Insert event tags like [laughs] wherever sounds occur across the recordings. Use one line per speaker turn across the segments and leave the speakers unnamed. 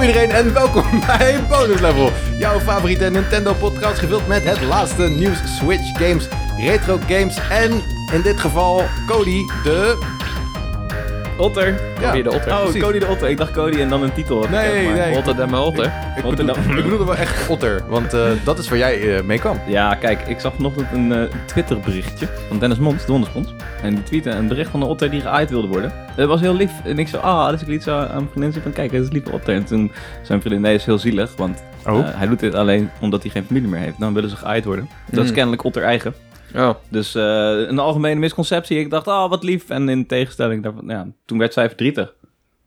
iedereen en welkom [laughs] bij Bonus Level. Jouw favoriete Nintendo podcast gevuld met het laatste nieuws, Switch games, retro games en in dit geval Cody de...
Otter.
Ja.
Cody de Otter.
Ja,
Oh,
precies.
Cody de Otter. Ik dacht Cody en dan een titel. heb ik,
Nee,
zeg maar.
nee.
Otter dan mijn Otter.
Ik
Otter
bedoel, [laughs]
dan-
ik bedoelde wel echt Otter, want eh, dat is waar jij eh, mee
[laughs]
kwam.
Ja, kijk, ik zag vanochtend een eh, Twitter-berichtje van Dennis Mons, Donderspons. En die tweette een bericht van een otter die geaaid wilde worden. Dat was heel lief. En ik zo, ah, dus ik liet zo aan mijn vriendin zien van, kijk, dat is een lieve otter. En toen zei mijn vriendin, nee, dat is heel zielig, want eh,
Oh.
hij doet dit alleen omdat hij geen familie meer heeft. Dan willen ze geaaid worden. Dat is
Mm.
kennelijk otter-eigen.
Oh,
Dus eh, een algemene misconceptie. Ik dacht, ah, wat lief. En in tegenstelling daarvan, ja, toen werd zij verdrietig.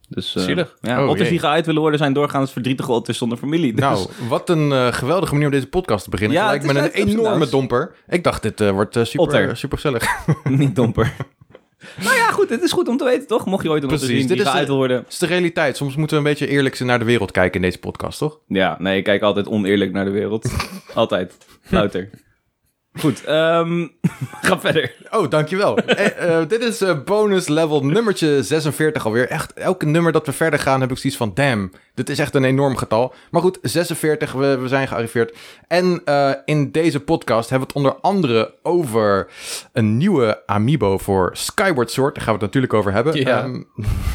Dus, eh,
Zielig.
Ja,
Oh,
otters
jee.
die geaaid willen worden zijn doorgaans verdrietige otters zonder familie. Dus,
Nou, wat een eh, geweldige manier om deze podcast te beginnen.
Ja,
Gelijk
het is
met een
echt
enorme
absurd.
domper. Ik dacht, dit eh, wordt eh, super,
Otter.
super gezellig.
[laughs]
[laughs]
Niet domper. nou ja, goed, het is goed om te weten, toch? Mocht je ooit een
Precies,
Precies, zien
dit
die
is
geuit
de-
wil worden.
Het is de realiteit. Soms moeten we een beetje eerlijk naar de wereld kijken in deze podcast, toch?
Ja, nee, ik kijk altijd oneerlijk naar de wereld. [laughs] altijd. Louter. Goed, ehm, [laughs] ga verder.
Oh, dankjewel. Eh, eh, dit is eh, bonus level nummertje 46 alweer. Echt, elke nummer dat we verder gaan heb ik zoiets van... Damn, dit is echt een enorm getal. Maar goed, 46, we, we zijn gearriveerd. En eh, in deze podcast hebben we het onder andere over... een nieuwe amiibo voor Skyward Sword. Daar gaan we het natuurlijk over hebben.
Ja.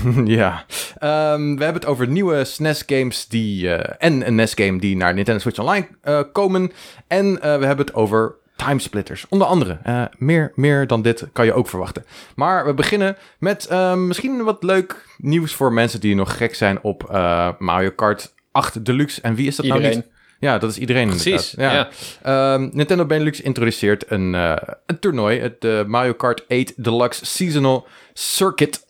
Ehm, [laughs] ja. Ehm, we hebben het over nieuwe SNES-games die... eh, en een NES-game die naar Nintendo Switch Online eh, komen. En eh, we hebben het over timesplitters. Onder andere. Eh, meer, meer dan dit kan je ook verwachten. Maar we beginnen met eh, misschien wat leuk nieuws voor mensen die nog gek zijn op eh, Mario Kart 8 Deluxe. En wie is dat nou
iedereen.
niet? Ja, dat is iedereen
Precies,
inderdaad.
ja.
Ehm, Nintendo Benelux introduceert een, eh, een toernooi. Het eh, Mario Kart 8 Deluxe Seasonal Circuit.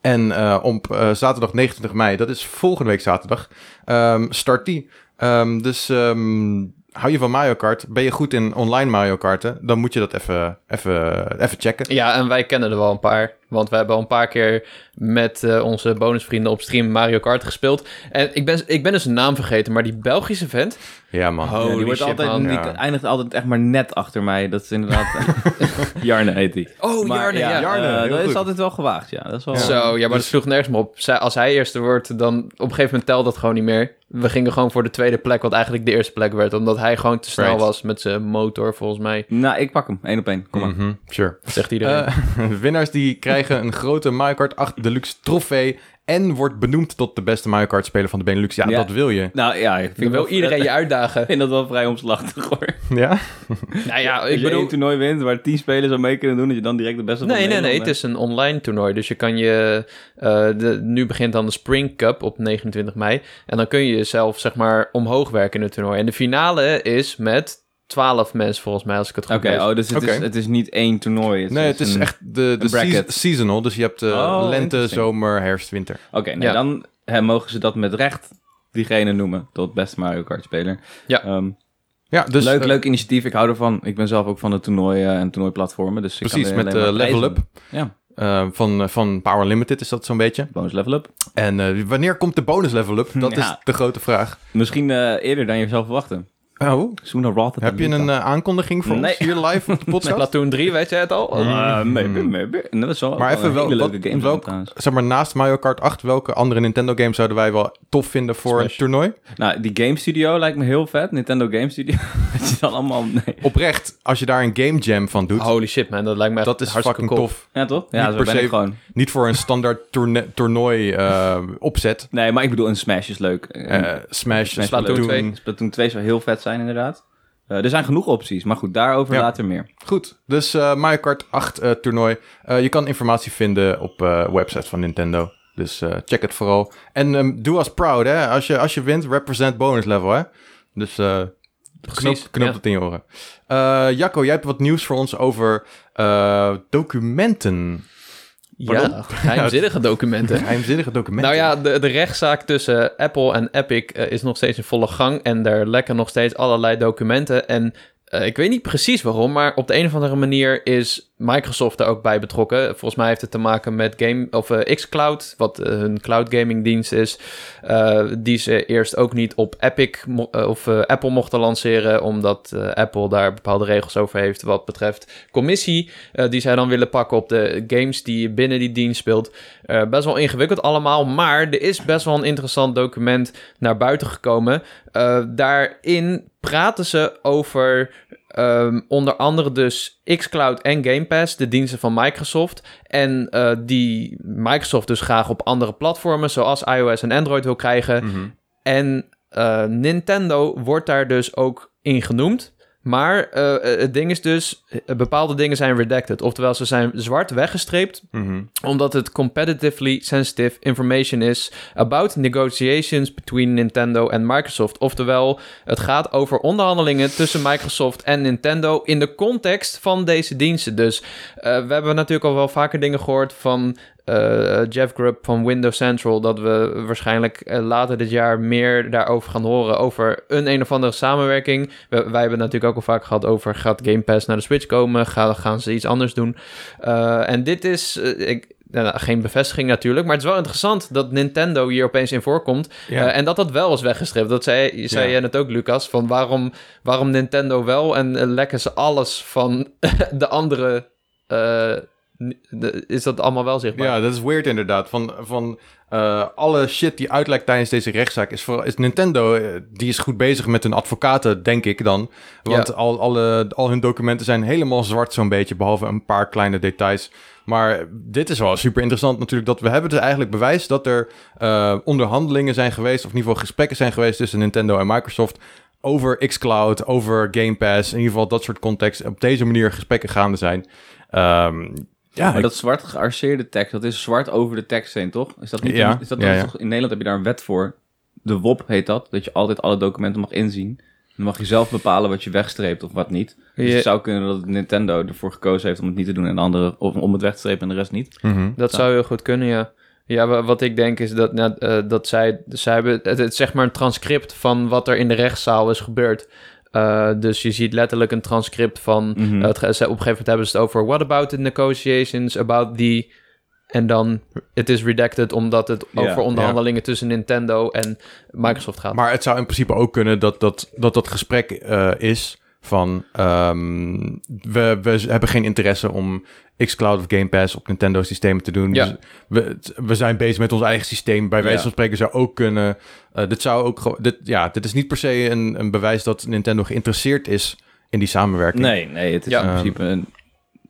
En eh, op eh, zaterdag 29 mei, dat is volgende week zaterdag, ehm, start die. Ehm, dus ehm, hou je van Mario Kart? Ben je goed in online Mario Karten? Dan moet je dat even, even, even checken.
Ja, en wij kennen er wel een paar. Want we hebben al een paar keer met eh, onze bonusvrienden op stream Mario Kart gespeeld. En ik ben, ik ben dus een naam vergeten, maar die Belgische vent...
Ja, man.
Holy
Ja, die, wordt
shit,
altijd,
man.
die
Ja.
eindigt altijd echt maar net achter mij. Dat is inderdaad... [laughs] Jarne heet die.
Oh,
Maar
Jarne, ja.
Jarne,
eh,
heel
dat
goed.
is altijd wel gewaagd, ja. Dat is wel...
Zo, ja, Dus- maar dat sloeg nergens meer op. Zij- als hij eerste wordt, dan op een gegeven moment telt dat gewoon niet meer. We gingen gewoon voor de tweede plek, wat eigenlijk de eerste plek werd. Omdat hij gewoon te snel
Right.
was met zijn motor, volgens mij.
Nou, ik pak hem. Eén op één. Kom maar.
Mhm, sure.
Dat zegt iedereen.
Eh, [laughs] winnaars die krijgen een grote Mario Kart 8 Deluxe trofee. En wordt benoemd tot de beste Mario Kart speler van de Benelux. Ja,
Ja.
dat wil je.
Nou ja, ik
ik
vind,
wil
wel-
[laughs]
iedereen je uitdagen.
Ik vind dat wel vrij omslachtig, hoor.
Ja?
[laughs] nou ja,
Als
ik
je
bedoel...
één toernooi wint waar tien spelers aan mee kunnen doen, dat je dan direct de beste van
Nee, nee, nee.
Nederland
Het
bent.
is een online toernooi. Dus je kan je. eh, de, nu begint dan de Spring Cup op 29 mei. En dan kun je jezelf, zeg maar, omhoog werken in het toernooi. En de finale is met 12 mensen, volgens mij, als ik het goed
Oké,
weet.
oh, dus het, is,
Oké.
het is niet één toernooi. mm.
Nee, het is
een-
echt de, de
een bracket.
seas- seasonal. Dus je hebt eh,
Oh,
lente,
interesting.
zomer, herfst, winter.
Oké, nou
Ja.
dan hè, mogen ze dat met recht diegene noemen tot beste Mario Kart speler.
Ja.
Ehm,
Ja, dus
leuk,
eh,
leuk initiatief. Ik hou ervan. Ik ben zelf ook van de toernooien en toernooiplatformen. Dus ik kan
precies
er
met
alleen
eh,
maar
Level Up
prijzen. Ja,
eh, van, eh, van Power Limited is dat zo'n beetje.
bonus Level Up.
En eh, wanneer komt de bonus Level Up? Dat
Ja.
is de grote vraag.
Misschien eh, eerder dan je zou verwachten.
Oh,
Sooner rather than
heb je
later.
een eh, aankondiging voor
Nee.
ons hier live op
[laughs]
de podcast?
Platoon 3, weet jij het al?
Eh, maybe, maybe. En dat is wel
Mm-hmm. Maar
wel
even
een
wel-
hele
wat-
leuke game
welk-
trouwens.
Zeg maar, naast Mario Kart 8, welke andere Nintendo game zouden wij wel tof vinden voor
Smash.
een toernooi?
Nou, die Game Studio lijkt me heel vet. Nintendo Game Studio. [laughs] Dat je dan allemaal... Nee.
Oprecht, als je daar een game jam van
Oh,
doet,
Holy shit, man. Dat lijkt me echt
dat is
hartstikke
fucking
cool.
tof.
Ja, toch?
Niet
Ja, zo
per
ben
se-
ik gewoon.
Niet voor een standaard toerne- toernooi eh, opzet.
Nee, maar ik bedoel, een Smash is leuk. Dus En-
Eh, Smash,
Hmm. Smash
Splatoon.
Splatoon 2.
Splatoon 2 zou heel vet zijn, inderdaad. Eh, er zijn genoeg opties, maar goed, daarover
Ja.
later meer.
Goed, dus eh Mario Kart 8 eh, toernooi. Eh, je kan informatie vinden op eh website van Nintendo. Dus eh, check het vooral. En ehm, doe als proud, hè. Als je, als je wint, represent bonus level, hè. Dus eh knoop,
Precies,
knoop
ja.
dat in je oren. Eh, Jacco, jij hebt wat nieuws voor ons over eh, documenten.
Ja, geheimzinnige documenten.
Geheimzinnige documenten.
Nou ja, de, de rechtszaak tussen Apple en Epic eh, is nog steeds in volle gang. En daar lekken nog steeds allerlei documenten. En eh, ik weet niet precies waarom, maar op de een of andere manier is Microsoft daar ook bij betrokken. Volgens mij heeft het te maken met game, of, eh, xCloud, wat eh, hun cloud gaming dienst is. eh, die ze eerst ook niet op Epic mo- eh, of eh, Apple mochten lanceren, omdat eh, Apple daar bepaalde regels over heeft wat betreft commissie. eh, die zij dan willen pakken op de games die je binnen die dienst speelt. Eh, best wel ingewikkeld allemaal, maar er is best wel een interessant document naar buiten gekomen. Eh, daarin praten ze over Ehm, onder andere dus xCloud en Game Pass, de diensten van Microsoft. En eh, die Microsoft dus graag op andere platformen, zoals iOS en Android, wil krijgen.
Mhm.
En eh, Nintendo wordt daar dus ook in genoemd. Maar eh, het ding is dus, eh, bepaalde dingen zijn redacted. Oftewel, ze zijn zwart weggestreept
Mhm.
omdat het competitively sensitive information is about negotiations between Nintendo en Microsoft. Oftewel, het gaat over onderhandelingen tussen Microsoft en Nintendo in de context van deze diensten. Dus eh, we hebben natuurlijk al wel vaker dingen gehoord van eh, Jeff Grubb van Windows Central. Dat we waarschijnlijk eh, later dit jaar meer daarover gaan horen. Over een een of andere samenwerking. We- wij hebben het natuurlijk ook al vaak gehad over gaat Game Pass naar de Switch komen? Ga- gaan ze iets anders doen? Eh, en dit is. eh, ik, nou, nou, geen bevestiging natuurlijk, maar het is wel interessant dat Nintendo hier opeens in voorkomt.
Ja.
Eh, en dat dat wel is weggestreept. Dat zei, zei
Ja.
jij net ook, Lucas. Van waarom, waarom Nintendo wel en eh, lekken ze alles van [laughs] de andere. eh, ni- de- is dat allemaal wel zichtbaar?
Ja, dat is weird inderdaad. Van, van eh, alle shit die uitlekt tijdens deze rechtszaak is voor is Nintendo, eh, die is goed bezig met hun advocaten, denk ik dan. Want
Ja.
al, alle, al hun documenten zijn helemaal zwart zo'n beetje, behalve een paar kleine details. Maar dit is wel super interessant natuurlijk, dat we hebben dus eigenlijk bewijs dat er eh, onderhandelingen zijn geweest, of in ieder geval gesprekken zijn geweest tussen Nintendo en Microsoft over xCloud, over Game Pass, in ieder geval dat soort context, op deze manier gesprekken gaande zijn. Ehm, ja,
Maar dat zwart gearceerde tekst, dat is zwart over de tekst heen, toch? Is dat niet?
Ja,
Is dat,
ja,
dat is
ja.
toch- in Nederland heb je daar een wet voor. De WOP heet dat, dat je altijd alle documenten mag inzien. Dan mag je zelf bepalen wat je wegstreept of wat niet. Dus
Ja.
het zou kunnen dat Nintendo ervoor gekozen heeft om het niet te doen en de andere of om het weg te strepen en de rest niet.
mhm.
Dat
Ja.
zou heel goed kunnen, ja. Ja, wa- wat ik denk is dat, nou, eh, dat zij, zij hebben, het, het is zeg maar een transcript van wat er in de rechtszaal is gebeurd. Eh, dus je ziet letterlijk een transcript van,
Mm. Mhm. Hmm.
eh, het, ge- ze- op een gegeven moment hebben ze het over what about the negotiations, about the, en dan, het is redacted omdat het
Ja,
over onderhandelingen tussen Nintendo en Microsoft gaat.
Maar het zou in principe ook kunnen dat dat, dat, dat gesprek eh, is van... ehm, we, we hebben geen interesse om xCloud of Game Pass op Nintendo systemen te doen.
Ja.
Dus we, we zijn bezig met ons eigen systeem. Bij wijze
Ja.
van spreken zou ook kunnen... eh, dit, zou ook, gewoon- dit, ja, dit is niet per se een, een bewijs dat Nintendo geïnteresseerd is in die samenwerking.
Nee, nee, het is
Ja.
in principe een.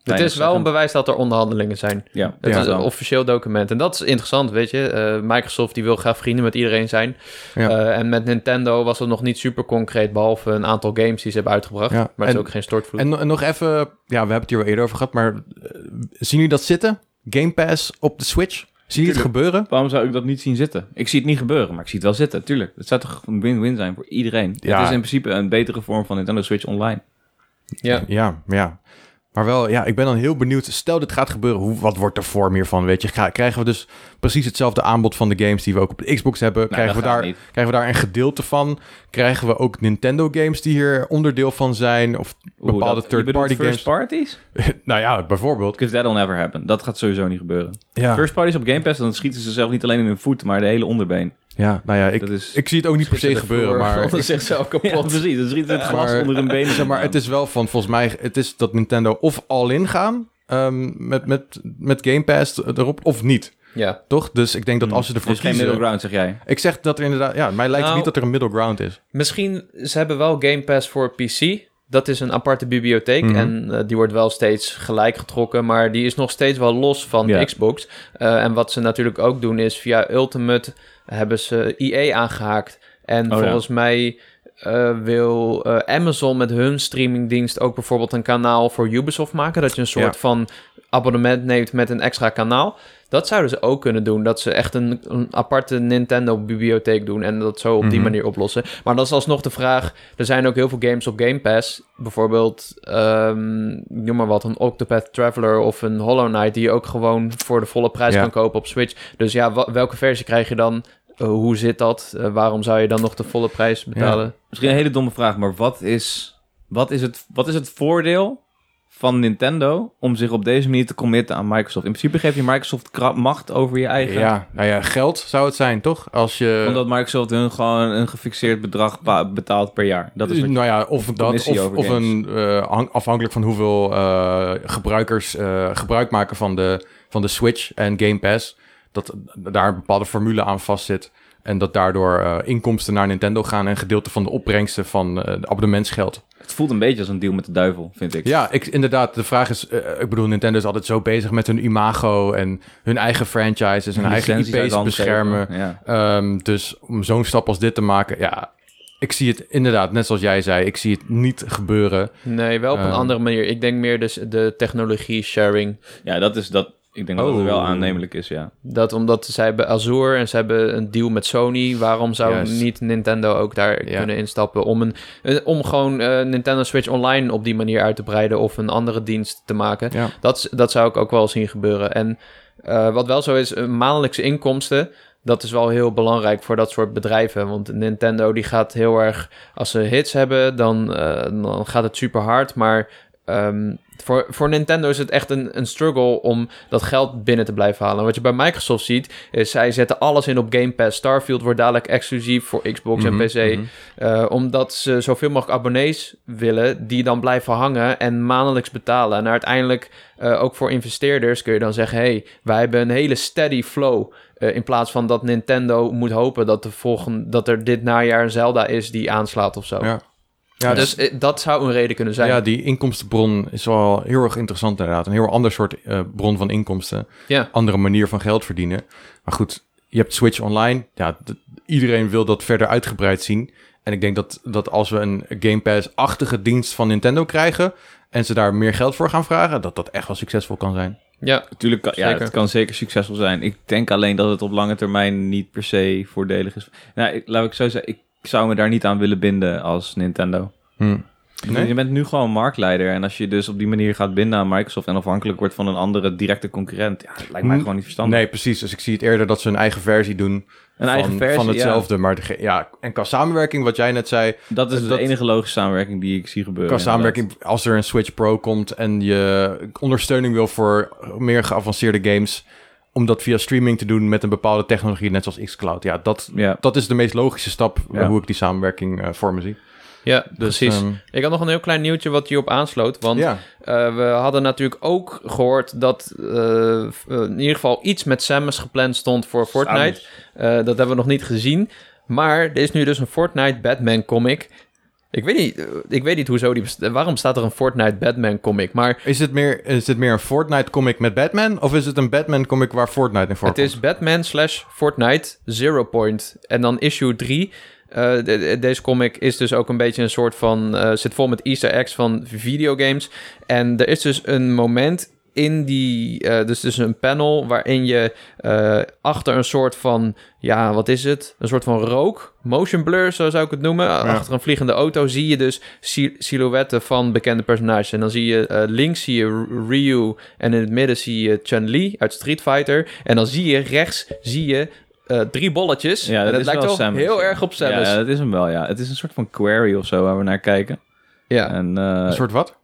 het
weinig
is wel een
zeggen.
bewijs dat er onderhandelingen zijn.
Ja,
Het
Ja.
is een officieel document. En dat is interessant, weet je. Eh, Microsoft die wil graag vrienden met iedereen zijn.
Ja.
Eh, en met Nintendo was het nog niet super concreet... behalve een aantal games die ze hebben uitgebracht.
Ja,
Maar het
en-
is ook geen stortvloed.
En, no- en nog even... Ja, we hebben het hier wel eerder over gehad, maar... eh, zien jullie dat zitten? Game Pass op de Switch? Zien jullie het gebeuren?
Waarom zou ik dat niet zien zitten? Ik zie het niet gebeuren, maar ik zie het wel zitten, tuurlijk. Het zou toch een win-win zijn voor iedereen.
Ja.
Het is in principe een betere vorm van Nintendo Switch Online.
[laughs]
ja.
Ja, ja. Maar wel, ja, ik ben dan heel benieuwd. Stel dit gaat gebeuren, hoe, wat wordt de vorm hiervan? Weet je, Ga- krijgen we dus precies hetzelfde aanbod van de games die we ook op de Xbox hebben?
Nou,
krijgen,
dat
we
gaat
daar,
niet.
krijgen we daar een gedeelte van? Krijgen we ook Nintendo games die hier onderdeel van zijn? Of
Oeh,
bepaalde
dat- je bedoelt
third-party
first
games? [laughs]
parties?
nou ja, bijvoorbeeld.
Because that'll never happen. Dat gaat sowieso niet gebeuren.
Ja,
First parties op Game Pass, dan schieten ze zelf niet alleen in hun voet, maar de hele onderbeen.
ja nou ja, ik,
dat is
ik zie het ook niet per se
Schieten
gebeuren,
ervoor,
maar... dus-
want dan zegt [laughs] ze
[laughs]
ook
[laughs]
ja,
kapot.
precies. Dan schieten ze het glas
Maar-
onder hun benen.
Zeg maar, het is wel van, volgens mij, het is dat Nintendo of all-in gaan ehm, met, met, met Game Pass erop, of niet,
ja.
toch? Dus ik denk dat als ze ervoor
dus geen
kiezen...
middle ground, zeg jij.
Ik zeg dat er inderdaad... Ja, mij lijkt
Nou-
het niet dat er een middle ground is.
Misschien, ze hebben wel Game Pass voor PC... Dat is een aparte bibliotheek
Mhm.
en eh, die wordt wel steeds gelijk getrokken, maar die is nog steeds wel los van
Ja.
Xbox. Eh, en wat ze natuurlijk ook doen is via Ultimate hebben ze EA aangehaakt. En
Oh, ja.
volgens mij eh, wil eh, Amazon met hun streamingdienst ook bijvoorbeeld een kanaal voor Ubisoft maken. Dat je een soort
Ja.
van abonnement neemt met een extra kanaal. Dat zouden ze ook kunnen doen. Dat ze echt een, een aparte Nintendo-bibliotheek doen en dat zo op die
Mhm.
manier oplossen. Maar dat is alsnog de vraag. Er zijn ook heel veel games op Game Pass. Bijvoorbeeld, ehm, ik noem maar wat, een Octopath Traveler of een Hollow Knight... die je ook gewoon voor de volle prijs
Ja.
kan kopen op Switch. Dus ja, wa- welke versie krijg je dan? Uh, hoe zit dat? Uh, waarom zou je dan nog de volle prijs betalen?
Misschien een hele domme vraag, maar wat is, wat is, het, wat is het voordeel van Nintendo om zich op deze manier te committen aan Microsoft. In principe geef je Microsoft kra- macht over je eigen.
Ja, nou ja, geld zou het zijn, toch? Als je...
Omdat Microsoft hun gewoon een gefixeerd bedrag pa- betaalt per jaar. Dat is wat je-
nou ja, of dat,
commissie
of,
over
of
games.
een, eh, hang- afhankelijk van hoeveel eh, gebruikers eh, gebruik maken van de, van de Switch en Game Pass, dat daar een bepaalde formule aan vastzit. En dat daardoor eh, inkomsten naar Nintendo gaan en een gedeelte van de opbrengsten van eh, de abonnementsgeld.
Het voelt een beetje als een deal met de duivel, vind ik.
Ja, ik, inderdaad. De vraag is, eh, ik bedoel, Nintendo is altijd zo bezig met hun imago en hun eigen franchises en hun eigen
Licenties uit de
IP's
hand
beschermen.
geven, Ja.
Ehm, dus om zo'n stap als dit te maken, ja, ik zie het inderdaad, net zoals jij zei, ik zie het niet gebeuren.
Nee, wel op een
Eh.
andere manier. Ik denk meer dus de technologie-sharing.
ja, dat is dat. Ik denk dat het
Oh.
wel aannemelijk is, ja.
Dat omdat zij hebben Azure en ze hebben een deal met Sony. Waarom zou
Juist.
niet Nintendo ook daar
Ja.
kunnen instappen om, een, eh, om gewoon eh, Nintendo Switch Online op die manier uit te breiden of een andere dienst te maken?
Ja.
Dat, is- dat zou ik ook wel zien gebeuren. En eh, wat wel zo is, eh, maandelijkse inkomsten. Dat is wel heel belangrijk voor dat soort bedrijven. Want Nintendo die gaat heel erg. Als ze hits hebben, dan, eh, dan gaat het super hard. Maar ehm, voor, voor Nintendo is het echt een, een struggle om dat geld binnen te blijven halen. Wat je bij Microsoft ziet, is zij zetten alles in op Game Pass. Starfield wordt dadelijk exclusief voor Xbox
Mhm,
en PC.
mhm.
Eh, omdat ze zoveel mogelijk abonnees willen die dan blijven hangen en maandelijks betalen. En uiteindelijk eh, ook voor investeerders kun je dan zeggen: hey, wij hebben een hele steady flow. Eh, in plaats van dat Nintendo moet hopen dat, de volgende, dat er dit najaar een Zelda is die aanslaat of zo.
Ja. Ja,
dus
Oh. dus,
eh, dat zou een reden kunnen zijn.
ja,
Ja,
die inkomstenbron is wel heel erg interessant inderdaad. Een heel ander soort eh, bron van inkomsten. Andere manier van geld verdienen. Maar goed, je hebt Switch Online. Ja, d- iedereen wil dat verder uitgebreid zien. En ik denk dat, dat als we een Game Pass-achtige dienst van Nintendo krijgen... en ze daar meer geld voor gaan vragen... dat dat echt wel succesvol kan zijn.
ja.
Natuurlijk, kan, ja,
Zeker.
het kan zeker succesvol zijn. Ik denk alleen dat het op lange termijn niet per se voordelig is. Nou, ik, laat ik zo zeggen, ik zou me daar niet aan willen binden als Nintendo.
Hm.
Nee? Je bent nu gewoon marktleider. En als je dus op die manier gaat binden aan Microsoft en afhankelijk wordt van een andere directe concurrent, ja, dat lijkt mij
Hm.
gewoon niet verstandig.
Nee, precies. Dus ik zie het eerder dat ze een eigen versie doen...
een
van,
eigen versie
van
hetzelfde.
hetzelfde. Maar de, ja, en qua samenwerking, wat jij net zei,
Dat is
Dat-
de enige logische samenwerking die ik zie gebeuren.
qua samenwerking, als er een Switch Pro komt en je ondersteuning wil voor meer geavanceerde games, om dat via streaming te doen met een bepaalde technologie, net zoals xCloud. Ja, dat,
inderdaad.
dat is de meest logische stap eh,
Ja.
hoe ik die samenwerking eh, voor me zie.
ja precies.
ehm,
Ik had nog een heel klein nieuwtje wat hierop aansloot. Want
ja,
Eh, we hadden natuurlijk ook gehoord dat eh, v- eh, in ieder geval iets met Samus gepland stond voor Fortnite. Eh, dat hebben we nog niet gezien. Maar er is nu dus een Fortnite Batman comic. Ik weet niet, eh, ik weet niet hoezo die best- eh, Waarom staat er een Fortnite Batman comic? Maar
is dit, meer, is dit meer een Fortnite comic met Batman? Of is het een Batman comic waar Fortnite in voorkomt?
het is Batman slash Fortnite Zero Point. En dan issue 3. Eh, de- de- deze comic is dus ook een beetje een soort van... eh, zit vol met easter eggs van videogames. En er is dus een moment in die... eh, dus dus een panel waarin je eh, achter een soort van... Ja, wat is het? Een soort van rook. Motion blur, zo zou ik het noemen. Achter een vliegende auto zie je dus si- silhouetten van bekende personages. En dan zie je eh, links zie je R- Ryu. En in het midden zie je Chun-Li uit Street Fighter. En dan zie je rechts zie je eh, drie bolletjes.
Ja,
en
dat
het
is
lijkt
wel
wel
Samus.
heel erg op Samus.
Ja, eh,
Ja,
dat is hem wel, ja. Het is een soort van query of zo waar we naar kijken.
ja.
En, eh,
Een soort wat?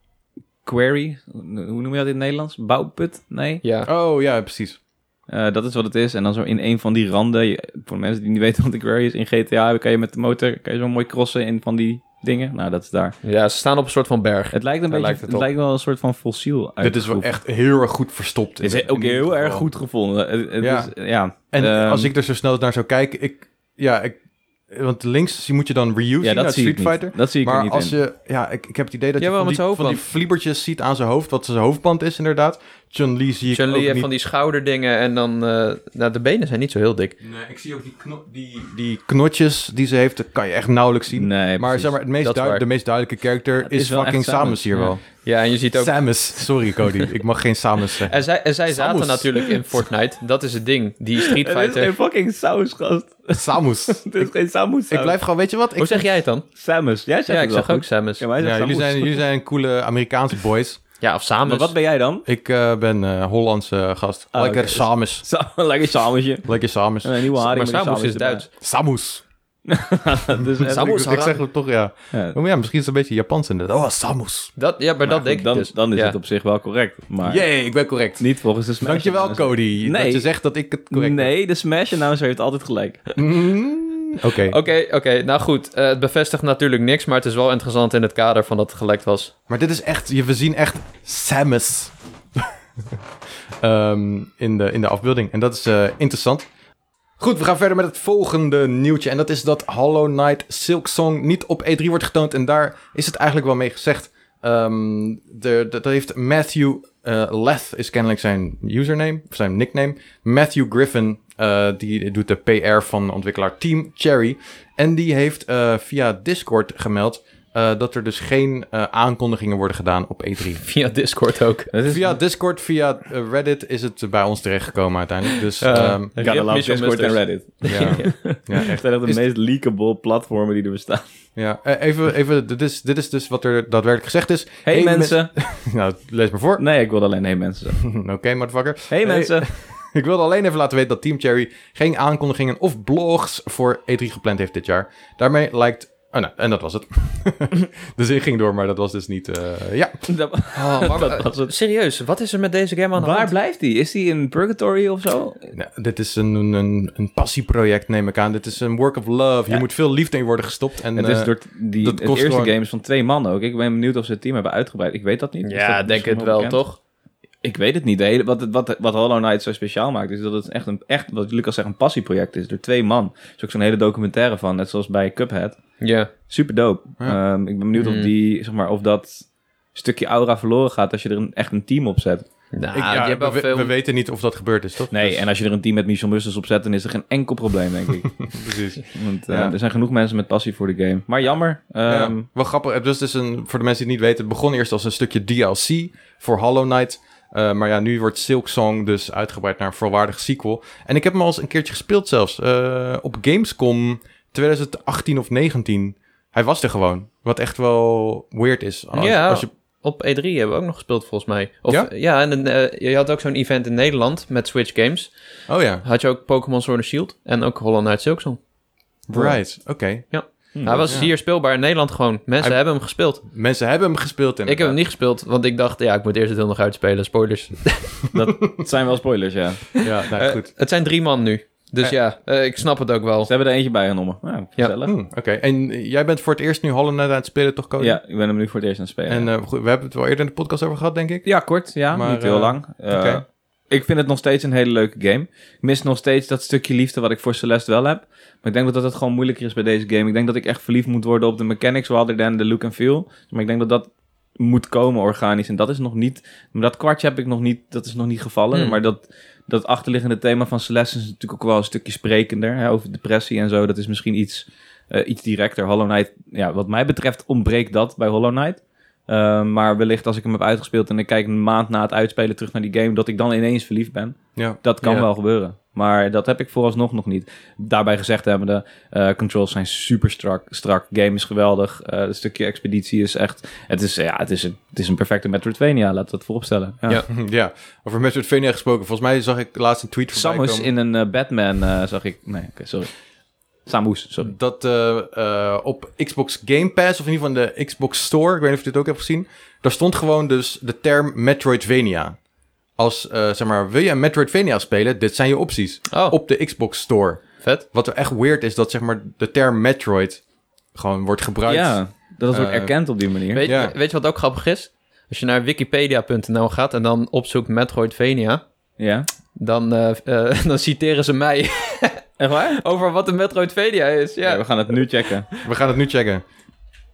query, hoe noem je dat in het Nederlands? Bouwput? Nee.
Oh ja, precies.
Eh, dat is wat het is. En dan zo in een van die randen, je- voor de mensen die niet [laughs] weten wat een query is, in GTA kan je met de motor kan je zo mooi crossen in van die dingen. Nou, dat is daar.
Ja, ze staan op een soort van berg.
Het lijkt een
Daar
beetje, lijkt
lijkt het
het,
op.
lijkt wel een soort van fossiel uit.
Dit is wel echt heel erg goed verstopt. in
Het is
dit-
ook
in dit
heel erg
geval.
goed gevonden. Het, het
Ja.
is, ja.
En
Ehm,
als ik er zo snel naar zou kijken, ik, ja, ik, want links zie- moet je dan Ryu
ja,
zien uit
dat zie
Street
ik niet.
Fighter.
Dat zie ik er
Maar
niet
als
in.
je, ja, ik, ik heb het idee dat je
Jawel,
van
met
die,
zijn
van die
hoofdband.
fliebertjes ziet aan zijn hoofd, wat zijn hoofdband is inderdaad. Chun-Li zie ik
Chun-Li
ook
heeft
niet.
van die schouderdingen en dan... eh, nou, de benen zijn niet zo heel dik.
Nee, ik zie ook die, kno- die, die knotjes die ze heeft, dat kan je echt nauwelijks zien.
Nee,
maar
precies.
zeg maar, het meest
Dat is
duid-
waar.
de meest duidelijke character
het
is,
is wel
fucking
echt Samus,
Samus hier
ja.
wel.
Ja, en je ziet ook...
Samus, sorry
[laughs]
Cody, ik mag geen Samus zeggen.
En zij, en zij zaten
Samus.
natuurlijk in Fortnite. Dat is het ding. Die Street
[laughs] Het is
Fighter...
geen fucking saus, gast.
Samus.
[laughs] Het is geen Samus.
Ik blijf gewoon, weet je wat? Ik,
Hoe zeg jij het dan?
Samus. Jij zegt
Ja, ik
het wel
zeg ook
goed.
Samus.
Ja, maar hij zegt
ja, jullie,
Samus.
zijn, jullie dus- zijn coole Amerikaanse boys.
Ja, of Samus.
Maar wat ben jij dan? [laughs]
Ik eh, ben eh, Hollandse gast.
Ah,
Lekker
oké.
Samus.
Sa- Lekker Samusje.
Lekker Samus.
En Een nieuwe haring
maar
met een
Samus is
Samusje erbij.
Duits.
Samus.
[laughs] dat
[laughs]
is echt-
Samus
ik, ik zeg het toch, ja. Oh,
Ja,
Maar ja, misschien is het een beetje Japans inderdaad. Oh, Samus.
Dat, ja, maar, dat
goed,
denk
dan,
ik dus.
Dan is
ja.
het op zich wel correct. Maar
Jee, ik ben correct.
niet volgens de Smash
Dankjewel,
announcer.
Cody.
Nee.
Dat je zegt dat ik het correct
Nee, de Smash announcer heeft altijd gelijk.
heb. Mm, Oké.
Oké, oké. nou goed. eh, het bevestigt natuurlijk niks, maar het is wel interessant in het kader van dat het gelekt was. [laughs]
Maar dit is echt, je- we zien echt Samus [laughs] Ehm, in, de, in de afbeelding. En dat is eh, interessant. Goed, we gaan verder met het volgende nieuwtje. En dat is dat Hollow Knight Silk Song niet op E3 wordt getoond. En daar is het eigenlijk wel mee gezegd. Ehm, de, dat heeft Matthew eh Leth, is kennelijk zijn username, of zijn nickname. Matthew Griffin, eh, die doet de PR van ontwikkelaar Team Cherry. En die heeft eh, via Discord gemeld eh, dat er dus geen eh, aankondigingen worden gedaan op E Dus- E3.
Via Discord ook.
[laughs] Het is
Dus Via Discord, via eh, Reddit is het bij ons terechtgekomen uiteindelijk. Dus
Ja.
ehm,
Gotta love
Mitchell
Discord en
Musters.
Reddit.
[laughs] ja, ja,
Echt
echt.
zijn echt de
Is-
meest leakable platformen die er bestaan.
Ja, eh, even, even dit, is, dit is dus wat er daadwerkelijk gezegd is.
Hey,
Hey,
mensen.
Nou, lees maar voor. [laughs]
Nee, ik wilde alleen hey mensen zeggen.
Oké, motherfucker.
Hey, mensen.
Ik wilde alleen even laten weten dat Team Cherry geen aankondigingen of blogs voor E3 gepland heeft dit jaar. Daarmee lijkt... Oh, nou, en dat was het. [laughs] de zin ging door, maar dat was dus niet... eh, ja,
Dat-
Oh,
[laughs]
maar, eh,
Dat was het.
serieus, wat is er met deze game aan de
Waar
hand?
blijft die? Is die in Purgatory of zo?
Nou, dit is een, een- een, een passieproject, neem ik aan. Dit is een work of love.
Ja.
Hier moet veel liefde in worden gestopt. En,
het is
eh,
door t- die,
dat
het
kost
eerste
gewoon-
game is van twee mannen ook. Ik ben benieuwd of ze het team hebben uitgebreid. Ik weet dat niet. Is
Ja,
dat
denk
misschien
het wel,
bekend?
toch?
Ik weet het niet. De hele, wat, wat, wat Hollow Knight zo speciaal maakt, is dat het echt, een, echt wat Lucas zegt, een passieproject is. Door twee man. Er is ook zo'n hele documentaire van, net zoals bij Cuphead.
Ja.
Super dope.
Ja.
Ehm, ik ben benieuwd of,
Mm.
die, zeg maar, of dat stukje aura verloren gaat als je er een, echt een team op zet.
Nou,
ik- ja,
je hebt wel
we,
veel...
we weten niet of dat gebeurd is, toch?
Nee,
Dus-
en als je er een team met Michel Musters op zet, dan is er geen enkel probleem, denk
[laughs]
ik.
precies.
Want eh,
Ja.
er zijn genoeg mensen met passie voor de game. Maar jammer.
Ja,
ehm,
wel grappig. Het was dus een, voor de mensen die het niet weten, het begon eerst als een stukje DLC voor Hollow Knight. Eh, maar ja, nu wordt Silk Song dus uitgebreid naar een volwaardig sequel. En ik heb hem al eens een keertje gespeeld zelfs. eh, op Gamescom 2018 of 19. Hij was er gewoon. Wat echt wel weird is. Als,
Ja.
als je,
Op E3 hebben we ook nog gespeeld, volgens mij. Of,
Ja?
ja? en een, eh, je had ook zo'n event in Nederland met Switch Games.
oh ja,
Had je ook Pokémon Sword and Shield en ook Hollow Knight Silksong.
right. Oké.
Hm,
Hij was
ja.
hier speelbaar in Nederland gewoon. Mensen
Hij-
hebben hem gespeeld.
Mensen hebben hem gespeeld.
Ik heb hem niet gespeeld, want ik dacht, ja, ik moet eerst het heel nog uitspelen. Spoilers.
Het zijn wel spoilers, ja.
niet. Ja, nou,
Eh,
goed.
het zijn drie man nu. Dus
Eh.
ja, eh, ik snap het ook wel.
Ze hebben er eentje bij genomen. Nou,
Ja.
gezellig.
Hm, Oké, en jij bent voor het eerst nu Hollow Knight aan het spelen, toch, Cody?
Ja, ik ben hem nu voor het eerst aan het spelen.
En eh, goed, we hebben het wel eerder in de podcast over gehad, denk ik.
ja, kort, ja.
maar,
niet heel
eh,
lang. Eh,
oké.
Ik vind het nog steeds een hele leuke game. Ik mis nog steeds dat stukje liefde wat ik voor Celeste wel heb. Maar ik denk dat dat het gewoon moeilijker is bij deze game. Ik denk dat ik echt verliefd moet worden op de mechanics rather than de look and feel. Maar ik denk dat dat moet komen organisch. En dat is nog niet... Maar dat kwartje heb ik nog niet... Dat is nog niet gevallen.
Hmm.
Maar dat, dat achterliggende thema van Celeste is natuurlijk ook wel een stukje sprekender. Hè, over depressie en zo. Dat is misschien iets, eh, iets directer. Hollow Knight... Ja, wat mij betreft ontbreekt dat bij Hollow Knight. Eh, maar wellicht als ik hem heb uitgespeeld en ik kijk een maand na het uitspelen terug naar die game, dat ik dan ineens verliefd ben.
Ja.
Dat kan
Ja.
wel gebeuren. Maar dat heb ik vooralsnog nog niet. Daarbij gezegd hebbende, eh controls zijn super strak. strak. Game is geweldig. Eh het stukje expeditie is echt... Het is, ja, het is, een, het is een perfecte Metroidvania, laat dat vooropstellen. Ja.
Ja.
[laughs] Ja, over Metroidvania gesproken. Volgens mij zag ik laatst een tweet voorbij
Samus
komen.
in een eh, Batman eh, zag ik... Nee, oké, sorry. Samus, sorry.
Dat eh, eh, op Xbox Game Pass, of in ieder geval in de Xbox Store, ik weet niet of je dit ook hebt gezien, daar stond gewoon dus de term Metroidvania. Als, eh, zeg maar, wil je een Metroidvania spelen? Dit zijn je opties.
Oh,
Op de Xbox Store.
vet.
Wat er echt weird is, dat zeg maar de term Metroid gewoon wordt gebruikt.
Ja, dat wordt
Eh,
erkend op die manier.
Weet,
Ja.
weet je wat ook grappig is? Als je naar wikipedia.nl gaat en dan opzoekt Metroidvania...
Ja.
Dan, eh, [laughs] eh, dan citeren ze mij [laughs]
Echt waar?
over wat een Metroidvania is. Ja.
Ja, we gaan het nu checken.
We gaan het nu checken.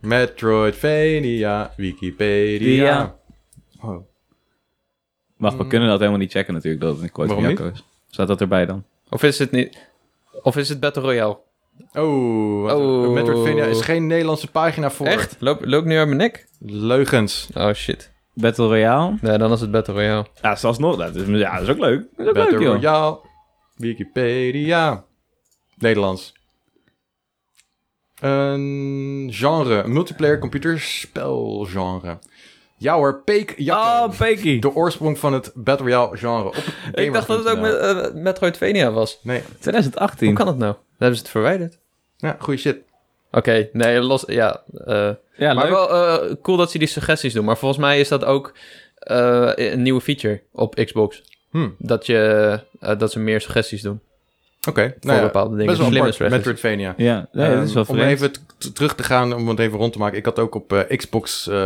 Metroidvania, Wikipedia.
Ja.
Oh.
Wacht, we
Mm.
kunnen dat helemaal niet checken natuurlijk, dat het een quote van
Waarom
Jacco is. Staat dat erbij dan?
Of is het niet... Of is het Battle Royale?
Oh, wat-
Oh.
Metroidvania is geen Nederlandse pagina voor.
Echt? Loop, loop ik nu aan mijn nek?
Leugens.
Oh, shit.
Battle Royale?
Nee, dan is het Battle Royale.
Ja, zelfs nog. Dat is, ja, dat is ook leuk. Dat is ook
Battle
leuk, joh.
Royale, Wikipedia. Nederlands. Een genre, een multiplayer computerspelgenre. Ja hoor, Peek Jacco.
Oh, Peky.
De oorsprong van het Battle Royale genre. Op
[laughs] Ik dacht dat het ook
gamer.nl.
met, eh, Metroidvania was.
Nee,
2018.
Hoe kan dat nou? Dan hebben ze het verwijderd.
Ja, goede shit.
Oké, nee, los. Ja. eh,
Ja,
maar
leuk.
wel eh, cool dat ze die suggesties doen. Maar volgens mij is dat ook eh, een nieuwe feature op Xbox.
Hm.
Dat, je, eh, dat ze meer suggesties doen
Oké, nou
voor
ja,
bepaalde dingen.
best wel
Slimme
apart,
suggesties.
Metroidvania.
Ja, nee, dat is wel
Ehm, om
vreemd.
even t- t- terug te gaan, om het even rond te maken. Ik had ook op eh, Xbox eh,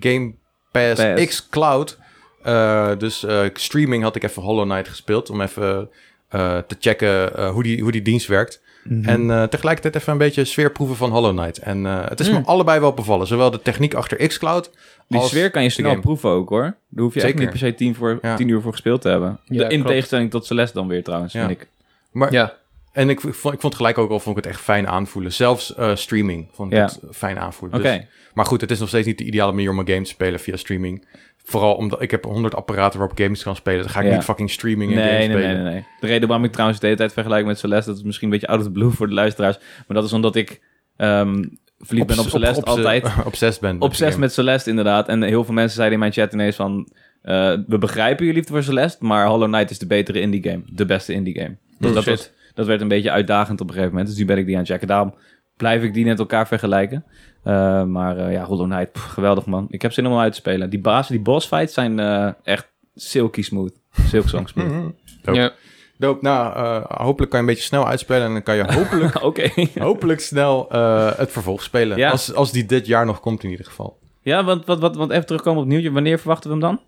Game Pass,
Pass.
X Cloud. eh, dus eh, streaming had ik even Hollow Knight gespeeld. Om even eh, te checken eh, hoe, die, hoe die dienst werkt.
Mhm.
En eh, tegelijkertijd even een beetje sfeerproeven van Hollow Knight. En eh, het is me
Mm.
allebei wel bevallen. Zowel de techniek achter X Cloud.
Die
als-
sfeer kan je snel
game.
proeven ook hoor. Daar hoef je echt
Zeker.
niet per se tien, voor,
Ja.
tien uur voor gespeeld te hebben.
Ja,
De- in
klopt.
tegenstelling tot Celeste dan weer trouwens,
Ja.
vind ik.
Maar,
Ja,
En ik, v- vond, ik vond het gelijk ook al vond ik het echt fijn aanvoelen. Zelfs eh, streaming vond ik
Ja.
het fijn aanvoelen.
Oké,
Dus- Maar goed, het is nog steeds niet de ideale manier om een game te spelen via streaming. Vooral omdat ik heb 100 apparaten waarop games kan spelen. Dan ga ik
Ja.
niet fucking streaming en
nee,
games
nee, nee,
spelen.
nee, nee. De reden waarom ik trouwens de hele tijd vergelijk met Celeste, dat is misschien een beetje out of the blue voor de luisteraars. Maar dat is omdat ik ehm verliefd ben op
[laughs]
Celeste altijd.
Obsessed ben. met
Obsessed
die
met Celeste inderdaad. En heel veel mensen zeiden in mijn chat ineens van... eh, we begrijpen je liefde voor Celeste, maar Hollow Knight is de betere indie game. De beste indie game. Dus
Oh,
dat,
shit.
was, dat werd een beetje uitdagend op een gegeven moment. Dus nu ben ik die aan het checken. Daarom blijf ik die net elkaar vergelijken. Eh, maar eh, ja, Hollow Knight, pff, geweldig man. Ik heb zin om hem uit te spelen. Die bazen, die boss fights zijn eh, echt silky smooth. Silk song
game. [laughs]
[laughs]
smooth. [laughs]
Mhm. Dope.
ja.
Dope. Nou, eh, hopelijk kan je een beetje snel uitspelen. En dan
[laughs]
kan je hopelijk,
Oké.
hopelijk snel eh, het vervolg spelen.
Ja.
Als, als die dit jaar nog komt in ieder geval.
Ja, want, wat, wat, want even terugkomen op nieuwtje. Wanneer verwachten we hem dan?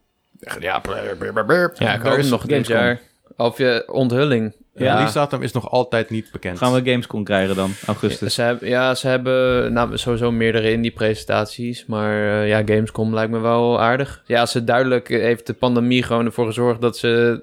Ja,
ja ik hoop
is
nog dit
Gamescom.
jaar. Of je onthulling.
De releasedatum Eh, is nog altijd niet bekend.
Gaan we Gamescom krijgen dan,
Ja,
augustus?
Dus Ze hebben, ja, ze hebben nou, sowieso meerdere in die presentaties. Maar eh, ja, Gamescom lijkt me wel aardig. Ja, ze duidelijk eh, heeft de pandemie gewoon ervoor gezorgd dat ze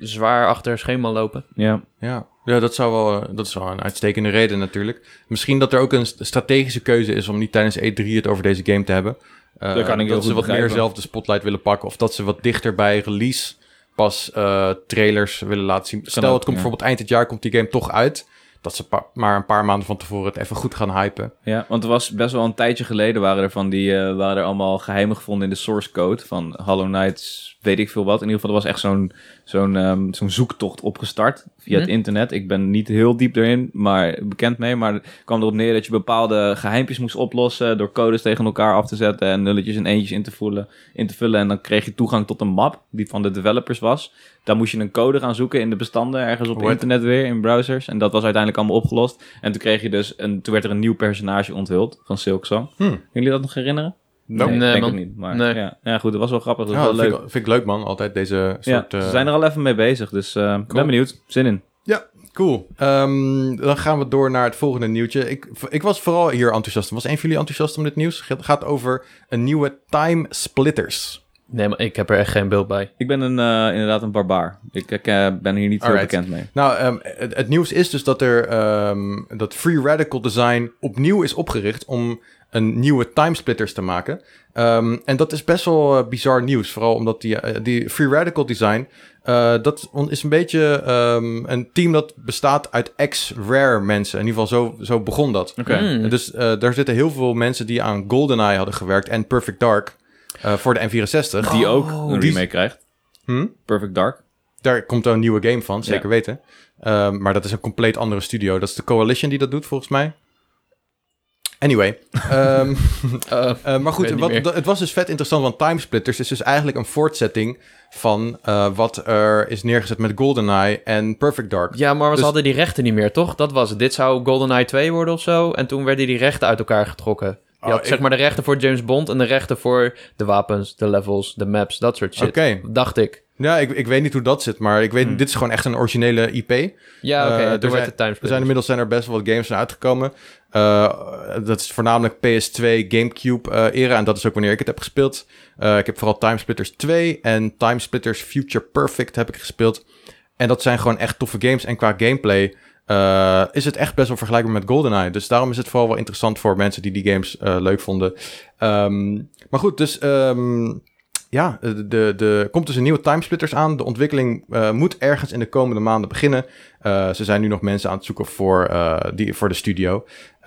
zwaar achter schema lopen.
Ja.
Ja, ja dat, zou wel, eh, dat is wel een uitstekende reden natuurlijk. Misschien dat er ook een st- strategische keuze is om niet tijdens E3 het over deze game te hebben. Eh,
Dat kan ik heel
dat
goed
ze wat meer
begrijpen.
zelf de spotlight willen pakken. Of dat ze wat dichter bij release pas eh, trailers willen laten zien. Stel,
ook,
het komt
ja.
bijvoorbeeld eind dit jaar komt die game toch uit. Dat ze pa- maar een paar maanden van tevoren het even goed gaan hypen.
Ja, want er was best wel een tijdje geleden waren er van die eh, waren er allemaal geheimen gevonden in de source code van Hollow Knights, weet ik veel wat. In ieder geval, er was echt zo'n zo'n ehm, zo'n zoektocht opgestart via het
Hm.
internet. Ik ben niet heel diep erin, maar bekend mee. Maar het kwam erop neer dat je bepaalde geheimpjes moest oplossen door codes tegen elkaar af te zetten en nulletjes en eentjes in te, voelen, in te vullen. En dan kreeg je toegang tot een map die van de developers was. Daar moest je een code gaan zoeken in de bestanden ergens op
Word.
internet weer, in browsers. En dat was uiteindelijk allemaal opgelost. En toen kreeg je dus een, toen werd er een nieuw personage onthuld van Silksong.
Hm.
Kunnen jullie dat nog herinneren?
Nope.
ik
Nee,
denk
man.
ik niet. Maar
Nee.
ja. ja, goed, dat was wel grappig. Dat
Ja,
was
dat
wel
vind,
leuk.
ik, vind ik leuk man, altijd deze
Ja,
soort...
ze
eh,
zijn er al even mee bezig, dus eh ben benieuwd. Zin in.
Ja, cool. Ehm, dan gaan we door naar het volgende nieuwtje. Ik, ik was vooral hier enthousiast. Was een van jullie enthousiast om dit nieuws? Het gaat over een nieuwe Time Splitters.
Nee, maar ik heb er echt geen beeld bij.
Ik ben een, eh, inderdaad een barbaar. Ik, ik, eh, ben hier niet heel
Alright.
bekend mee.
Nou, ehm, het, het nieuws is dus dat er ehm, dat Free Radical Design opnieuw is opgericht om een nieuwe Time Splitters te maken. Ehm, en dat is best wel eh, bizar nieuws. Vooral omdat die, eh, die Free Radical Design, eh, dat on- is een beetje ehm, een team dat bestaat uit ex-rare mensen. In ieder geval zo, zo begon dat.
Oké.
Hmm.
Dus eh, daar zitten heel veel mensen die aan GoldenEye hadden gewerkt en Perfect Dark eh, voor de N64.
Die ook een
Oh, die-
remake krijgt.
Hm?
Perfect Dark.
Daar komt een nieuwe game van, zeker
Ja.
weten. Ehm, maar dat is een compleet andere studio. Dat is de Coalition die dat doet, volgens mij.
[laughs]
Anyway, ehm,
Eh,
eh, maar
Ik
goed,
weet niet
wat,
meer.
dat- het was dus vet interessant, want Time Splitters is dus eigenlijk een voortzetting van eh, wat er is neergezet met GoldenEye en Perfect Dark.
ja, maar ze
Dus-
hadden die rechten niet meer, toch? Dat was het. Dit zou GoldenEye 2 worden of zo. En toen werden die rechten uit elkaar getrokken. Je
Oh,
had
ik-
zeg maar de rechten voor James Bond en de rechten voor de wapens, de levels, de maps, dat soort shit.
Oké,
Dacht ik.
ja, ik, ik weet niet hoe dat zit, maar ik weet,
Hmm.
dit is gewoon echt een originele IP.
Ja, oké.
Eh, er
toen werd
zijn-
het Time
Er zijn inmiddels zijn er best wel wat games zijn uitgekomen. Eh, dat is voornamelijk PS2, GameCube eh, era. En dat is ook wanneer ik het heb gespeeld. Eh, ik heb vooral Time Splitters 2 en Time Splitters Future Perfect heb ik gespeeld. En dat zijn gewoon echt toffe games. En qua gameplay eh, is het echt best wel vergelijkbaar met GoldenEye. Dus daarom is het vooral wel interessant voor mensen die die games eh, leuk vonden. Ehm, maar goed, dus ehm, ja, de, de, de- komt dus een nieuwe timesplitters aan. De ontwikkeling eh, moet ergens in de komende maanden beginnen. Eh, ze zijn nu nog mensen aan het zoeken voor, eh, die, voor de studio.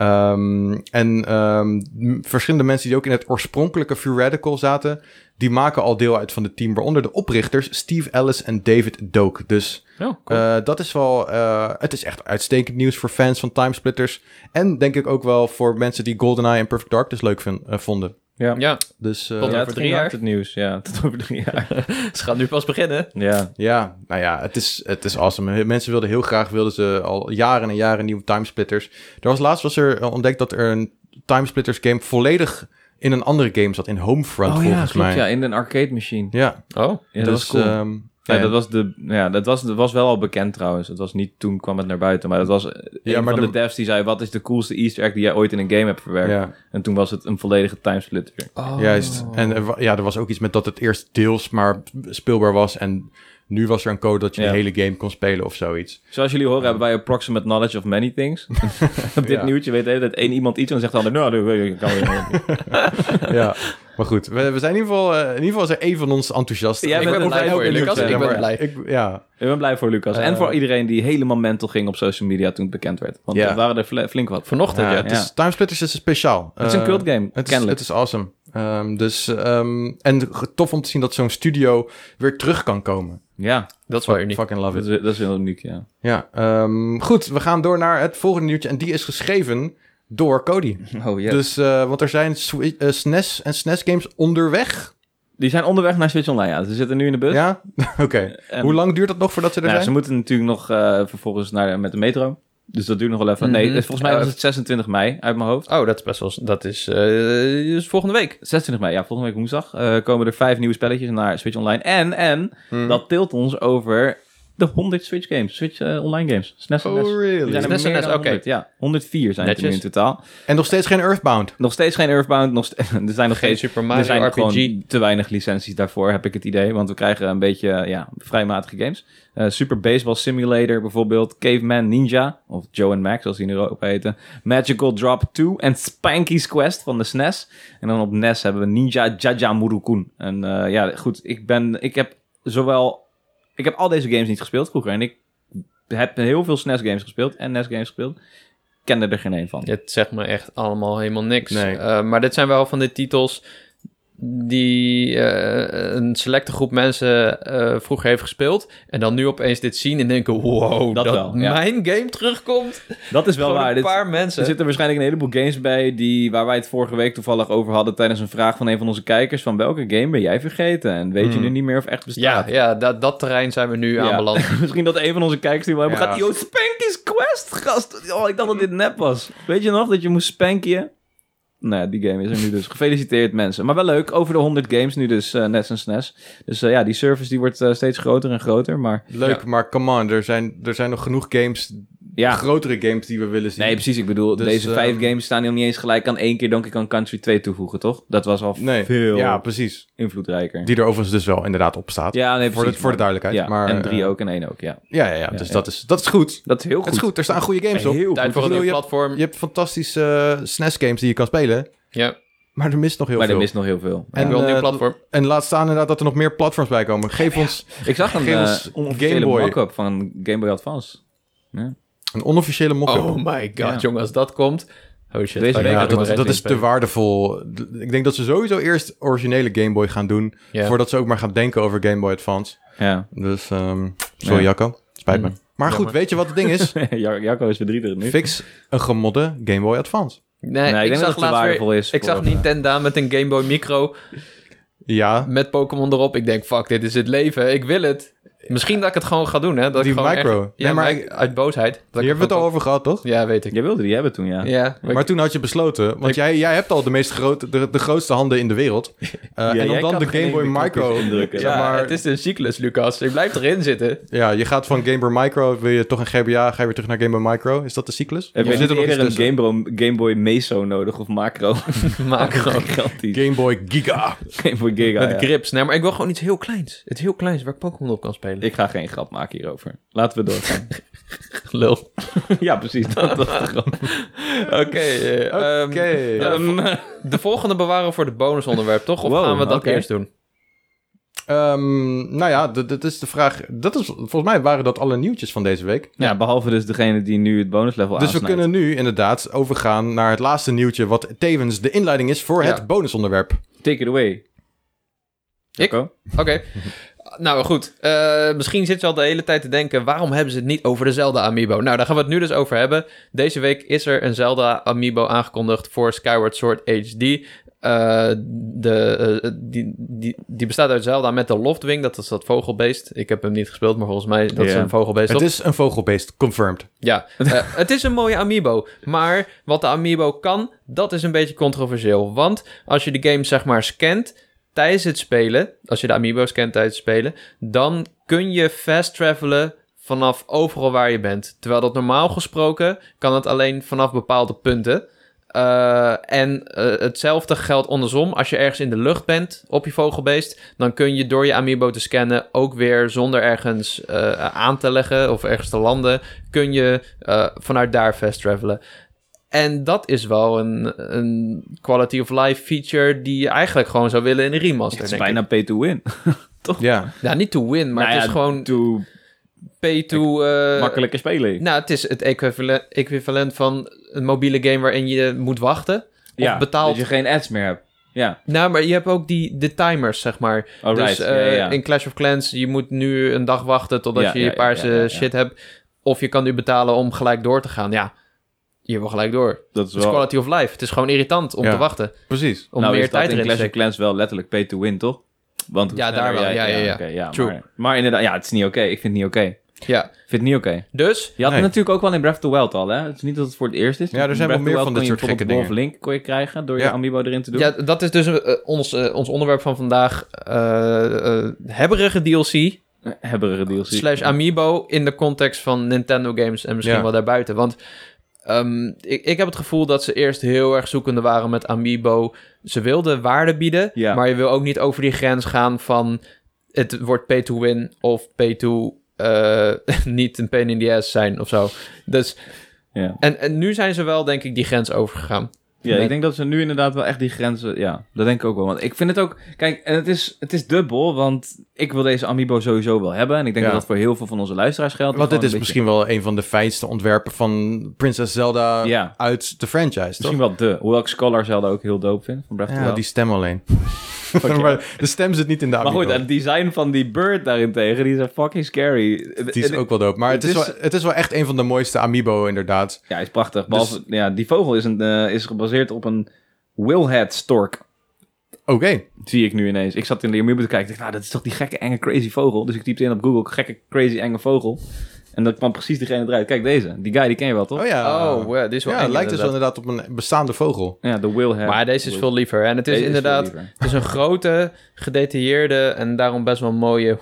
Ehm, en ehm, m- verschillende mensen die ook in het oorspronkelijke Free Radical zaten, die maken al deel uit van het team, waaronder de oprichters Steve Ellis en David Doak. Dus
Oh, cool.
eh, dat is wel, eh, het is echt uitstekend nieuws voor fans van Timesplitters. En denk ik ook wel voor mensen die GoldenEye en Perfect Darkness leuk vin- eh, vonden.
ja,
Dus eh,
ja,
Tot over
het
drie
ging
jaar.
hard, het nieuws. Ja, [laughs] tot over drie jaar.
ze gaan nu pas beginnen.
ja.
ja, nou ja, het is, het is awesome. Mensen wilden heel graag, wilden ze al jaren en jaren nieuwe Timesplitters. Er was laatst was er eh, ontdekt dat er een Timesplitters game volledig in een andere game zat, in Homefront
Oh ja,
volgens
klopt.
mij.
Ja, in een arcade machine.
Ja,
Oh,
Ja, dat
dus,
was cool.
ehm,
ja,
nou ja,
dat was, de, ja dat, was, dat was wel al bekend trouwens. Het was niet toen kwam het naar buiten, maar dat was ja,
Ja,
een
maar
van de,
de-
devs die zei... wat is de coolste easter egg die jij ooit in een game hebt verwerkt?
ja,
En toen was het een volledige timesplitter.
Juist. En er, wa- ja, er was ook iets met dat het eerst deels maar speelbaar was. En nu was er een code dat je
Ja.
de hele game kon spelen of zoiets.
Zoals jullie horen hebben wij approximate knowledge of many
[laughs]
things. Op dit
Ja.
nieuwtje weet dat één iemand iets en dan zegt de ander... nou, dat weet ik, dat kan weer
[laughs]
niet.
ja. Maar goed, we, we zijn in ieder geval... eh, in ieder geval is er één van ons enthousiast.
Jij bent
ben
er blij
ook
voor,
benieuwd,
Lucas.
ja,
Ik ben
eh, maar
blij.
Ik, ja,
Ik ben blij voor Lucas. en
Eh.
voor iedereen die helemaal mental ging op social media toen het bekend werd. Want
Ja.
er waren er fle- flink wat.
Vanochtend,
ja,
ja.
het is, Timesplitters is speciaal.
Het is een
Eh,
cult game,
Het is,
kennelijk.
het is awesome. Ehm, dus, ehm, en g- tof om te zien dat zo'n studio weer terug kan komen.
ja,
Dat is wel uniek.
Fucking love
dat
it.
is, dat is heel uniek, ja.
Ja, ehm, goed, we gaan door naar het volgende nieuwtje. En die is geschreven door Cody.
Oh, ja.
Dus, eh, want er zijn Swi- eh, SNES en SNES-games onderweg.
Die zijn onderweg naar Switch Online, ja. Ze zitten nu in de bus.
Ja? [laughs] Oké.
En-
Hoe lang duurt dat nog voordat ze er
Nou, ze
zijn?
moeten natuurlijk nog eh, vervolgens naar, de- met de metro. Dus dat duurt nog wel even. Nee,
Mhm.
volgens mij
Eh,
was het 26 mei uit mijn hoofd.
Oh, dat is best wel... Dat is, eh, is volgende week.
26 mei, ja, volgende week woensdag eh, komen er vijf nieuwe spelletjes naar Switch Online. En, en,
Hmm.
dat tilt ons over de 100 Switch games, Switch eh, Online games. SNES en NES.
Oh, really?
Er zijn er
SNES en
meer
NES,
dan
oké.
100, E Ja, 104 zijn het er nu in
Netjes.
totaal.
En nog steeds geen Earthbound.
Nog steeds geen Earthbound, nog ste- [laughs] er zijn nog
Geen
steeds...
Super
Er
Mario
zijn
RPG.
gewoon te weinig licenties daarvoor, heb ik het idee. Want we krijgen een beetje eh, ja, vrij matige games. Eh, Super Baseball Simulator bijvoorbeeld. Caveman Ninja, of Joe and Max, zoals die in Europa heten. Magical Drop 2 en Spanky's Quest van de SNES. En dan op NES hebben we Ninja Jaja Murukun. En eh, ja, goed, ik, ben, ik heb zowel... Ik heb al deze games niet gespeeld vroeger. En ik heb heel veel SNES games gespeeld en NES games gespeeld. Ik kende er geen een van.
Het zegt me echt allemaal helemaal niks.
Nee.
Eh, maar dit zijn wel van de titels die eh, een selecte groep mensen eh, vroeger heeft gespeeld. En dan nu opeens dit zien en denken... Wow,
Dat
dat,
wel, ja.
mijn game terugkomt.
Dat is wel
Gewoon
waar.
een
Dit-
paar mensen.
Er zitten waarschijnlijk een heleboel games bij die, waar wij het vorige week toevallig over hadden tijdens een vraag van een van onze kijkers. Van welke game ben jij vergeten? En weet je
Hmm.
nu niet meer of echt bestaat?
Ja, ja dat, dat terrein zijn we nu
Ja.
aanbeland.
[laughs] Misschien dat een van onze kijkers die wel
Ja.
gaat. Yo, Spanky's Quest, gast. Oh, ik dacht dat dit nep was. Weet je nog dat je moest spankien? Nou, ja, die game is er nu [laughs] dus. Gefeliciteerd mensen. Maar wel leuk, over de 100 games nu dus, eh NES en SNES. Dus eh, ja, die service die wordt eh, steeds groter en groter. Maar
Leuk, maar come on, er zijn, er zijn nog genoeg games,
ja,
grotere games die we willen zien.
nee precies. Ik bedoel,
Dus,
deze vijf
ehm,
games staan nog niet eens gelijk aan één keer Donkey Kong Country 2 toevoegen, toch? Dat was al
Nee,
veel
ja, precies.
invloedrijker.
Die er overigens dus wel inderdaad op staat.
Ja, nee,
voor, de,
precies,
voor de
maar-
duidelijkheid.
Ja,
maar,
en drie
eh,
ook en één ook, ja.
Ja, ja, ja, dus
ja.
Dat, is, dat is goed.
Dat is heel goed.
Het is goed, er staan goede games op.
Heel
Tijd
goed.
voor een
Ik bedoel,
nieuw
je-
platform.
Je hebt fantastische SNES-games die je kan spelen,
Ja,
maar er mist nog heel
Maar er
veel.
mist nog heel veel.
En,
ik wil een nieuw
eh,
platform.
[laughs]
En laat staan inderdaad dat er nog meer platforms bij komen. Geef ons
Ik zag een
geef
eh,
ons
onofficiële
Game Boy.
mock-up van Game Boy Advance.
een onofficiële mock-up.
Oh my god,
Ja.
jongen, als dat komt... Oh
Deze
shit, ga
week
ik
Ja,
maar
had ik
dat, dat
eens
is te
inspelen.
waardevol. D- Ik denk dat ze sowieso eerst originele Game Boy gaan doen...
Ja.
voordat ze ook maar gaan denken over Game Boy Advance.
Ja.
Dus, ehm, sorry
Ja.
Jacco, spijt me.
Mm,
Maar goed,
jammer.
weet je wat het ding [laughs] is?
[laughs] Ja- Jacco is verdrietig nu.
Fix een gemodde Game Boy Advance.
Nee,
Nee, ik,
ik,
denk dat
zag
het te
laatst weer...
waardevol is.
Ik zag
voor- eh,
Nintendo met een Game Boy Micro...
Ja,
met Pokémon erop. Ik denk, fuck, dit is het leven. Ik wil het. Misschien dat ik het gewoon ga doen, hè. Dat
Die
ik gewoon echt-
micro.
ja,
Nee, maar
maar
ik-
uit boosheid. Dat
hier
ik
hebben we het al over gehad, toch?
Ja, weet ik.
Jij wilde die hebben toen, ja.
Ja, maar
Maar toen had je besloten, want
Ik-
jij, jij hebt al de, meest grote, de, de grootste handen in de
[laughs]
wereld. Eh, en om
jij
dan
kan
de
geen
Game Boy
knopjes
Micro...
indrukken.
zeg
ja,
maar-
het is een cyclus, Lucas. Ik blijf erin zitten. [laughs]
Ja, je gaat van Game Boy Micro, wil je toch een GBA, ga je weer terug naar Game Boy Micro? Is dat de cyclus?
Eh,
Heb
Of
je
zit er nog
eerder
iets
een
tussen?
Game Boy, Game Boy Meso nodig of
[laughs]
Macro? [laughs]
Macro.
Gigantisch.
Game Boy Giga.
Game Boy Giga,
Met
ja.
grips. Nee, maar ik wil gewoon iets heel kleins. Iets heel kleins waar ik Pokémon op kan spelen.
Ik ga geen grap maken hierover. Laten we
[laughs]
doorgaan.
lul.
ja, precies. Dat was [laughs] de grap.
Oké. eh, ehm,
Oké.
ehm, de volgende bewaren we voor de bonusonderwerp, toch? Of
Wow,
gaan we dat
oké.
eerst doen?
Ehm, nou ja, d- dat is de vraag. Dat is, volgens mij waren dat alle nieuwtjes van deze week.
Ja, behalve dus degene die nu het bonuslevel
Dus we
aansnijdt.
kunnen nu inderdaad overgaan naar het laatste nieuwtje, wat tevens de inleiding is voor
Ja.
het bonusonderwerp.
Take it away.
Ik?
Jacco?
Oké. Nou goed, Eh, misschien zit je al de hele tijd te denken... waarom hebben ze het niet over de Zelda Amiibo? Nou, daar gaan we het nu dus over hebben. Deze week is er een Zelda Amiibo aangekondigd voor Skyward Sword HD. Eh, de, eh, die, die, die bestaat uit Zelda met de Loftwing. Dat is dat vogelbeest. Ik heb hem niet gespeeld, maar volgens mij dat is
Ja.
een vogelbeest.
Het
toch?
is een vogelbeest, confirmed.
Ja, eh, het is een mooie amiibo. Maar wat de amiibo kan, dat is een beetje controversieel. Want als je de game zeg maar scant tijdens het spelen, als je de amiibo scant tijdens het spelen, dan kun je fast travelen vanaf overal waar je bent. Terwijl dat normaal gesproken kan het alleen vanaf bepaalde punten. Eh, en eh, hetzelfde geldt andersom. Als je ergens in de lucht bent op je vogelbeest, dan kun je door je amiibo te scannen ook weer zonder ergens eh, aan te leggen of ergens te landen, kun je eh, vanuit daar fast travelen. En dat is wel een, een quality of life feature die je eigenlijk gewoon zou willen in een remaster.
Het is
denk
bijna pay to win.
Ja.
ik. Ja, niet to win, maar
Nou
het
ja,
is gewoon
To
pay to. eh,
makkelijker spelen.
Nou, het is het equivalent, equivalent van een mobiele game waarin je moet wachten.
ja,
of betaald.
Dat je geen ads meer hebt. Ja,
Nou, maar je hebt ook die, de timers, zeg maar.
alright.
Dus
Oh, ja,
eh,
ja.
in Clash of Clans, je moet nu een dag wachten totdat
Ja,
je je
ja, ja,
paarse
ja, ja, ja.
shit hebt. Of je kan nu betalen om gelijk door te gaan. Ja, je wil gelijk door.
dat is
Het is
wel...
quality of life. Het is gewoon irritant om
Ja.
te wachten.
Precies.
Om
nou,
meer
is dat
tijd
in
erin te
Clash of
steken.
Clans wel letterlijk pay to win, toch? Want hoe
Ja,
sneller
daar wel.
jij-
Ja, ja, ja.
oké, ja,
True.
Maar, maar inderdaad, ja, het is niet oké. Ik vind het niet oké.
Ja,
Ik vind het niet oké.
dus
Je had
Nee.
het natuurlijk ook wel in Breath of the Wild al, hè? Het is niet dat het voor het eerst is.
Ja, er zijn wel
Breath of the
meer
Wild
van
kon
dit
je
soort
tot op
gekke
Wolf Link kon je krijgen door
Ja.
je amiibo erin te doen.
Ja, dat is dus eh, ons, eh, ons onderwerp van vandaag. eh eh hebberige DLC
Eh, Hebberige DLC.
slash amiibo in de context van Nintendo games en misschien
Ja.
wel daarbuiten. Want ehm, ik, ik heb het gevoel dat ze eerst heel erg zoekende waren met amiibo. Ze wilden waarde bieden,
Ja.
maar je wil ook niet over die grens gaan van het wordt pay to win of pay to eh, [laughs] niet een pain in the ass zijn of zo. Dus,
Ja.
en, en nu zijn ze wel, denk ik, die grens overgegaan.
Ja,
Met-
ik denk dat ze nu inderdaad wel echt die grenzen... Ja, dat denk ik ook wel. Want ik vind het ook... Kijk, en het is, het is dubbel, want ik wil deze amiibo sowieso wel hebben. En ik denk
Ja.
dat dat voor heel veel van onze luisteraars geldt.
Want dit is
Gewoon een beetje-
misschien wel een van de fijnste ontwerpen van Princess Zelda
Ja.
uit de franchise, toch?
Misschien wel de. Hoewel ik Scholar Zelda ook heel dope vind. Van Breath of the
Ja,
Wild.
die stem alleen. maar de stem zit niet in de
Maar
amiibo.
goed, het design van die bird daarentegen, die is fucking scary.
Die is
En-
ook wel dope. Maar het is,
het is-
wel, het is wel echt een van de mooiste amiibo, inderdaad.
Ja, hij is prachtig.
Dus-
Behalve, ja, die vogel is, een, eh, is gebaseerd op een willhead stork.
Oké.
Zie ik nu ineens. Ik zat in de Amiibo te kijken. Ik dacht, nou, dat is toch die gekke, enge, crazy vogel. Dus ik typte in op Google, gekke, crazy, enge vogel. En dan kwam precies diegene eruit. Kijk, deze. Die guy, die ken je wel, toch?
Oh ja.
oh, wow, dit is wel
ja,
eng,
lijkt dus wel
inderdaad.
inderdaad op een bestaande vogel.
Ja, de willhead.
Maar deze is
Will-
veel liever. En het is
Deze veel
inderdaad
liever.
Het is een grote, gedetailleerde en daarom best wel mooie,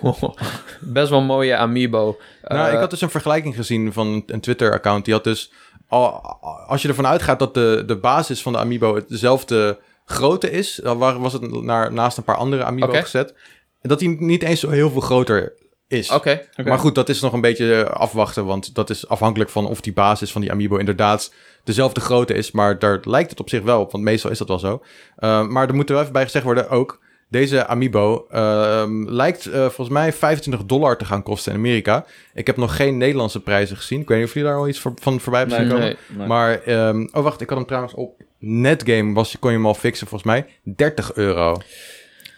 [laughs] best wel mooie amiibo.
nou,
Eh,
ik had dus een vergelijking gezien van een Twitter-account. Die had dus... al- Als je ervan uitgaat dat de, de basis van de amiibo hetzelfde grootte is... dan wa- was het naar, naast een paar andere amiibo
Oké.
gezet. En dat die niet eens zo heel veel groter is.
Oké,
Oké.
Maar goed, dat is nog een beetje eh, afwachten, want dat is afhankelijk van of die basis van die Amiibo inderdaad dezelfde grootte is. Maar daar lijkt het op zich wel op, want meestal is dat wel zo. Eh, maar er moet er wel even bij gezegd worden ook, deze Amiibo ehm, lijkt eh, volgens mij 25 dollar te gaan kosten in Amerika. Ik heb nog geen Nederlandse prijzen gezien. Ik weet niet of jullie daar al iets voor- van voorbij hebben zien
Nee,
komen.
nee.
Nee.
Maar, ehm, oh wacht, ik had hem trouwens op Netgame, was, kon je hem al fixen volgens mij, 30 euro.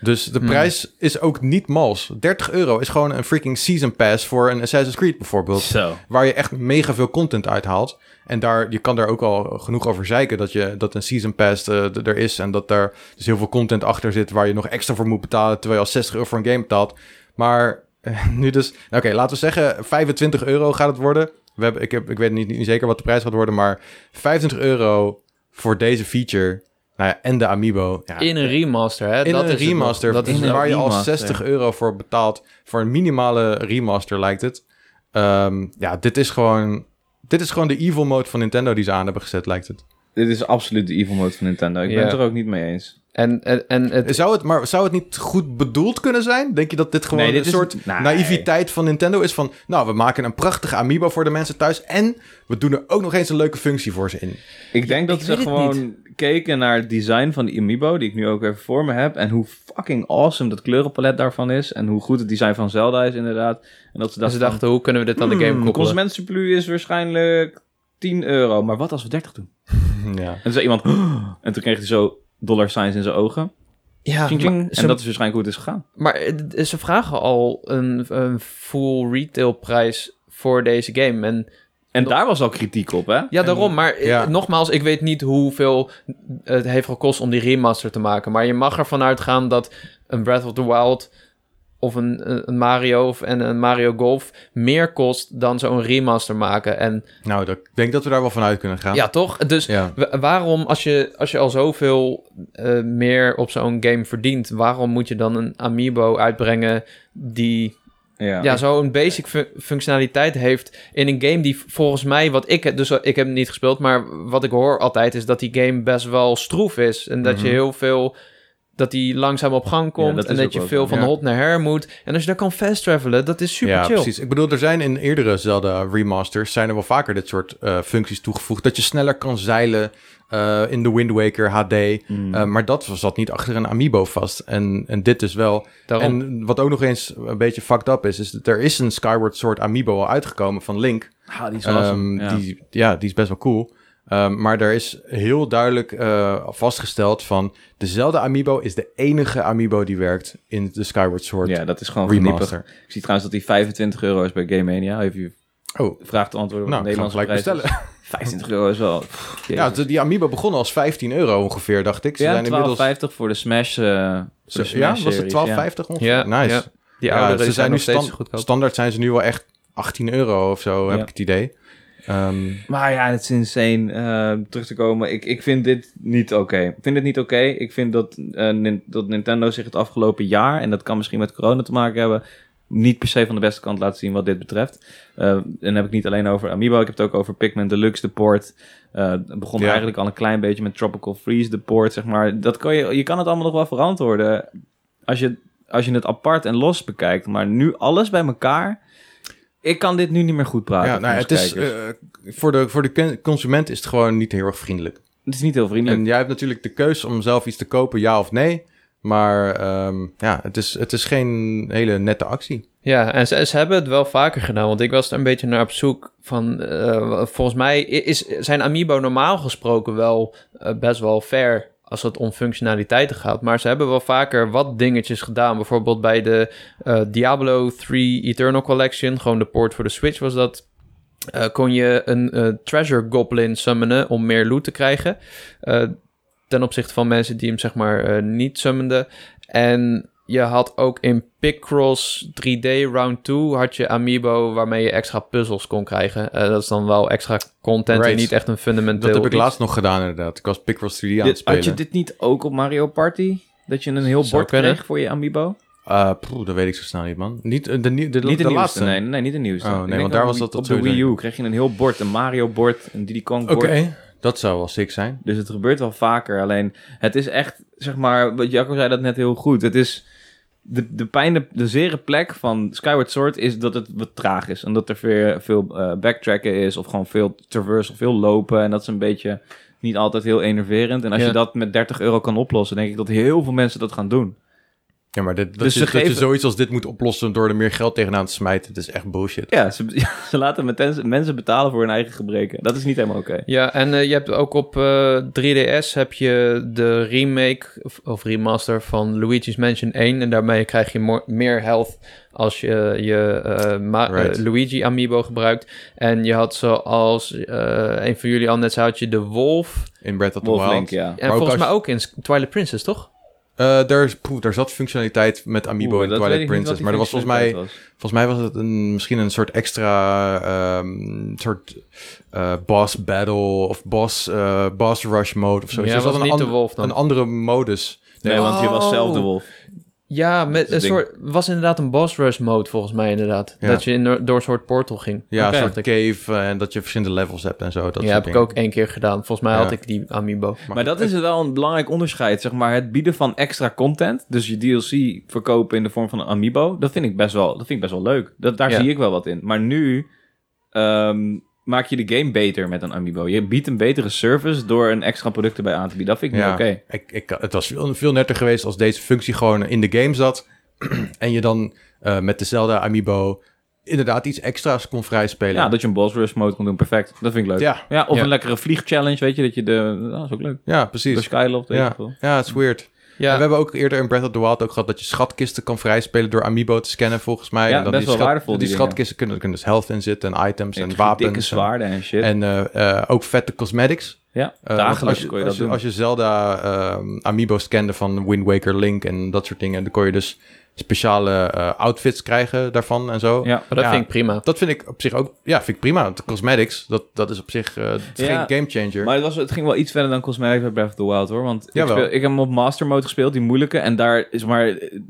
Dus de
Hmm.
prijs is ook niet mals. 30 euro is gewoon een freaking season pass voor een Assassin's Creed bijvoorbeeld.
Zo.
Waar je echt mega veel content uithaalt. En daar, je kan daar ook al genoeg over zeiken dat, je, dat een season pass eh, d- er is. En dat daar dus heel veel content achter zit waar je nog extra voor moet betalen. Terwijl je al 60 euro voor een game betaalt. Maar eh, [laughs] nu dus, nou, oké, laten we zeggen 25 euro gaat het worden. We hebben, ik, heb, ik weet niet, niet zeker wat de prijs gaat worden, maar 25 euro voor deze feature. Nou ja, en de Amiibo. Ja,
in een remaster, hè?
in
dat
een
is het nog.
remaster.
Dat is
in een
waar je al
remaster.
60 euro voor betaalt. Voor een minimale remaster lijkt het. Ehm, ja, dit is gewoon. Dit is gewoon de evil mode van Nintendo die ze aan hebben gezet, lijkt het.
Dit is absoluut de evil mode van Nintendo. Ik
Ja.
ben het er ook niet mee eens.
en, en, en het,
Zou het, maar zou het niet goed bedoeld kunnen zijn? Denk je dat dit gewoon
Nee, dit
een
is-
soort
nee.
naïviteit van Nintendo is? Van, nou, we maken een prachtige amiibo voor de mensen thuis. En we doen er ook nog eens een leuke functie voor ze in.
Ik denk dat
ik
ze
weet het
gewoon keken naar het design van de Amiibo, die ik nu ook even voor me heb, en hoe fucking fucking awesome dat kleurenpalet daarvan is. En hoe goed het design van Zelda is, inderdaad. En dat ze
Dat ze
dachten,
dachten, hoe kunnen we dit aan de
"Hmm,
game koppelen?
consumentensurplus is waarschijnlijk 10 euro. Maar wat als we 30 doen?
Ja.
En toen zei iemand, [gasps] "Oh." en toen kreeg hij zo dollar signs in zijn ogen.
Ja,
Ching, ching.
maar, ze,
en dat is dus waarschijnlijk hoe het is gegaan.
maar, eh, ze vragen al een, een full retailprijs voor deze game. En
En daar was al kritiek op, hè?
Ja, daarom. Maar
ja.
eh, nogmaals, ik weet niet hoeveel het heeft gekost om die remaster te maken. Maar je mag ervan uitgaan dat een Breath of the Wild of een, een Mario of en een Mario Golf meer kost dan zo'n remaster maken. En
Nou, dat- ik denk dat we daar wel van uit kunnen gaan.
ja, toch? Dus
Ja.
wa- waarom, als je, als je al zoveel eh, meer op zo'n game verdient, waarom moet je dan een amiibo uitbrengen die
Ja.
ja, zo'n basic fu- functionaliteit heeft in een game die v- volgens mij, wat ik, dus ik heb hem niet gespeeld, maar wat ik hoor altijd is dat die game best wel stroef is. En dat je
Mhm.
heel veel, dat die langzaam op gang komt
dat
en
is
dat
ook
je
wel
veel
zo,
van
ja.
hot naar her moet. En als je daar kan fast travelen, dat is super
ja,
chill.
precies. Ik bedoel, er zijn in eerdere Zelda remasters zijn er wel vaker dit soort eh, functies toegevoegd. Dat je sneller kan zeilen eh, in de Wind Waker HD.
Mm.
Eh, maar dat zat niet achter een amiibo vast. En, en dit is wel.
Daarom,
En wat ook nog eens een beetje fucked up is, is dat er is een Skyward Sword amiibo al uitgekomen van Link.
Ah, die is
Ehm,
awesome. Ja.
Die, ja, die is best wel cool. Ehm, maar daar is heel duidelijk eh, vastgesteld van... dezelfde amiibo is de enige amiibo die werkt in de Skyward Sword
ja, dat is gewoon geniepig.
remaster.
Ik zie trouwens dat die 25 euro is bij Game Mania. Even je
Oh,
vraag te antwoorden op
nou,
de
ik ga hem
Nederlandse
gelijk
prijs.
bestellen.
[laughs] 25 euro is wel... pff,
Ja,
jezus.
de- die amiibo begon als 15 euro ongeveer, dacht ik. Ze
Ja,
zijn inmiddels...
12,50 voor de Smash. eh, voor de
Ze- ja,
Smash
was
series,
het 12,50
ja.
ongeveer?
Ja,
nice.
ja. die
Ja, dus
ouderen
ze zijn,
die zijn
nu
nog steeds
stan-
goedkoop.
standaard zijn ze nu wel echt 18 euro of zo, heb
Ja.
ik het idee. Ehm,
Maar ja, het is insane. eh, terug te komen, ik, ik vind dit niet oké. Ik vind dit niet oké. Ik vind dat, eh, Nin- dat Nintendo zich het afgelopen jaar, en dat kan misschien met corona te maken hebben, niet per se van de beste kant laten zien wat dit betreft. Eh, en dan heb ik niet alleen over Amiibo, ik heb het ook over Pikmin Deluxe, de port. Eh, het begon
Ja.
eigenlijk al een klein beetje met Tropical Freeze, de port, zeg maar. Dat kan je, je kan het allemaal nog wel verantwoorden als je, als je het apart en los bekijkt. Maar nu alles bij elkaar... Ik kan dit nu niet meer goed praten.
ja,
voor
nou,
ons
het is,
kijkers.
eh, voor, de, voor de ken- consument is het gewoon niet heel erg vriendelijk.
het is niet heel vriendelijk.
En jij hebt natuurlijk de keus om zelf iets te kopen, ja of nee. Maar ehm, ja, het is, het is geen hele nette actie.
Ja, en ze, ze hebben het wel vaker gedaan, want ik was er een beetje naar op zoek van, eh, volgens mij is, zijn Amiibo normaal gesproken wel eh, best wel fair als het om functionaliteiten gaat, maar ze hebben wel vaker wat dingetjes gedaan, bijvoorbeeld bij de eh, Diablo 3 Eternal Collection, gewoon de port voor de Switch was dat, eh, kon je een eh, treasure goblin summonen om meer loot te krijgen, eh, ten opzichte van mensen die hem zeg maar eh, niet summenden. En je had ook in Picross 3D Round 2 had je Amiibo waarmee je extra puzzels kon krijgen. Eh, dat is dan wel extra content en
Right.
niet echt een fundamenteel
Dat heb ik
iets.
laatst nog gedaan inderdaad. Ik was Picross 3D aan het
Dit- had je
spelen.
dit niet ook op Mario Party? Dat je een heel
Zou
bord
kunnen.
kreeg voor je Amiibo?
Eh, poeh, dat weet ik zo snel niet, man. Niet eh, de, nie- de,
niet de,
de
nieuwste,
laatste.
nee, nee, niet de nieuwste.
Oh, nee,
Ik denk
want daar
op
was
de-
dat
Op
dat
de
sowieso
Wii U
niet.
kreeg je een heel bord, een Mario bord, een Diddy Kong
Oké,
bord.
dat zou wel sick zijn.
Dus het gebeurt wel vaker. Alleen, het is echt, zeg maar, wat Jacco zei dat net heel goed. Het is, de, de pijn, de, de zere plek van Skyward Sword is dat het wat traag is. En dat er veel, veel eh, backtracken is of gewoon veel traversal, veel lopen. En dat is een beetje niet altijd heel enerverend. En als
Ja.
je dat met 30 euro kan oplossen, denk ik dat heel veel mensen dat gaan doen.
Ja, maar dit, dat,
Dus
je,
ze
dat je
geven-
zoiets als dit moet oplossen door er meer geld tegenaan te smijten, dat is echt bullshit.
Ja, ze, [laughs] ja, ze laten meten- mensen betalen voor hun eigen gebreken. Dat is niet helemaal oké.
Ja, en eh, je hebt ook op eh, 3DS heb je de remake of, of remaster van Luigi's Mansion 1. En daarmee krijg je mo- meer health als je je eh, ma-
Right.
eh, Luigi amiibo gebruikt. En je had zoals eh, een van jullie al net zei, had je de wolf.
In Breath of the
Wolf
Wild.
Link, ja.
En
Maar ook
volgens
als-
mij ook in S- Twilight Princess, toch?
Eh, daar, is- poeh, daar zat functionaliteit met Amiibo
Oeh,
en
dat weet
Twilight
ik niet
Princess.
wat die
Maar dat was volgens mij,
functionaliteit
volgens mij was het een, misschien een soort extra ehm, soort eh, boss battle of boss, eh, boss rush mode of zo.
Ja,
Dus er
was
zat
niet
an-
de wolf dan.
een andere modus.
was. Nee, want je was
Oh.
zelf de wolf.
Ja,
Dat
met
is
een
het ding.
soort, was inderdaad een boss rush mode volgens mij inderdaad.
Ja.
Dat je in, door een soort portal ging.
Ja,
Oké.
een soort cave eh, en dat je verschillende levels hebt en zo. Dat
ja,
soort
heb ik
dingen.
ook één keer gedaan. Volgens mij
Ja.
had ik die amiibo.
Maar dat is wel een belangrijk onderscheid, zeg maar. Het bieden van extra content, dus je DLC verkopen in de vorm van een amiibo, dat vind ik best wel, dat vind ik best wel leuk. Dat, daar
Ja.
zie ik wel wat in. Maar nu ehm, maak je de game beter met een amiibo. Je biedt een betere service door een extra product erbij aan te bieden. Dat vind ik niet
Ja,
oké.
ik, ik, het was veel, veel netter geweest als deze functie gewoon in de game zat. [clears throat] en je dan eh, met de Zelda Amiibo inderdaad iets extra's kon vrijspelen.
Ja, dat je een boss rush mode kon doen, perfect. Dat vind ik leuk.
ja,
Ja, of
Ja.
een lekkere vliegchallenge, weet je, dat je de... ah, Dat is ook leuk.
ja,
De
precies.
Skyloft, weet
Ja.
ik veel.
Ja, het is weird. En
Ja,
we hebben ook eerder in Breath of the Wild ook gehad dat je schatkisten kan vrijspelen door Amiibo te scannen, volgens mij.
Ja,
en dan
best
die
wel waardevol,
Die,
die dingen.
schatkisten kunnen, er kunnen dus health in zitten en items en
En
wapens.
dikke
en-
zwaarden en shit.
En eh, eh, ook vette cosmetics.
ja,
Eh, want
dagelijks
als
kon je
als
dat doen.
Als je Zelda eh, Amiibo scande van Wind Waker, Link en dat soort dingen, dan kon je dus speciale eh, outfits krijgen daarvan en zo.
ja.
maar dat
ja.
vind ik prima.
Dat vind ik op zich ook, ja, vind ik prima. Want de cosmetics, dat, dat is op zich eh, het is
Ja,
geen gamechanger.
Maar het, was, het ging wel iets verder dan Cosmetic bij Breath of the Wild hoor. Want ik,
Jawel.
speel- ik heb hem op Master Mode gespeeld, die moeilijke. En daar is maar.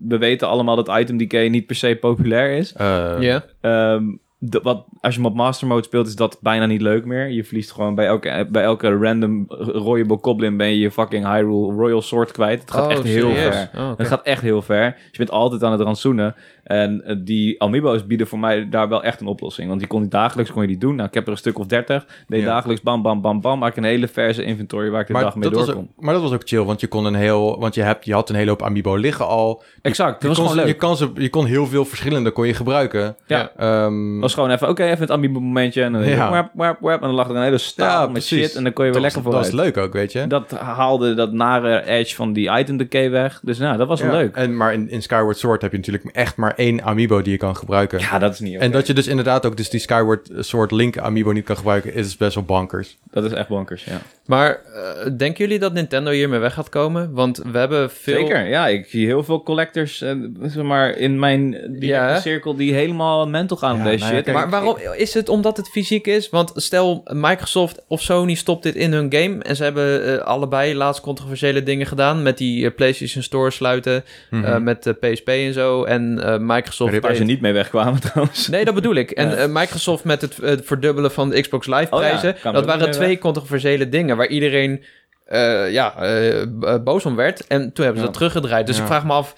We weten allemaal dat item decay niet per se populair is.
Eh,
Ja,
Ehm, de- wat, als je hem op Master Mode speelt, is dat bijna niet leuk meer. Je verliest gewoon bij elke, bij elke random Royable Goblin ben je je fucking Hyrule Royal Sword kwijt. Het gaat
Oh,
echt heel
serieus?
ver.
Oh, oké.
Het gaat echt heel ver. Dus je bent altijd aan het rantsoenen. En eh, die amiibo's bieden voor mij daar wel echt een oplossing. Want je kon die dagelijks kon je die doen. Nou, ik heb er een stuk of dertig. Deed
Ja.
dagelijks bam, bam, bam, bam. Maak een hele verse inventory waar ik de dag mee
dat was, ook-
doorkom.
maar dat was ook chill, want je kon een heel, want je, hebt, je had een hele hoop amiibo liggen al.
Exact, dat was
je, kon,
gewoon leuk.
je, kan ze, je kon heel veel verschillende kon je gebruiken.
Ja.
Ja.
Ehm,
Het was gewoon even, oké, even het amiibo momentje. En dan, deed je
Ja.
wap, wap, wap, en dan lag er een hele
Ja,
staal met
precies.
shit. En dan kon je
dat
weer
was-
lekker
Dat was
vooruit.
leuk ook, weet je.
Dat haalde dat nare edge van die item decay weg. Dus nou, dat was
Ja,
wel leuk.
En, maar in, in Skyward Sword heb je natuurlijk echt maar één amiibo die je kan gebruiken.
Ja, dat is niet oké.
En dat je dus inderdaad ook dus die Skyward Sword Link amiibo niet kan gebruiken, is best wel bankers.
Dat is echt bonkers, ja.
Maar eh, denken jullie dat Nintendo hiermee weg gaat komen? Want we hebben veel...
Zeker, ja. Ik zie heel veel collectors eh, zeg maar, in mijn eh, die
Ja, hè?
cirkel die helemaal mental gaan
Ja,
om deze
nou ja,
shit.
kijk,
Maar waarom is het omdat het fysiek is? Want stel Microsoft of Sony stopt dit in hun game en ze hebben eh, allebei laatst controversiële dingen gedaan met die eh, PlayStation Store sluiten, eh, met de PSP en zo en eh, Microsoft.
Rip
Waar ze
heeft-
niet mee wegkwamen [laughs] trouwens.
Nee, dat bedoel ik. En
Ja.
eh, Microsoft met het eh, verdubbelen van de Xbox Live
Oh ja,
prijzen.
kan er
dat
ook
waren
mee
twee controversiële dingen waar iedereen eh, ja, eh, b- boos om werd. En toen hebben ze
Ja.
dat teruggedraaid. Dus
Ja.
ik vraag me af,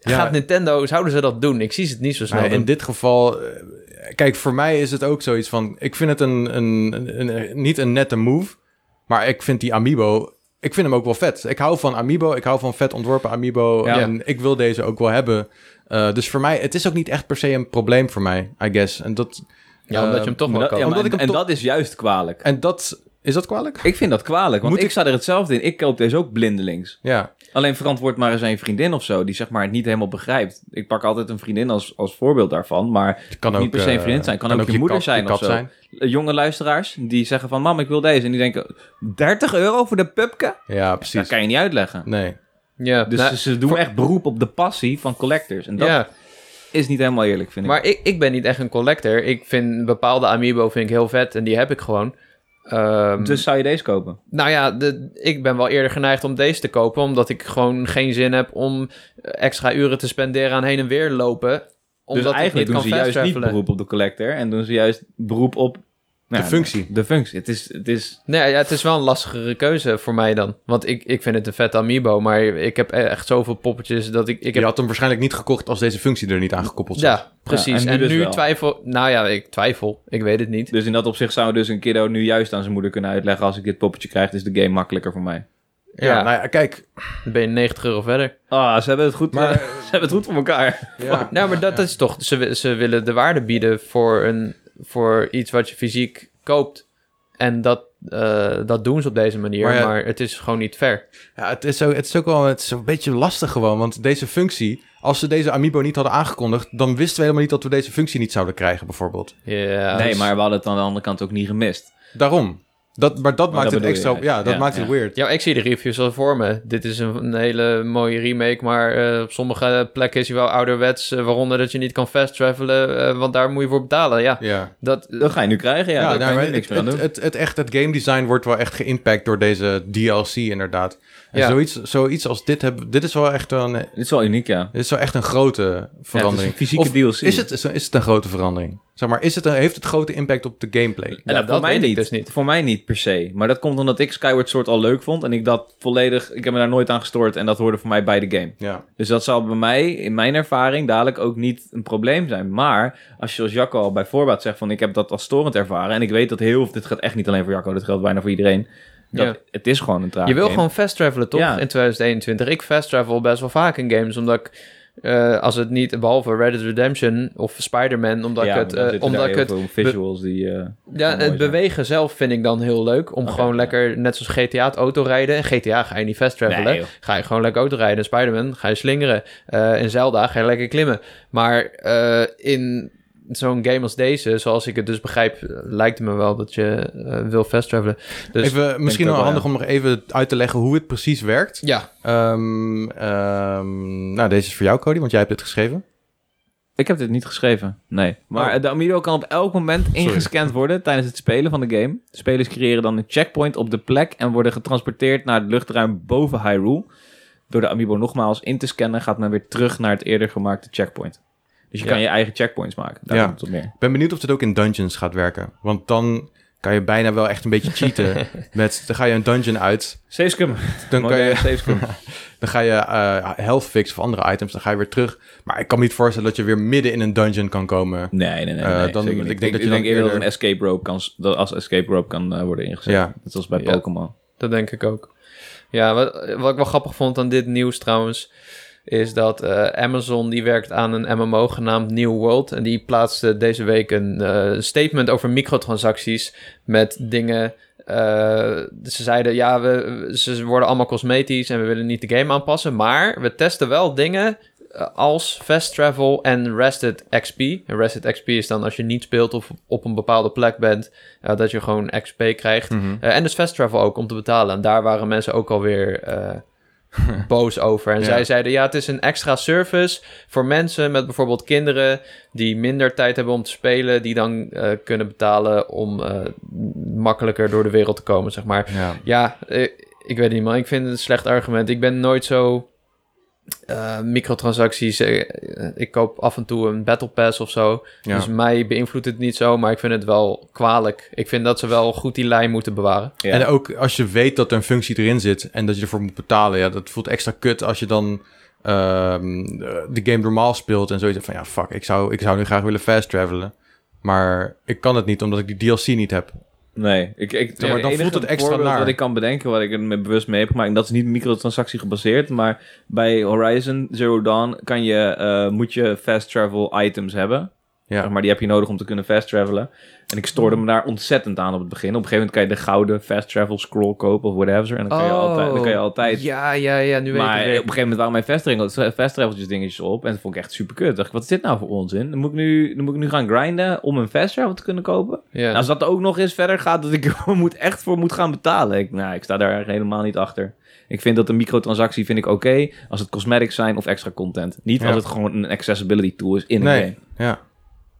Ja.
gaat Nintendo, zouden ze dat doen? Ik zie het niet zo snel.
Maar Nou, in
doen.
dit geval, eh, kijk, voor mij is het ook zoiets van, ik vind het een, een, een- een- een- niet een nette move, maar ik vind die amiibo, ik vind hem ook wel vet. Ik hou van amiibo, ik hou van vet ontworpen amiibo
Ja.
en ik wil deze ook wel hebben. Eh, dus voor mij, het is ook niet echt per se een probleem voor mij, I guess. En dat,
ja, omdat
eh,
je hem toch
Maar
wel
dat-
kan.
ja, maar
Omdat ik
en,
hem
en
toch-
dat is juist kwalijk.
en dat, is dat kwalijk?
Ik vind dat kwalijk, want
Moet
ik,
ik-
sta er hetzelfde in. Ik koop deze ook blindelings.
Ja,
Alleen verantwoord maar eens een vriendin of zo, die zeg maar het niet helemaal begrijpt. Ik pak altijd een vriendin als, als voorbeeld daarvan, maar
het kan ook...
niet per se een
eh,
vriendin zijn. Kan, ook, je, moeder
kat-
zijn
kat
of zo. Eh, Jonge luisteraars die zeggen van, mam, ik wil deze. En die denken, 30 euro voor de pupke?
Ja,
Dat
precies.
kan je niet uitleggen.
Nee.
Ja,
Dus
nou,
ze- ze doen echt beroep op de passie van collectors. En dat
ja.
is niet helemaal eerlijk, vind ik.
Maar ik, ik ben niet echt een collector. Ik vind bepaalde amiibo vind ik heel vet en die heb ik gewoon. Ehm,
dus zou je deze kopen?
Nou ja, de, ik ben wel eerder geneigd om deze te kopen, omdat ik gewoon geen zin heb om eh, extra uren te spenderen aan heen en weer lopen. Omdat
dus
ik niet
eigenlijk
kan
doen ze juist niet
fast-travelen.
beroep op de collector. En doen ze juist beroep op... nou ja,
functie.
De functie. Het is... Het is
Nee, ja, het is wel een lastigere keuze voor mij dan. Want ik, ik vind het een vet amiibo, maar ik heb e-, echt zoveel poppetjes dat ik... ik
Je
heb,
had hem waarschijnlijk niet gekocht als deze functie er niet aan gekoppeld zat.
ja, precies.
en nu
en nu,
dus wel.
twijfel... Nou ja, ik twijfel. Ik weet het niet.
dus in dat opzicht zou dus een kiddo nu juist aan zijn moeder kunnen uitleggen... als ik dit poppetje krijg, is de game makkelijker voor mij.
Ja,
Ja.
nou ja, kijk.
Dan ben je 90 euro verder.
Ah, ze hebben het goed,
Maar-
eh, [laughs] ze hebben het goed voor elkaar.
[laughs] Ja.
Nou, maar dat is toch... Ze, wi- ze willen de waarde bieden voor, een, voor iets wat je fysiek koopt. En dat, eh, dat doen ze op deze manier.
Maar
Maar,
ja-
het is gewoon niet fair.
Ja, het is, ook, het is ook wel het is een beetje lastig gewoon. Want deze functie, als ze deze Amiibo niet hadden aangekondigd... dan wisten we helemaal niet dat we deze functie niet zouden krijgen, bijvoorbeeld.
Ja,
nee,
dus-
maar we hadden het aan de andere kant ook niet gemist.
Daarom. Dat, maar dat
Maar
maakt
dat
het
bedoel
extra...
je
Ja,
eigenlijk.
dat
Ja,
maakt het
ja.
weird.
Ja, maar ik zie de reviews al voor me. Dit is een, een hele mooie remake, maar eh, op sommige plekken is hij wel ouderwets. eh, waaronder dat je niet kan fast travelen, eh, want daar moet je voor betalen. Ja,
Ja,
dat,
Dat ga je nu krijgen, ja.
ja,
daar
nou,
kan je
maar
nu niks
het,
meer aan
het, het,
doen.
het echt, het game design wordt wel echt geïmpact door deze DLC inderdaad. En
Ja.
zoiets, zoiets als dit hebben, dit is wel echt een, dit
Dit is wel uniek, ja.
is wel echt een grote verandering.
een fysieke
Of
DLC.
Is het, is het een grote verandering? Zeg maar, is het een, heeft het grote impact op de gameplay?
Ja, dat weet ik dus niet.
Voor mij niet per se. Maar dat komt omdat ik Skyward Sword al leuk vond. En ik dat volledig... Ik heb me daar nooit aan gestoord. En dat hoorde voor mij bij de game.
Ja.
Dus dat zal bij mij, in mijn ervaring, dadelijk ook niet een probleem zijn. Maar als je zoals Jacco al bij voorbaat zegt van ik heb dat als storend ervaren. En ik weet dat heel veel... Dit gaat echt niet alleen voor Jacco. Dit geldt bijna voor iedereen. Dat,
Ja.
Het is gewoon een traag
Je wil
game.
gewoon fast travelen, toch?
Ja.
In 2021. Ik fast travel best wel vaak in games, omdat ik... eh, als het niet, behalve Red Dead Redemption of Spider-Man, omdat
Ja,
ik het,
maar dan
eh,
zitten
omdat
daar
ik
heel
het
veel visuals die... eh,
Ja,
mooi
het
zijn.
bewegen zelf vind ik dan heel leuk. Om
Oké,
gewoon
ja.
lekker, net zoals GTA, het autorijden. In GTA ga je niet fast travelen.
Nee, joh.
ga je gewoon lekker autorijden. In Spider-Man ga je slingeren. Eh, in Zelda ga je lekker klimmen. Maar eh, in zo'n game als deze, zoals ik het dus begrijp... eh, lijkt het me wel dat je eh, wil fast travelen. Dus
even, misschien
ik
wel
ook wel,
handig om nog even uit te leggen hoe het precies werkt.
ja,
Ehm, ehm, nou, deze is voor jou, Cody, want jij hebt dit geschreven.
Ik heb dit niet geschreven, nee. Maar
Oh.
de Amiibo kan op elk moment
Sorry.
ingescand worden tijdens het spelen van de game. De spelers creëren dan een checkpoint op de plek en worden getransporteerd naar het luchtruim boven Hyrule. Door de Amiibo nogmaals in te scannen gaat men weer terug naar het eerder gemaakte checkpoint. Dus je
Ja.
kan je eigen checkpoints maken. Daar
Ja.
ja. komt het op neer.
Ik ben benieuwd of dit ook in dungeons gaat werken. Want dan kan je bijna wel echt een beetje cheaten. [laughs] met, dan ga je een dungeon uit.
Savescum.
Dan, kan je, [laughs]
Savescum.
dan ga je eh, health fix of andere items. Dan ga je weer terug. Maar ik kan me niet voorstellen dat je weer midden in een dungeon kan komen.
Nee, nee, nee. nee,
Eh,
nee,
dan-
zeker niet.
ik denk dat
ik denk,
je dan
eerder dat
eerder-
een escape rope kan, s- dat als escape rope kan eh, worden ingezet.
Ja.
Net zoals bij
Ja.
Pokémon.
dat denk ik ook. Ja, wat, wat ik wel grappig vond aan dit nieuws trouwens... is dat eh, Amazon die werkt aan een MMO genaamd New World. En die plaatste deze week een eh, statement over microtransacties met dingen. eh, ze zeiden ja, we, we- ze worden allemaal cosmetisch en we willen niet de game aanpassen. Maar we testen wel dingen eh, als fast travel en rested XP. En rested XP is dan als je niet speelt of op een bepaalde plek bent, eh, dat je gewoon XP krijgt.
Mhm.
Eh, en dus fast travel ook om te betalen. En daar waren mensen ook
[laughs]
alweer eh boos over. En
Ja.
zij zeiden, ja, het is een extra service voor mensen met bijvoorbeeld kinderen die minder tijd hebben om te spelen, die dan eh, kunnen betalen om eh, makkelijker door de wereld te komen, zeg maar.
Ja.
Ja, eh, ik weet niet, man. Ik vind het een slecht argument. Ik ben nooit zo eh, microtransacties. eh, eh, ik koop af en toe een battle pass of zo.
Ja.
Dus mij beïnvloedt het niet zo, maar ik vind het wel kwalijk. Ik vind dat ze wel goed die lijn moeten bewaren.
Ja.
En ook als je weet dat er een functie erin zit en dat je ervoor moet betalen, ja, dat voelt extra kut als je dan ehm, de game normaal speelt en zoiets hebt van ja, fuck, ik zou, ik zou nu graag willen fast travelen. Maar ik kan het niet omdat ik die DLC niet heb.
Nee, ik, ik,
maar dan
enige
voelt het extra
voorbeeld
naar.
wat ik kan bedenken, wat ik er me bewust mee heb gemaakt, en dat is niet microtransactie gebaseerd, maar bij Horizon Zero Dawn kan je, eh, moet je fast travel items hebben. Zeg
Ja,
maar die heb je nodig om te kunnen fast travelen. En ik stoorde me daar ontzettend aan op het begin. Op een gegeven moment kan je de gouden fast travel scroll kopen of whatever. En dan kan je altijd, dan kan je altijd
Ja, ja, ja, nu Oh. weet
maar
ik
op
het
een
weer.
gegeven moment waren mijn fast-travel- fast-traveltjes dingetjes op. En dat vond ik echt super kut. dacht ik, wat is dit nou voor onzin? Dan moet ik nu, dan moet ik nu gaan grinden om een fast travel te kunnen kopen.
Ja.
En als dat ook nog eens verder gaat, dat ik er [laughs] moet echt voor moet gaan betalen. Ik, nou, ik sta daar helemaal niet achter. Ik vind dat een microtransactie vind ik oké als het cosmetics zijn of extra content. Niet
Ja.
als het gewoon een accessibility tool is in
Nee.
een game.
ja.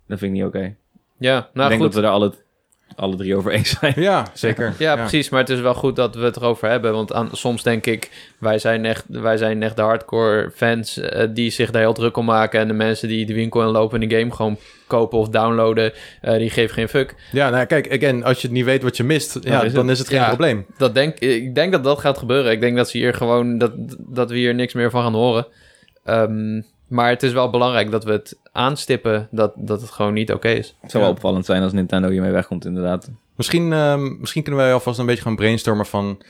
Dat vind ik niet oké.
Ja, nou
ik denk
goed.
dat we daar alle, alle drie over eens zijn.
ja zeker.
Ja, precies. Maar het is wel goed dat we het erover hebben. Want aan, soms denk ik, wij zijn echt, wij zijn echt de hardcore fans eh, die zich daar heel druk om maken. En de mensen die de winkel in lopen en de game gewoon kopen of downloaden, eh, die geven geen fuck.
Ja, nou ja, kijk, again, als je het niet weet wat je mist, ja,
is
dan is het geen
Ja.
probleem.
Dat denk, ik denk dat dat gaat gebeuren. Ik denk dat, ze hier gewoon, dat, dat we hier niks meer van gaan horen. Ehm, maar het is wel belangrijk dat we het aanstippen dat, dat het gewoon niet oké is.
Het zou wel
Ja.
opvallend zijn als Nintendo hiermee wegkomt inderdaad.
Misschien, ehm, misschien kunnen wij alvast een beetje gaan brainstormen van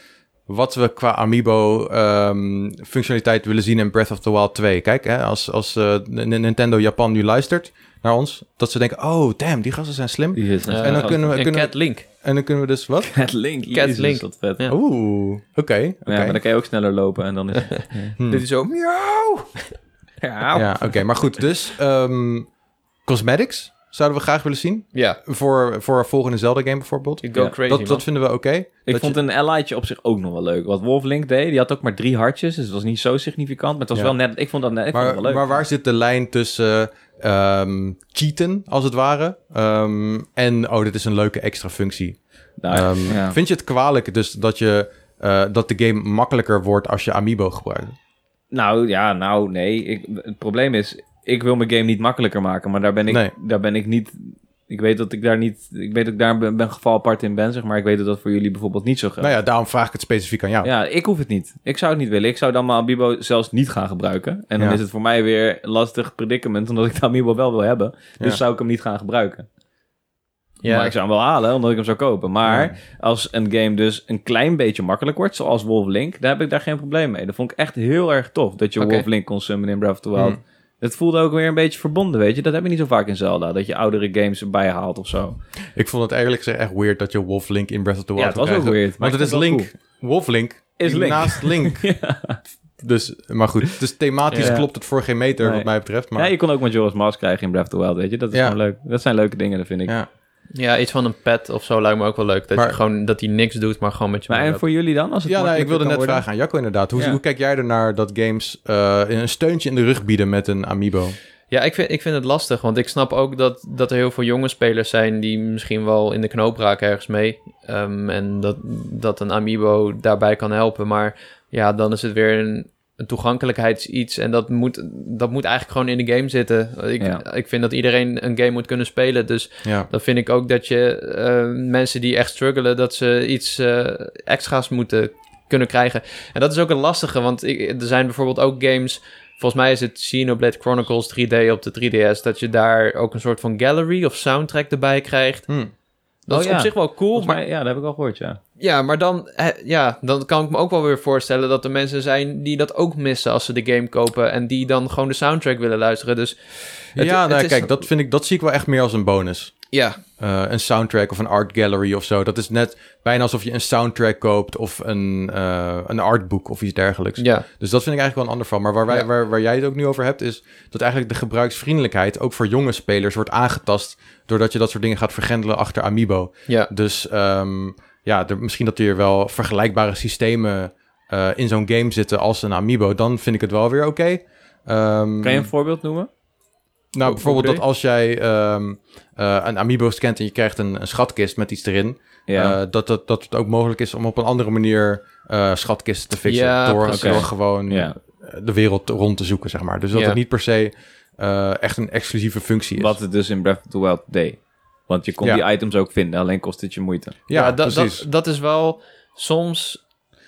wat we qua Amiibo ehm, functionaliteit willen zien in Breath of the Wild 2. Kijk, hè, als, als eh, N- Nintendo Japan nu luistert naar ons, dat ze denken, oh damn, die gasten zijn slim.
Die is
Eh,
En dan kunnen we-
en
kunnen we-
Cat Link.
En dan kunnen we dus wat?
Cat Link.
Cat
Jezus,
Link.
Wat vet.
Ja.
Oeh, oké. oké.
Ja, maar dan kan je ook sneller lopen
[laughs]
en dan is
Hmm.
Dit is zo... Miauw!
Ja, oké, maar goed. Dus ehm, cosmetics zouden we graag willen zien.
Ja,
Voor, voor een volgende Zelda-game bijvoorbeeld.
you go
Ja,
crazy,
dat,
man.
dat vinden we oké.
Ik
Dat
vond
je-
een allytje op zich ook nog wel leuk. Wat Wolf Link deed, die had ook maar drie hartjes. Dus het was niet zo significant. Maar het was
Ja.
wel net... Ik vond dat net ik vond
maar,
het wel leuk.
maar waar zit de lijn tussen ehm, cheaten, als het ware, ehm, en oh, dit is een leuke extra functie?
Nou,
Ehm,
ja.
Vind je het kwalijk dus dat je eh, dat de game makkelijker wordt als je Amiibo gebruikt.
Nou ja, nou nee. Ik, het probleem is, ik wil mijn game niet makkelijker maken, maar daar ben ik,
Nee.
daar ben ik niet. Ik weet dat ik daar niet. Ik weet dat ik daar ben, ben geval apart in ben, zeg maar. Ik weet dat dat voor jullie bijvoorbeeld niet zo geldt.
Nou ja, daarom vraag ik het specifiek aan jou.
ja. ik hoef het niet. Ik zou het niet willen. Ik zou dan mijn Amiibo zelfs niet gaan gebruiken. En dan
Ja.
is het voor mij weer een lastig predicament, omdat ik de Amiibo wel wil hebben. Dus
Ja.
zou ik hem niet gaan gebruiken.
Ja.
Maar ik zou hem wel halen, omdat ik hem zou kopen. Maar als een game dus een klein beetje makkelijk wordt, zoals Wolf Link, daar heb ik daar geen probleem mee. Dat vond ik echt heel erg tof, dat je
Oké.
Wolf Link kon summonen in Breath of the Wild.
Hmm.
Dat voelde ook weer een beetje verbonden, weet je. Dat heb je niet zo vaak in Zelda, dat je oudere games erbij haalt of zo.
Ik vond het eigenlijk gezegd echt weird dat je Wolf Link in Breath of the Wild
Ja, het was
kon
ook
krijgen.
weird, maar
Want het
ik
is
vond het wel
Link. Wolf Link
Is Link.
naast
[laughs]
Link. Dus, maar goed, dus thematisch
Ja.
klopt het voor geen meter
Nee.
wat mij betreft. Maar,
Ja, je kon ook Majora's Mask krijgen in Breath of the Wild, weet je. Dat, is
Ja.
gewoon leuk. dat zijn leuke dingen, dat vind ik.
Ja.
Ja, iets van een pet of zo lijkt me ook wel leuk. Dat,
Maar-
je gewoon, dat hij niks doet, maar gewoon met je
Maar en
meeloopt.
voor jullie dan? Als het
Ja, nou, ik wilde net
makkelijker
vragen aan Jacco inderdaad. Hoe,
Ja.
hoe kijk jij ernaar dat games eh, een steuntje in de rug bieden met een amiibo?
Ja, ik vind, ik vind het lastig, want ik snap ook dat, dat er heel veel jonge spelers zijn die misschien wel in de knoop raken ergens mee. Ehm, en dat, dat een amiibo daarbij kan helpen. Maar ja, dan is het weer een, een toegankelijkheidsiets en dat moet, dat moet eigenlijk gewoon in de game zitten. Ik,
Ja.
ik vind dat iedereen een game moet kunnen spelen, dus
Ja.
dan vind ik ook dat je eh, mensen die echt struggelen, dat ze iets eh, extra's moeten kunnen krijgen. En dat is ook een lastige, want ik, er zijn bijvoorbeeld ook games. Volgens mij is het Xenoblade Chronicles 3D op de 3DS. Dat je daar ook een soort van gallery of soundtrack erbij krijgt.
Hm.
Dat
Oh
is
ja.
op zich wel cool.
wordt. Volgens
Maar,
mij- ja, dat heb ik al gehoord, ja.
ja, maar dan, eh, ja, dan kan ik me ook wel weer voorstellen dat er mensen zijn die dat ook missen als ze de game kopen. En die dan gewoon de soundtrack willen luisteren. Dus Het-
ja,
het
nou,
is-
kijk, dat, vind ik, dat zie ik wel echt meer als een bonus.
ja,
Eh, een soundtrack of een art gallery of zo. Dat is net bijna alsof je een soundtrack koopt of een, eh een artboek of iets dergelijks.
ja.
Dus dat vind ik eigenlijk wel een ander van. Maar waar, wij,
Ja.
waar, waar jij het ook nu over hebt, is dat eigenlijk de gebruiksvriendelijkheid ook voor jonge spelers wordt aangetast. doordat je dat soort dingen gaat vergrendelen achter Amiibo.
ja.
Dus ehm, ja, er, misschien dat er wel vergelijkbare systemen eh, in zo'n game zitten als een Amiibo. Dan vind ik het wel weer oké. Ehm,
Kan je een voorbeeld noemen?
nou,
Hoe- hoe
bijvoorbeeld
bedoel
dat
je?
als jij ehm, eh, een Amiibo scant en je krijgt een, een schatkist met iets erin, eh, dat, dat, dat het ook mogelijk is om op een andere manier eh schatkisten te fixen.
Ja,
door,
precies.
door gewoon eh,
ja.
de wereld rond te zoeken, zeg maar. Dus dat
Ja.
het niet per se eh, echt een exclusieve functie is.
Wat het dus in Breath of the Wild deed. Want je kon
Ja.
die items ook vinden, alleen kost het je moeite.
ja,
ja dat,
precies.
dat, dat is wel soms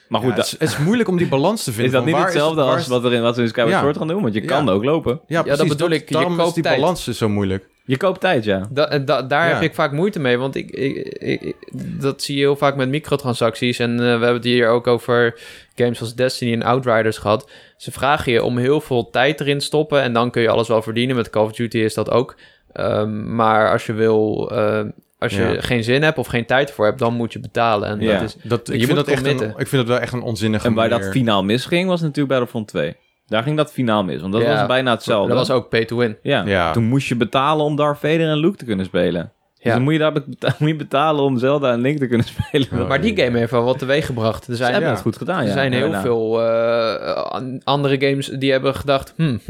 Maar
Ja,
goed,
het,
dat,
is, het is moeilijk om die balans te vinden.
[laughs] is dat
van
niet
waar
hetzelfde
waar
als wat, er in, wat we in Skyward
Ja.
Sword gaan doen? Want je kan
Ja.
ook lopen.
Ja, precies,
bedoel ik, je
daarom is
koopt
die
tijd.
balans dus zo moeilijk.
Je koopt tijd, ja.
Da- en da- daar
Ja.
heb ik vaak moeite mee, want ik, ik, ik- ik- dat zie je heel vaak met microtransacties. En eh, we hebben het hier ook over games als Destiny en Outriders gehad. Ze vragen je om heel veel tijd erin te stoppen en dan kun je alles wel verdienen. Met Call of Duty is dat ook. Ehm, maar als je wil, eh, als je
Ja.
geen zin hebt of geen tijd voor hebt, dan moet je betalen. En
Ja.
dat is,
Dat, ik,
Je
vind
moet
dat echt een, ik
committen.
vind dat wel echt een onzinnige
En waar
manier.
dat finaal misging, was natuurlijk Battlefront 2. Daar ging dat finaal mis, want dat
Ja.
was bijna
dat
hetzelfde.
was ook pay to win.
ja.
Ja.
Toen moest je betalen om Darth Vader en Luke te kunnen spelen. Dus
Ja.
[laughs] dan moet je, daar beta- moet je betalen om Zelda en Link te kunnen [laughs] spelen.
Ja.
Maar die game heeft wel wat teweeg gebracht. Er
Ze
zijn,
hebben
ja.
het goed gedaan, Ah ja.
er zijn heel
Daarna.
veel eh, an- andere games die hebben gedacht... Hmm,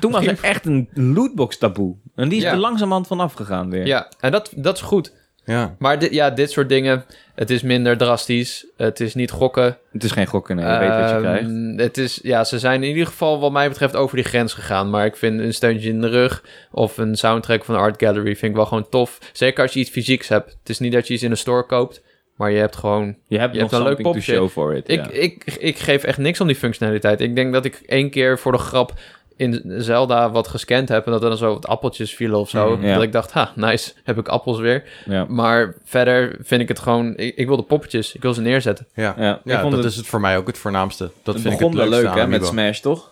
Toen was er echt een lootbox taboe. En die is
Ja.
er langzamerhand vanaf gegaan weer.
ja, en dat, dat is goed.
Ja.
Maar dit, ja, dit soort dingen, het is minder drastisch. Het is niet gokken.
Het is geen gokken, nee. Je weet wat je
Ehm,
krijgt.
Het is, ja, ze zijn in ieder geval wat mij betreft over die grens gegaan. Maar ik vind een steuntje in de rug of een soundtrack van een art gallery vind ik wel gewoon tof. Zeker als je iets fysieks hebt. Het is niet dat je iets in een store koopt, maar je hebt gewoon...
Je hebt
je
nog
hebt een leuk
something to
popje.
show for it.
Ik,
ja.
ik, ik geef echt niks om die functionaliteit. Ik denk dat ik één keer voor de grap in Zelda wat gescand heb en dat er dan zo wat appeltjes vielen of zo.
Mhm,
Mm, ja.
Dat ik dacht, ha, nice, heb ik appels weer.
Ja.
Maar verder vind ik het gewoon... Ik, ik wil de poppetjes. Ik wil ze neerzetten.
Ja.
Ja, ik
Ja,
vond
dat
het-
is het voor mij ook het voornaamste. Dat
Het
vind ik
begon
het
wel
leukste
leuk, hè,
aan
met
Amiibo.
Smash, toch?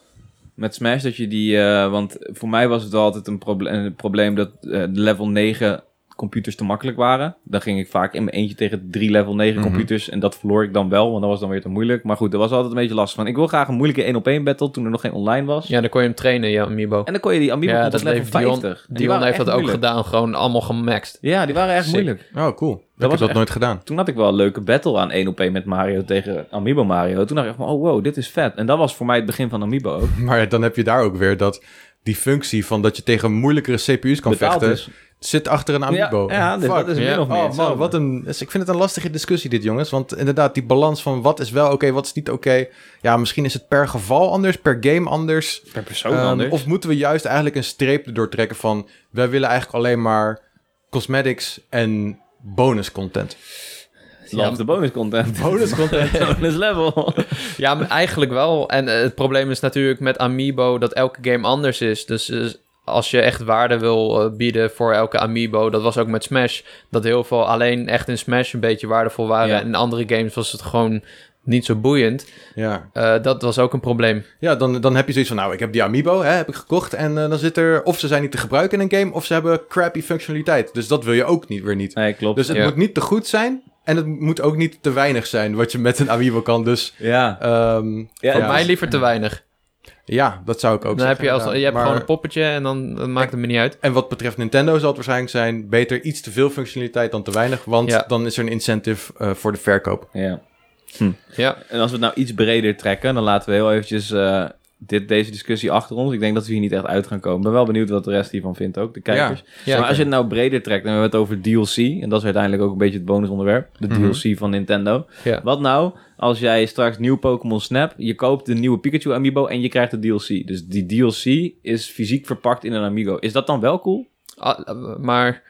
Met Smash dat je die... eh, want voor mij was het wel altijd een, proble- een probleem dat eh, de level 9 computers te makkelijk waren. Dan ging ik vaak in mijn eentje tegen drie level 9
Mhm.
computers. En dat verloor ik dan wel, want dat was dan weer te moeilijk. Maar goed, dat was altijd een beetje lastig. Van, ik wil graag een moeilijke 1-op-1 battle toen er nog geen online was.
Ja, dan kon je hem trainen, ja, Amiibo.
En dan kon je die Amiibo
ja,
tot level
heeft Dion.
50. En die
Dion
waren
heeft
echt
dat ook
moeilijk.
gedaan. Gewoon allemaal gemaxt.
Ja, die waren echt
Sick.
moeilijk.
Oh, cool. ik heb
was
dat
echt-
nooit gedaan. [laughs]
Toen had ik wel een leuke battle aan 1 op 1 met Mario tegen Amiibo Mario. Toen dacht ik van, oh wow, dit is vet. En dat was voor mij het begin van Amiibo ook.
Maar dan heb je daar ook weer dat die functie van dat je tegen moeilijkere CPU's kan
Betaald
vechten,
is.
zit achter een amiibo.
Ja, ja, dit-
Fuck.
dat is
Ja.
min of meer
Oh man,
hetzelfde.
wat een. dus Ik vind het een lastige discussie, dit jongens. Want inderdaad, die balans van wat is wel oké, wat is niet oké. Ja, misschien is het per geval anders, per game anders.
per persoon dus.
Ehm,
anders.
Of moeten we juist eigenlijk een streep erdoor trekken van. Wij willen eigenlijk alleen maar cosmetics en bonus content.
Love
Ja.
the bonus
[laughs]
content.
Bonus
[laughs]
content.
bonus
[laughs]
level.
Ja, maar eigenlijk wel. En eh, het probleem is natuurlijk met Amiibo dat elke game anders is. Dus eh, als je echt waarde wil eh, bieden voor elke Amiibo, dat was ook met Smash. Dat heel veel alleen echt in Smash een beetje waardevol waren.
Ja.
En in andere games was het gewoon niet zo boeiend.
ja,
Eh, dat was ook een probleem.
ja dan, dan heb je zoiets van. Nou, ik heb die Amiibo hè, heb ik gekocht. En eh, dan zit er. Of ze zijn niet te gebruiken in een game. Of ze hebben crappy functionaliteit. Dus dat wil je ook niet weer niet.
Nee, klopt.
Dus het
Ja.
moet niet te goed zijn. En het moet ook niet te weinig zijn wat je met een Amiibo kan. Dus
ja.
ehm,
Ja,
van
Voor
ja.
mij liever te weinig.
ja, dat zou ik ook
dan
zeggen.
heb je, als, je
inderdaad.
hebt
Maar-
gewoon een poppetje en dan dan maakt het me niet uit.
En wat betreft Nintendo zal het waarschijnlijk zijn... beter iets te veel functionaliteit dan te weinig... want
Ja.
dan is er een incentive eh, voor de verkoop.
ja.
Ja,
En als we het nou iets breder trekken, dan laten we heel eventjes eh, dit, deze discussie achter ons. Ik denk dat we hier niet echt uit gaan komen. Ik ben wel benieuwd wat de rest hiervan vindt ook, de kijkers.
ja
maar als je het nou breder trekt, en we hebben het over DLC, en dat is uiteindelijk ook een beetje het bonusonderwerp, de
Mhm.
DLC van Nintendo.
Ja.
Wat nou als jij straks nieuw Pokémon Snap, je koopt de nieuwe Pikachu Amiibo en je krijgt de DLC. Dus die DLC is fysiek verpakt in een Amiibo. Is dat dan wel cool?
Ah, eh, maar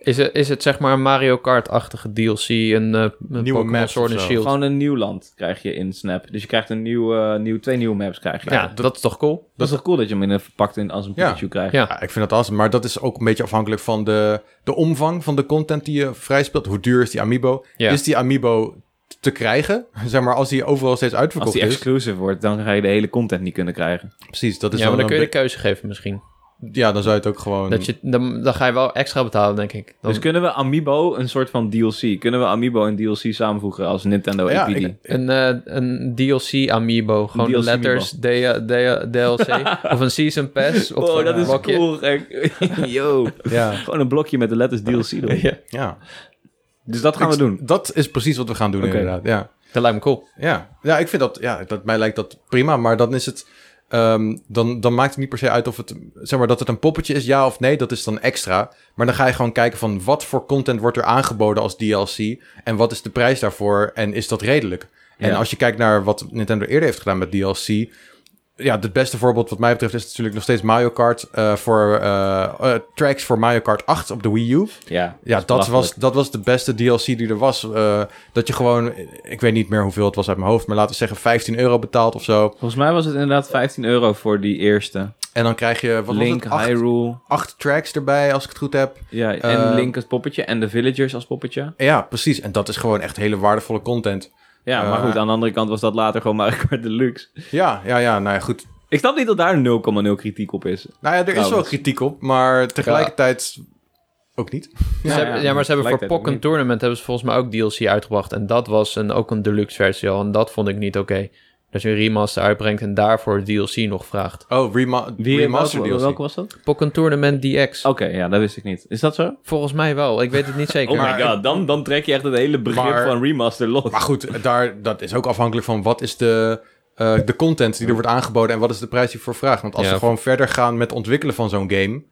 is het, is het zeg maar een Mario Kart-achtige DLC, een, eh, een
Nieuwe
Pokémon
maps
Sword
of
and
zo.
Shield?
Gewoon een nieuw land krijg je in Snap. Dus je krijgt een nieuw, eh, nieuw, twee nieuwe maps krijg je.
ja, dat, is toch cool?
Dat is toch cool dat je hem in een verpakt in, als een
Ja.
Pikachu krijgt?
Ja.
Ja, ik vind dat awesome. Maar dat is ook een beetje afhankelijk van de, de omvang van de content die je vrijspeelt. Hoe duur is die Amiibo?
Ja.
Is die Amiibo te krijgen? [laughs] zeg maar, als die overal steeds
Als
uitverkocht
die
is.
exclusive wordt, dan ga je de hele content niet kunnen krijgen.
Precies, dat is
ja, maar
Dus dan
dan kun je de
een
keuze geven misschien.
be- Ja, dan zou je het ook gewoon...
Dat je, dan, dan ga je wel extra betalen, denk ik. Dan,
Dus kunnen we Amiibo een soort van DLC? Kunnen we Amiibo en DLC samenvoegen als Nintendo
ja,
APD?
ik-
een, eh, een DLC Amiibo, gewoon
DLC
letters D- D- DLC of een Season Pass. Of
Oh,
een
dat is
blokje.
cool. gek.
[laughs]
Yo.
ja,
Gewoon een blokje met de letters DLC erop.
Ja,
ja.
Dus dat gaan we doen.
Dat is precies wat we gaan doen
Oké.
inderdaad, ja.
dat lijkt me cool.
Ja, ja ik vind dat, ja, dat, mij lijkt dat prima, maar dan is het, ehm, dan, dan maakt het niet per se uit of het, zeg maar, dat het een poppetje is, ja of nee, dat is dan extra. Maar dan ga je gewoon kijken van wat voor content wordt er aangeboden als DLC en wat is de prijs daarvoor en is dat redelijk? En
Ja.
als je kijkt naar wat Nintendo eerder heeft gedaan met DLC, ja, het beste voorbeeld wat mij betreft is natuurlijk nog steeds Mario Kart eh, voor eh, eh, tracks voor Mario Kart 8 op de Wii U.
Ja,
Ja,
is
dat was,
belachelijk.
dat was de beste DLC die er was. Eh, dat je gewoon, ik weet niet meer hoeveel het was uit mijn hoofd, maar laten we zeggen 15 euro betaalt of zo.
Volgens mij was het inderdaad 15 euro voor die eerste.
En dan krijg je, wat
Link,
was het, acht,
Hyrule.
acht tracks erbij als ik het goed heb.
Ja, en
Eh,
Link als poppetje en de Villagers als poppetje.
Ja, precies. En dat is gewoon echt hele waardevolle content.
Ja, maar
Eh,
goed, aan de andere kant was dat later gewoon [laughs] Mario Kart Deluxe.
Ja, ja, ja, nou ja, goed.
Ik snap niet dat daar 0,0 kritiek op is.
Nou ja, er is wel
Trouwens.
kritiek op, maar tegelijkertijd ook niet.
Ze hebben- ja, maar ze hebben voor Pokken Tournament hebben ze volgens mij ook DLC uitgebracht. En dat was een, ook een deluxe versie al. En dat vond ik niet oké. Dat je een remaster uitbrengt en daarvoor DLC nog vraagt.
Oh, rema
Wie,
remaster
welke,
DLC.
welke was dat?
Pokken Tournament DX.
Oké, ja, dat wist ik niet. Is dat zo?
Volgens mij wel. Ik weet het niet zeker.
Oh
Maar-
my god, dan, dan trek je echt het hele begrip
Maar-
van remaster los.
Maar goed, daar, dat is ook afhankelijk van wat is de, eh, de content die er wordt aangeboden en wat is de prijs die voor vraagt. Want als
Ja.
we gewoon verder gaan met ontwikkelen van zo'n game,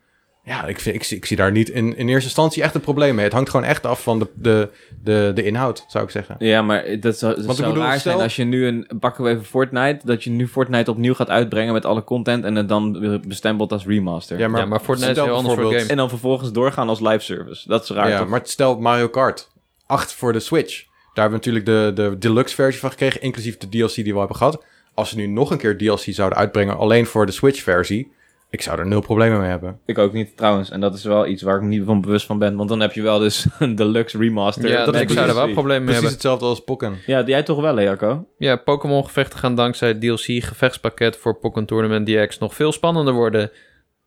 ja, ik, vind, ik, zie- ik zie daar niet in, in eerste instantie echt een probleem mee. Het hangt gewoon echt af van de, de, de, de inhoud, zou ik zeggen.
Ja, maar dat zou, dat
ik
zou
bedoel,
raar
stel-
zijn als je nu een... Pakken we even Fortnite. Dat je nu Fortnite opnieuw gaat uitbrengen met alle content... en het dan weer bestempelt als remaster.
Ja, maar,
ja, maar Fortnite is
stel
een heel ander soort
bijvoorbeeld-
game.
En dan vervolgens doorgaan als live service. Dat is raar,
ja,
toch?
maar stel Mario Kart 8 voor de Switch. Daar hebben we natuurlijk de, de deluxe versie van gekregen, inclusief de DLC die we al hebben gehad. Als ze nu nog een keer DLC zouden uitbrengen, alleen voor de Switch versie, ik zou er nul problemen mee hebben.
Ik ook niet, trouwens. En dat is wel iets waar ik me niet van bewust van ben. Want dan heb je wel dus [laughs] een deluxe remaster.
Ja,
dat
dat
is
ik zou er wel
precies-
problemen mee
Precies
hebben.
hetzelfde als Pokken.
Ja, jij toch wel, hè, Jacco?
Ja, Pokémon gevechten gaan dankzij het DLC gevechtspakket voor Pokémon Tournament DX nog veel spannender worden.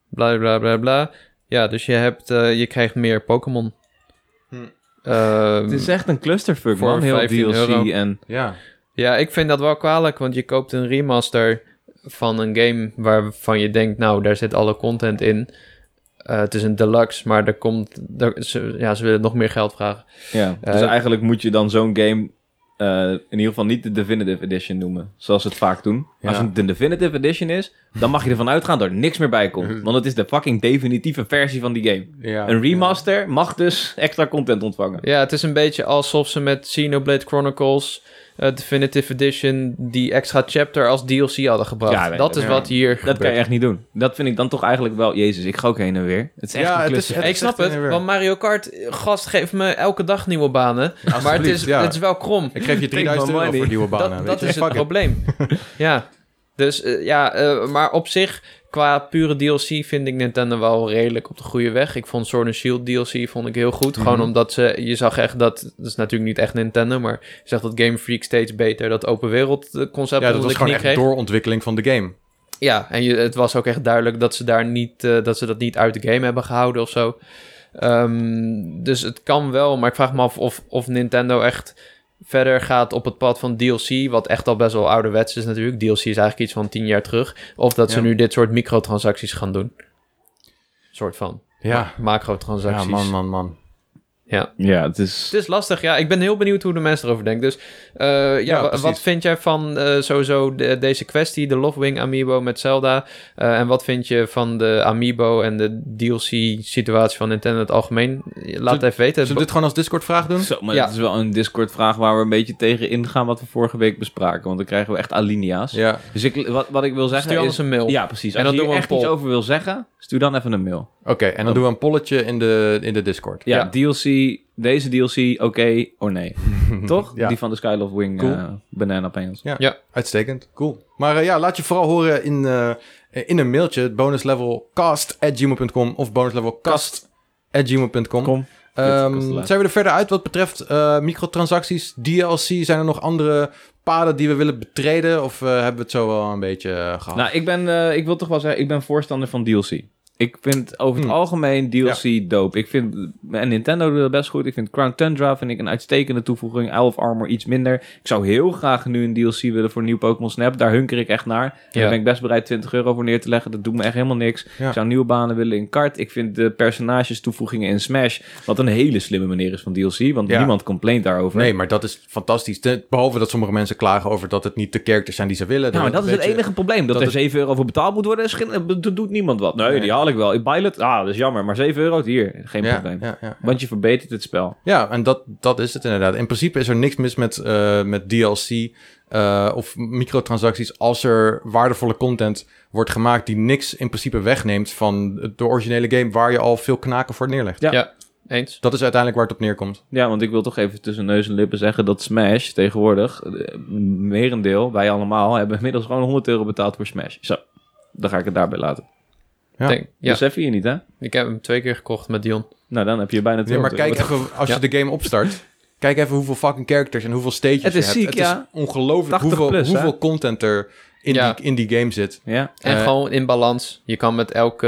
Bla bla bla bla. Ja, dus je, hebt, eh, je krijgt meer Pokémon.
Hm.
Ehm,
Het
Hmm.
is echt een clusterfuck,
Voor
man. Heel
15
DLC
euro.
en...
Ja.
Ja, ik vind dat wel kwalijk, want je koopt een remaster van een game waarvan je denkt, nou, daar zit alle content in. Eh, het is een deluxe, maar er komt, er, ze, ja, ze willen nog meer geld vragen.
Ja, dus
Eh,
eigenlijk moet je dan zo'n game eh, in ieder geval niet de Definitive Edition noemen. Zoals ze het vaak doen.
Ja.
Als het de Definitive Edition is, dan mag je ervan uitgaan dat er niks meer bij [laughs] komt. Want het is de fucking definitieve versie van die game.
Ja,
Een remaster mag dus extra content ontvangen.
Ja, het is een beetje alsof ze met Xenoblade Chronicles eh, Definitive Edition die extra chapter als DLC hadden gebracht.
Ja, nee,
dat is
ja.
wat hier
Dat
gebeurt.
kan je echt niet doen. Dat vind ik dan toch eigenlijk wel... Jezus, ik ga ook heen en weer. Het is echt
Ja,
een
het
klus.
is-
ik
echt
snap
heen
het,
en weer.
want Mario Kart, eh, gast, geeft me elke dag nieuwe banen. maar het is,
ja.
het is wel krom.
Ik geef je
my
3000 euro
money.
voor nieuwe banen.
dat
weet
dat
je.
is het
Fuck it. [laughs]
probleem. ja. Dus eh, ja, eh, maar op zich, qua pure DLC vind ik Nintendo wel redelijk op de goede weg. Ik vond Sword and Shield DLC vond ik heel goed. Gewoon
Mhm.
omdat ze, je zag echt dat, dat is natuurlijk niet echt Nintendo, maar je zag dat Game Freak steeds beter dat open wereld eh, concept
Ja, dat
onder
was
de knie
gewoon echt
kreeg.
doorontwikkeling van de game.
Ja, en je, het was ook echt duidelijk dat ze, daar niet, eh, dat ze dat niet uit de game hebben gehouden of zo. Ehm, dus het kan wel, maar ik vraag me af of, of Nintendo echt verder gaat op het pad van DLC, wat echt al best wel ouderwets is natuurlijk. DLC is eigenlijk iets van tien jaar terug. Of dat ze
Ja.
nu dit soort microtransacties gaan doen. soort van
Ah, Ja, ja
macrotransacties.
man, man, man.
Ja, het is...
Het is lastig, ja. Ik ben heel benieuwd hoe de mensen erover denken. Dus eh, ja,
Ja,
wa-
precies.
wat vind jij van eh, sowieso de- deze kwestie, de Lovewing Amiibo met Zelda? Eh, en wat vind je van de Amiibo en de DLC-situatie van Nintendo in het algemeen? Laat het even weten.
Zullen we dit gewoon als Discord-vraag doen?
Zo, maar
Ja.
dat is wel een Discord-vraag waar we een beetje tegen ingaan wat we vorige week bespraken. Want dan krijgen we echt alinea's.
Ja.
Dus ik, wat, wat ik wil zeggen
Stuur
is...
ons een mail.
Ja, precies.
En
Als
dan
je
doen
hier
we
echt
een
iets
poll.
over wil zeggen, stuur dan even een mail.
Oké, en dan doen we een polletje in de, in de Discord.
Ja,
Ja.
DLC, deze DLC, oké of nee. Toch?
Ja.
Die van de Skyloft Wing
Cool.
eh, Banana Panels.
Ja,
Ja.
uitstekend. Cool. Maar eh, ja, laat je vooral horen in, eh, in een mailtje. bonuslevelcast.gmail.com of bonuslevelcast.gmail.com.
Kom.
Ehm,
Kast te laat.
zijn we er verder uit wat betreft eh, microtransacties, DLC? Zijn er nog andere paden die we willen betreden? Of eh, hebben we het zo wel een beetje eh, gehad?
Nou, ik, ben, eh, ik wil toch wel zeggen, ik ben voorstander van DLC. Ik vind over het
Hmm.
algemeen DLC dope. Ik vind, en Nintendo doet dat best goed. Ik vind Crown Tundra vind ik een uitstekende toevoeging. Elf Armor iets minder. Ik zou heel graag nu een DLC willen voor nieuw Pokémon Snap. Daar hunker ik echt naar. En Daar
Ja.
ben ik best bereid 20 euro voor neer te leggen. Dat doet me echt helemaal niks.
Ja.
Ik zou nieuwe banen willen in kart. Ik vind de personages toevoegingen in Smash... wat een hele slimme manier is van DLC. Want
Ja.
niemand complaint daarover.
Nee, maar dat is fantastisch. Te- behalve dat sommige mensen klagen over dat het niet de characters zijn die ze willen.
Nou, maar dat is
een
het enige probleem. Dat,
dat
er
het-
7 euro voor betaald moet worden, is geen- eh, dat doet niemand wat. Nee,
Nee.
die haal ik wel. Ik pilot, ah, dat is jammer. Maar 7 euro, hier, geen
ja,
probleem.
Ja, ja.
Want je verbetert het spel.
Ja, en dat, dat is het inderdaad. In principe is er niks mis met, eh, met DLC eh, of microtransacties als er waardevolle content wordt gemaakt die niks in principe wegneemt van de originele game waar je al veel knaken voor neerlegt.
Ja.
Eens?
Dat is uiteindelijk waar het op neerkomt.
Ja, want ik wil toch even tussen neus en lippen zeggen dat Smash tegenwoordig, eh, merendeel, wij allemaal, hebben inmiddels gewoon 100 euro betaald voor Smash. Zo, dan ga ik het daarbij laten.
Ja. Dus, eh,
Denk, ja.
Besef je je niet, hè?
Ik heb hem twee keer gekocht met Dion.
Nou, dan heb je bijna 200
Nee, maar kijk
euro.
even, als je de game opstart, kijk even hoeveel fucking characters en hoeveel stages
Het is
je hebt.
ziek, ja.
Het is ongelooflijk
80
hoeveel,
plus, hè?
hoeveel content er in,
Ja.
die, in die game zit.
Ja,
En
Eh,
gewoon in balans. Je kan met elke.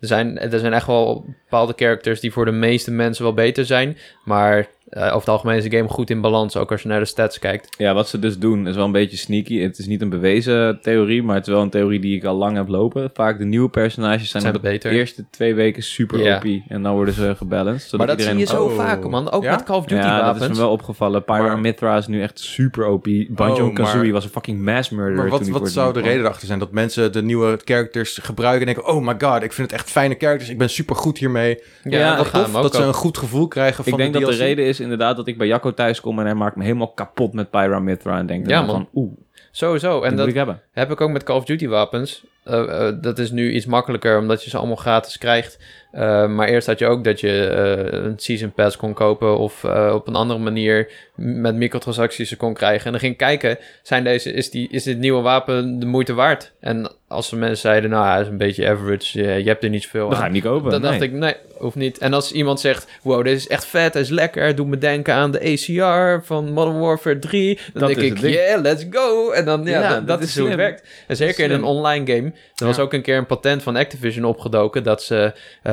Er zijn, er zijn echt wel bepaalde characters die voor de meeste mensen wel beter zijn. Maar eh, over het algemeen is de game goed in balans. Ook als je naar de stats kijkt.
Ja, wat ze dus doen is wel een beetje sneaky. Het is niet een bewezen theorie, maar het is wel een theorie die ik al lang heb lopen. Vaak de nieuwe personages zijn,
Zijn
op
beter.
de eerste twee weken super
Ja.
OP. En dan worden ze gebalanced. Zodat
Maar dat zie
iedereen
je zo
Oh.
vaak, man. Ook
Ja?
met Call of Duty
ja, dat is me
wapens.
wel opgevallen. Pyra
Maar-
Mithra is nu echt super OP. Banjo
Oh,
Kazooie
maar-
was een fucking mass murderer.
Maar wat,
toen die voor
wat
het
zou de
nieuw kwam.
reden erachter zijn? Dat mensen de nieuwe characters gebruiken en denken... oh my god, ik vind het echt fijne characters. Ik ben super goed hiermee.
Ja,
Ja,
dat
dat
gaan
tof,
we ook.
dat ze
al.
een goed gevoel krijgen van
Ik denk
de
dat de
DLC.
reden is inderdaad dat ik bij Jacco thuis kom en hij maakt me helemaal kapot met Pyra Mithra. En denk
Ja,
dan
man.
van, oeh,
Sowieso.
dat
En
moet
dat
ik hebben.
Oh,
heb ik ook met Call of Duty wapens. Eh, eh, dat is nu iets makkelijker, omdat je ze allemaal gratis krijgt. Eh, maar eerst had je ook dat je eh, een Season Pass kon kopen... of eh, op een andere manier m- met microtransacties ze kon krijgen. En dan ging ik kijken, zijn deze, is, die, is dit nieuwe wapen de moeite waard? En als de mensen zeiden, nou, hij is een beetje average... eh, je hebt er niet zoveel
Dan ga
aan.
ik niet kopen.
Dan
nee.
dacht ik, nee, hoeft niet. En als iemand zegt, wow, dit is echt vet, hij is lekker, doet me denken aan de ACR van Modern Warfare 3, dan
Dat
denk
is
ik,
het ding.
yeah, let's go. En dan, ja,
Ja,
da-
dat
dat,
is
is, hoe het
slim.
werkt. En zeker in
Slim.
een online game. Er was
Ja.
ook een keer een patent van Activision opgedoken dat ze eh,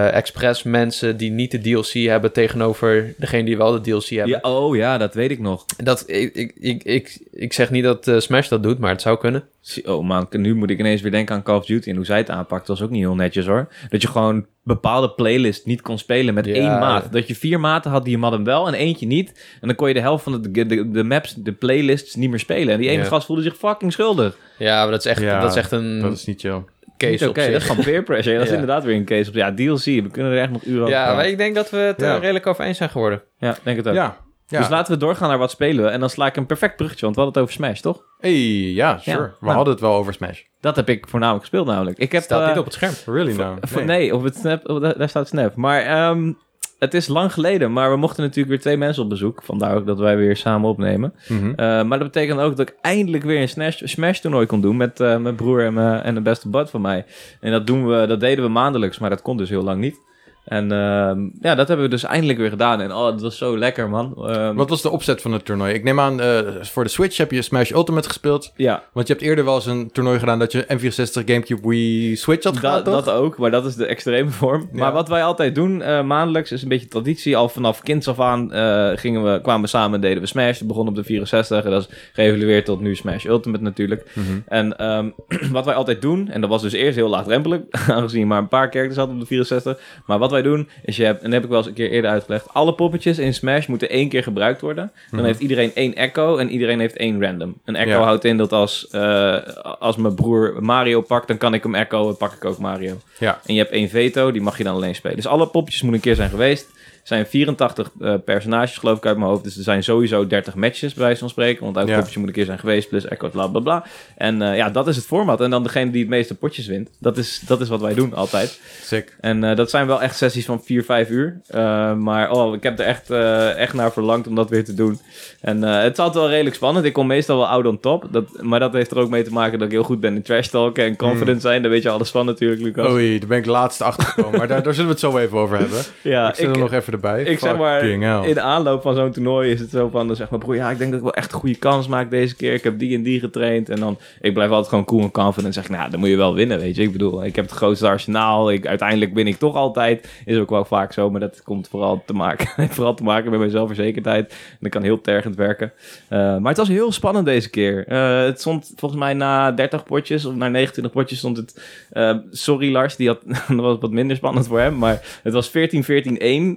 eh, expres mensen die niet de DLC hebben tegenover degene die wel de DLC hebben.
Ja, oh ja, dat weet ik nog.
Dat, ik, ik, ik, ik, ik zeg niet dat eh, Smash dat doet, maar het zou kunnen.
Zie- Oh man, nu moet ik ineens weer denken aan Call of Duty en hoe zij het aanpakt. Dat was ook niet heel netjes hoor. Dat je gewoon bepaalde playlist niet kon spelen met
Ja.
één maat. Dat je vier maten had die hem hadden wel en eentje niet. En dan kon je de helft van de, de, de maps, de playlists niet meer spelen. En die ene
Ja.
gast voelde zich fucking schuldig.
Ja, maar dat is echt,
Ja,
dat is echt een
Hmm.
Dat is niet chill.
case
Niet Oké,
op
dat
zich.
is gewoon peer pressure. Dat is
[laughs] Ja.
inderdaad weer een case op. Ja, DLC, we kunnen er echt nog uren over
Ja,
praten.
maar ik denk dat we het eh,
Ja.
redelijk over eens zijn geworden.
Ja, denk het ook.
Ja. ja.
Dus laten we doorgaan naar wat spelen we. En dan sla ik een perfect bruggetje, want we hadden het over Smash, toch?
hey, ja, sure.
Ja,
We
nou.
hadden het wel over Smash.
Dat heb ik voornamelijk gespeeld namelijk. Ik heb,
Staat
eh,
niet op het scherm.
Really nou.
Voor- nee. op het snap, op- daar daar staat snap. Maar ehm, het is lang geleden, maar we mochten natuurlijk weer twee mensen op bezoek. Vandaar ook dat wij weer samen opnemen.
Mhm.
Eh, maar dat betekent ook dat ik eindelijk weer een Smash, Smash toernooi kon doen met eh, mijn broer en, mijn- en de beste bud van mij. En dat, doen we, dat deden we maandelijks, maar dat kon dus heel lang niet. En ehm, ja, dat hebben we dus eindelijk weer gedaan. En oh, het was zo lekker, man. Ehm,
Wat was de opzet van het toernooi? Ik neem aan, eh, voor de Switch heb je Smash Ultimate gespeeld.
Ja,
Want je hebt eerder wel eens een toernooi gedaan dat je N64, Gamecube, Wii, Switch had gedaan,
Dat,
toch?
dat ook, maar dat is de extreme vorm.
Ja.
Maar wat wij altijd doen eh, maandelijks is een beetje traditie. Al vanaf kinds af aan eh, gingen we, kwamen we samen en deden we Smash. Dat begon op de 64 en dat is geëvalueerd tot nu Smash Ultimate natuurlijk.
Mhm.
En ehm, [clears throat] wat wij altijd doen, en dat was dus eerst heel laagdrempelig, [laughs] aangezien maar een paar characters hadden op de 64. Maar wat wij doen, is je hebt, en dat heb ik wel eens een keer eerder uitgelegd, alle poppetjes in Smash moeten één keer gebruikt worden. Dan heeft iedereen één echo en iedereen heeft één random. Een echo
Mhm. Ja.
houdt in dat als, eh, als mijn broer Mario pakt, dan kan ik hem echo en pak ik ook Mario.
Ja.
En je hebt één veto, die mag je dan alleen spelen. Dus alle poppetjes moeten een keer zijn geweest. Er zijn 84 eh, personages, geloof ik, uit mijn hoofd. Dus er zijn sowieso 30 matches, bij wijze van spreken. Want elk
Ja.
poppetje moet een keer zijn geweest, plus echo, bla bla bla. En eh, ja, dat is het format. En dan degene die het meeste potjes wint. Dat is, dat is wat wij doen altijd.
Sick.
En eh, dat zijn wel echt sessies van 4, 5 uur. Eh, maar oh, ik heb er echt, eh, echt naar verlangd om dat weer te doen. En eh, het is altijd wel redelijk spannend. Ik kom meestal wel oud on top. Dat, maar dat heeft er ook mee te maken dat ik heel goed ben in trash talken en confident
Mm.
zijn. Daar weet je alles van natuurlijk, Lucas.
Oei, daar ben ik laatst achter gekomen. maar daar, daar zullen we het zo even over hebben.
ja,
ik zet er nog even erbij.
ik zeg maar,
Fucking hell.
in de aanloop van zo'n toernooi is het zo van, dan zeg maar, broer, ja, ik denk dat ik wel echt een goede kans maak deze keer. Ik heb die en die getraind. En dan, ik blijf altijd gewoon cool en confident. En zeg, nou, dan moet je wel winnen, weet je. Ik bedoel, ik heb het grootste arsenaal. Ik, uiteindelijk win ik toch altijd. Is ook wel vaak zo, maar dat komt vooral te maken, [laughs] heeft vooral te maken met mijn zelfverzekerdheid. En dat kan heel tergend werken. Eh, maar het was heel spannend deze keer. Eh, het stond volgens mij na 30 potjes, of na 29 potjes stond het eh, sorry Lars, die had, [laughs] dat was wat minder spannend voor hem. Maar het was 14-14-1.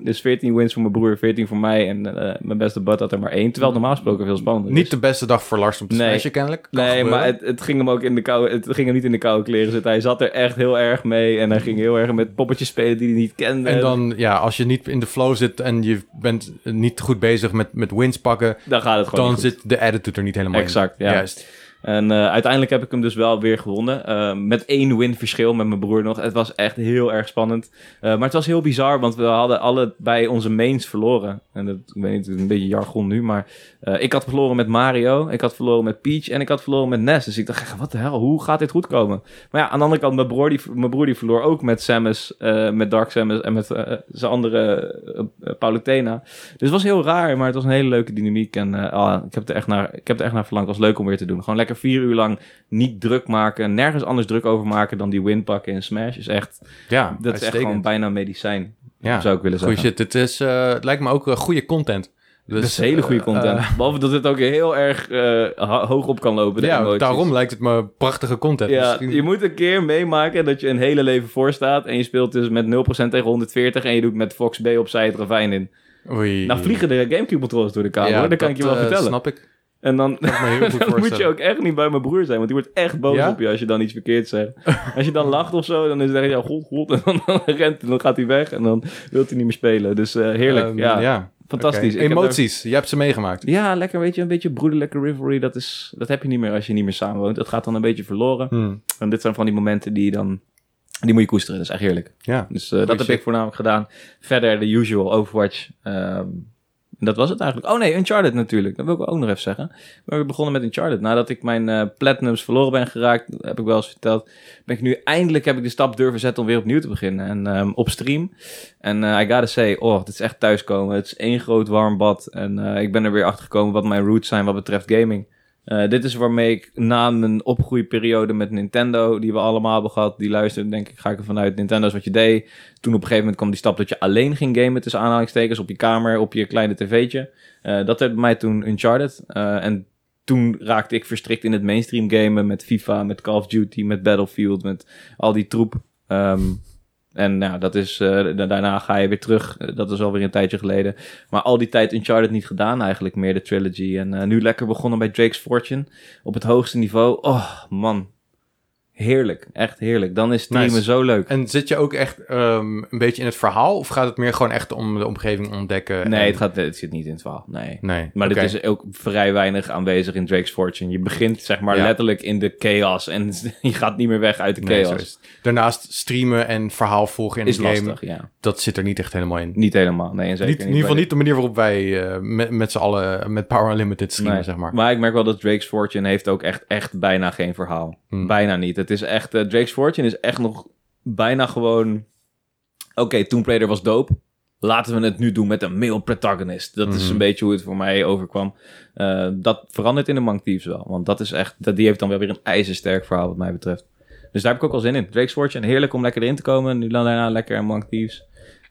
Dus 14 wins voor mijn broer, 14 voor mij. En eh, mijn beste bud had er maar één. Terwijl het normaal gesproken veel spannender is.
Niet de beste dag voor Lars om te
Nee.
smashen, kennelijk. Kan
Nee,
gebeuren.
maar het, het ging hem ook in de koude, het ging hem niet in de koude kleren zitten. Hij zat er echt heel erg mee. En hij ging heel erg met poppetjes spelen die hij niet kende.
En dan, ja, als je niet in de flow zit en je bent niet goed bezig met, met wins pakken,
dan gaat het gewoon
dan
niet goed.
zit de attitude er niet helemaal
Exact,
in.
ja.
Juist.
En eh, uiteindelijk heb ik hem dus wel weer gewonnen. Eh, met één win verschil met mijn broer nog. Het was echt heel erg spannend. Eh, maar het was heel bizar, want we hadden allebei onze mains verloren. En dat, ik weet niet, het is een beetje jargon nu, maar eh, ik had verloren met Mario, ik had verloren met Peach en ik had verloren met Ness. Dus ik dacht, echt, wat de hel, hoe gaat dit goed komen? Maar ja, aan de andere kant, mijn broer die, mijn broer die verloor ook met Samus, eh, met Dark Samus en met eh, zijn andere eh, eh, Palutena. Dus het was heel raar, maar het was een hele leuke dynamiek. En eh, ah, ik, heb er echt naar, ik heb er echt naar verlangd. Het was leuk om weer te doen. Gewoon lekker vier uur lang niet druk maken. Nergens anders druk over maken dan die win pakken in Smash. Is echt,
Ja,
dat is echt
uitstekend.
gewoon bijna medicijn,
ja.
zou ik willen
Goeie
zeggen.
shit. Het is, eh, het lijkt me ook eh, goede content. Dus,
Dat is hele goede
eh,
content.
eh,
Behalve dat het ook heel erg eh, ho- hoog op kan lopen. de
ja,
emoties.
daarom lijkt het me prachtige content.
Ja,
Misschien-
je moet een keer meemaken dat je een hele leven voorstaat. En je speelt dus met 0% tegen 140. En je doet met Fox B opzij het ravijn in.
Oei.
Nou vliegen de Gamecube controllers door de kamer. hoor. Dat, kan ik je wel
eh,
vertellen.
snap ik.
En dan,
Kan ik me
[laughs]
heel goed
Dan moet je
voorstellen.
ook echt niet bij mijn broer zijn, want die wordt echt boos
Ja?
op je als je dan iets verkeerd zegt. Als je dan lacht of zo, dan is het echt, ja, god, god, en dan, dan rent hij, dan gaat hij weg en dan wil hij niet meer spelen. Dus eh, heerlijk,
Ehm,
ja, fantastisch.
Oké.
Ik heb
Emoties, je hebt ze meegemaakt.
daar- Ja, lekker, weet je, een beetje broederlijke rivalry, dat, is, dat heb je niet meer als je niet meer samenwoont. Dat gaat dan een beetje verloren.
Hm,
En dit zijn van die momenten die je dan, die moet je koesteren, dat is echt heerlijk.
Ja.
Dus eh, dat heb
shit.
ik voornamelijk gedaan. Verder de usual Overwatch. ehm, en dat was het eigenlijk. Oh nee, Uncharted natuurlijk. Dat wil ik ook nog even zeggen. Maar we begonnen met Uncharted. Nadat ik mijn eh, platinums verloren ben geraakt, heb ik wel eens verteld. Ben ik nu eindelijk heb ik de stap durven zetten om weer opnieuw te beginnen. En ehm, op stream. En eh, I gotta say, oh, dit is echt thuiskomen. Het is één groot warm bad. En eh, ik ben er weer achter gekomen wat mijn roots zijn wat betreft gaming. Eh, dit is waarmee ik na mijn opgroeiperiode met Nintendo, die we allemaal hebben gehad, die luisterden, denk ik, ga ik ervan uit. Nintendo is wat je deed. Toen op een gegeven moment kwam die stap dat je alleen ging gamen, tussen aanhalingstekens, op je kamer, op je kleine tv'tje. Eh, dat werd bij mij toen Uncharted. Eh, en toen raakte ik verstrikt in het mainstream gamen met FIFA, met Call of Duty, met Battlefield, met al die troep. Ehm, en nou, dat is, eh, da- daarna ga je weer terug. Eh, Dat is alweer een tijdje geleden. Maar al die tijd Uncharted niet gedaan eigenlijk meer, de trilogy. En eh, nu lekker begonnen bij Drake's Fortune. Op het hoogste niveau. Oh, man. Heerlijk. Echt heerlijk. Dan is streamen
Nice.
zo leuk.
En zit je ook echt ehm, een beetje in het verhaal? Of gaat het meer gewoon echt om de omgeving ontdekken?
Nee,
en-
het, gaat, het zit niet in het verhaal. Nee.
Nee,
Maar
oké.
dit is ook vrij weinig aanwezig in Drake's Fortune. Je begint zeg maar
Ja.
letterlijk in de chaos. En [laughs] je gaat niet meer weg uit de
Nee,
chaos.
zo is het. Daarnaast streamen en verhaal volgen in
is
een game,
lastig, ja.
dat zit er niet echt helemaal in.
Niet helemaal. Nee, en zeker
Niet, in
niet
ieder geval
bij-
niet de manier waarop wij eh, met, met z'n allen met Power Unlimited streamen,
Nee,
zeg maar.
ik merk wel dat Drake's Fortune heeft ook echt, echt bijna geen verhaal.
Hmm.
Bijna niet. Het is echt, eh, Drake's Fortune is echt nog bijna gewoon... Oké, Tomb Raider was dope. Laten we het nu doen met een male protagonist. Dat is
Mhm.
een beetje hoe het voor mij overkwam. Eh, dat verandert in de Monk Thieves wel. Want dat is echt, dat, die heeft dan wel weer een ijzersterk verhaal wat mij betreft. Dus daar heb ik ook wel zin in. Drake's Fortune, heerlijk om lekker erin te komen. Nu dan daarna lekker in Monk Thieves.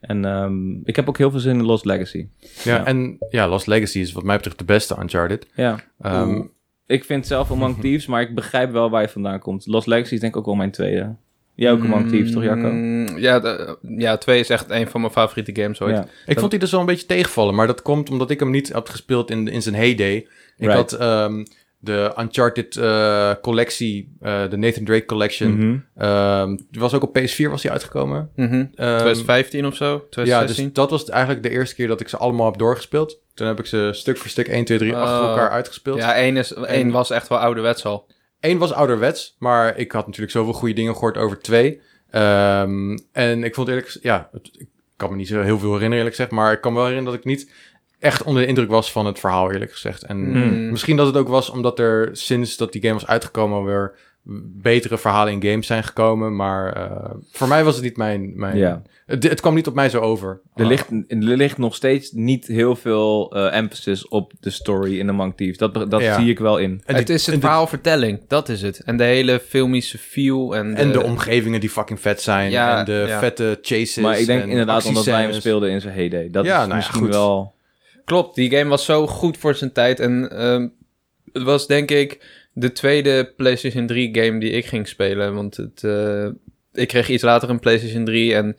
En ehm, ik heb ook heel veel zin in Lost Legacy.
ja,
ja.
En ja, Lost Legacy is wat mij betreft de beste Uncharted.
Ja.
Ehm,
Oeh. Ik
[laughs]
vind zelf Among Thieves, maar ik begrijp wel waar je vandaan komt. Lost Legacy is denk ik ook wel mijn tweede. Jij ook Among Thieves, toch Jacco?
Mm, ja, de- ja, 2 is echt een van mijn favoriete games ooit.
Ja.
ik vond die dus wel een beetje tegenvallen, maar dat komt omdat ik hem niet had gespeeld in, in zijn heyday. Ik
Right.
had ehm, de Uncharted eh, collectie, eh, de Nathan Drake collection.
Mhm.
ehm, die was ook op PS4 was die uitgekomen.
Mhm.
Ehm,
2015 of zo,
ja, dus
2016.
dat was eigenlijk de eerste keer dat ik ze allemaal heb doorgespeeld. Toen heb ik ze stuk voor stuk 1, 2, 3 achter
Oh.
elkaar uitgespeeld.
Ja, één, is, één was echt wel ouderwets al.
Eén was ouderwets, maar ik had natuurlijk zoveel goede dingen gehoord over twee. Ehm, en ik vond eerlijk, gez- ja, het- ik kan me niet zo heel veel herinneren eerlijk gezegd, maar ik kan me wel herinneren dat ik niet echt onder de indruk was van het verhaal eerlijk gezegd. En
Mm.
misschien dat het ook was omdat er sinds dat die game was uitgekomen weer betere verhalen in games zijn gekomen, maar eh, voor mij was het niet mijn... mijn
Ja.
het, het kwam niet op mij zo over.
Er, ligt, er ligt nog steeds niet heel veel eh, emphasis op de story in Among Thieves. Dat, be- dat
Ja.
zie ik wel in.
En die-
het is het
en die-
verhaalvertelling, dat is het. En de hele filmische feel en de...
En de omgevingen die fucking vet zijn.
Ja,
en de
ja.
vette chases.
Maar ik denk
en
inderdaad omdat wij hem
actiescènes.
speelden in zijn heyday. Dat
Ja,
is
nou ja,
misschien
goed.
wel...
Klopt, die game was zo goed voor zijn tijd. En ehm, het was denk ik de tweede PlayStation 3 game die ik ging spelen. Want het, eh, ik kreeg iets later een PlayStation 3 en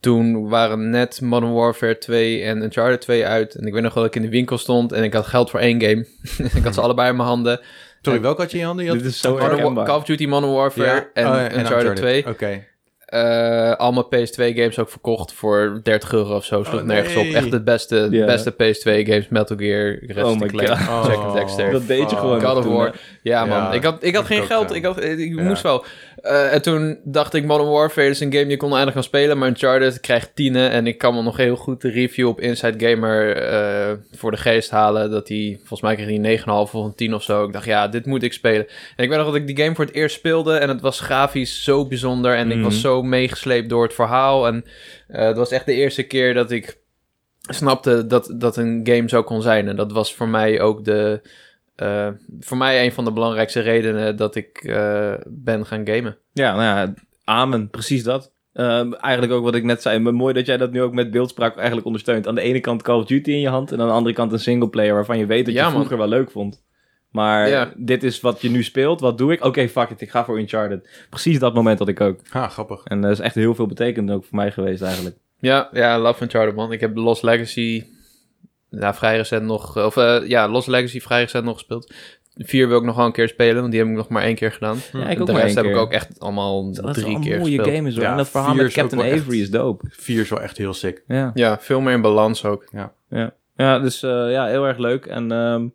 toen waren net Modern Warfare 2 en Uncharted 2 uit. En ik weet nog wel dat ik in de winkel stond en ik had geld voor één game. [laughs] ik had ze allebei in mijn handen.
Sorry, welke had je in je handen? Je had-
Dit is zo
Modern Wa-
herkenbaar.
Call of Duty Modern Warfare en,
Oh,
Uncharted, 2.
Oké.
Eh, al mijn PS2 games ook verkocht voor 30 euro of zo. Sloeg
Oh,
nergens
nee.
op. Echt de beste,
Ja.
beste PS2 games. Metal Gear, Rest
Oh
of the
my
Collection,
God.
Jack the Dexter.
Dat deed je
fuck.
gewoon.
God of
toen,
War. Ja, man.
Ja,
ik had, ik had
ik
geen
ook,
geld.
ja.
Ik, had, ik
Ja.
moest wel. Eh, en toen dacht ik, Modern Warfare is een game... die kon aardig gaan spelen, maar Uncharted krijgt tienen. En ik kan me nog heel goed de review op Inside Gamer eh, voor de geest halen. Dat die, volgens mij kreeg die 9,5 of een 10 of zo. Ik dacht, ja, dit moet ik spelen. En ik weet nog dat ik die game voor het eerst speelde... en het was grafisch zo bijzonder. En ik
Mhm.
was zo meegesleept door het verhaal. En eh, het was echt de eerste keer dat ik snapte dat, dat een game zo kon zijn. En dat was voor mij ook de... eh, voor mij een van de belangrijkste redenen dat ik eh, ben gaan gamen.
Ja, nou ja, amen, precies dat. Ehm, eigenlijk ook wat ik net zei. maar Mooi dat jij dat nu ook met beeldspraak eigenlijk ondersteunt. Aan de ene kant Call of Duty in je hand en aan de andere kant een singleplayer waarvan je weet dat
Ja,
je
man.
vroeger wel leuk vond. Maar
Ja.
dit is wat je nu speelt. Wat doe ik? Oké, fuck it. Ik ga voor Uncharted. Precies dat moment had ik ook.
Ha, Ah, grappig.
En dat is echt heel veel betekend ook voor mij geweest eigenlijk.
Ja, ja, Love Uncharted, man. Ik heb Lost Legacy ja, vrij recent nog... Of eh, ja, Lost Legacy vrij recent nog gespeeld. Vier wil ik nog wel een keer spelen, want die heb ik nog maar één keer gedaan.
Ja,
ik ook
de
maar één
rest Hm. heb ik
keer.
ook echt allemaal
Dat is wel
drie
een
keer
mooie
gespeeld.
game is hoor.
Ja,
en dat verhaal
vier
met
is ook
Captain
wel echt-
Avery is dope.
Vier is wel echt heel sick.
Ja.
Ja, veel meer in balans ook.
Ja, dus eh, ja, heel erg leuk. En ehm,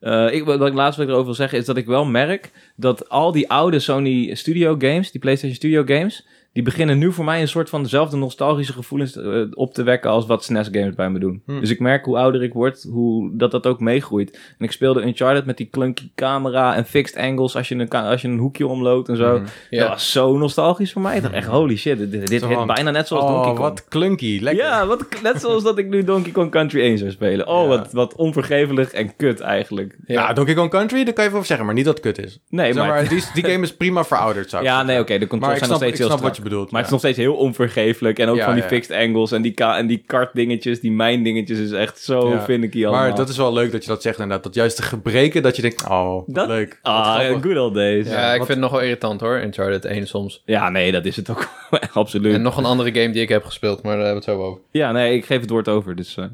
eh, ik, wat ik laatst wat ik erover wil zeggen is dat ik wel merk dat al die oude Sony Studio games, die PlayStation Studio games, die beginnen nu voor mij een soort van dezelfde nostalgische gevoelens eh, op te wekken als wat SNES games bij me doen.
Hmm.
Dus ik merk hoe ouder ik word, hoe dat dat ook meegroeit. En ik speelde Uncharted met die clunky camera en fixed angles als je een, ka- als je een hoekje omloopt en zo.
Mhm.
Ja.
Dat was zo nostalgisch voor mij. Ik dacht echt, holy shit, dit, dit
Zo
hit
van,
bijna net zoals Donkey
Oh,
Kong.
wat klunky. Lekker.
Ja, wat, net zoals dat ik nu Donkey Kong Country 1 zou spelen. Oh,
Ja.
wat, wat onvergevelig en kut eigenlijk.
Ja. Nou, Donkey Kong Country, daar kan je voor zeggen, maar niet dat het kut is.
Nee,
zeg
maar...
maar, die, die game is prima verouderd, zou ik
ja,
zeggen.
nee, oké, de
Maar
controls
ik
zijn nog
snap, ik
steeds heel
snap
strak.
wat je bedoelt.
Maar
ja.
het is nog steeds heel onvergeeflijk. En ook
Ja,
van die
ja.
fixed angles en die, ka- en die kart dingetjes, die mijn dingetjes is echt zo
Ja.
finicky allemaal.
Maar dat is wel leuk dat je dat zegt inderdaad. Dat juist de gebreken, dat je denkt, oh, wat
Dat-
leuk. Wat
Ah,
grappig.
good old days.
Ja,
Ja.
ik
wat-
vind het nog wel irritant hoor, Uncharted 1 soms.
nee, dat is het ook. [laughs] Absoluut.
En nog een andere game die ik heb gespeeld, maar daar hebben we het zo over.
Ja, nee, ik geef het woord over. Dus, eh.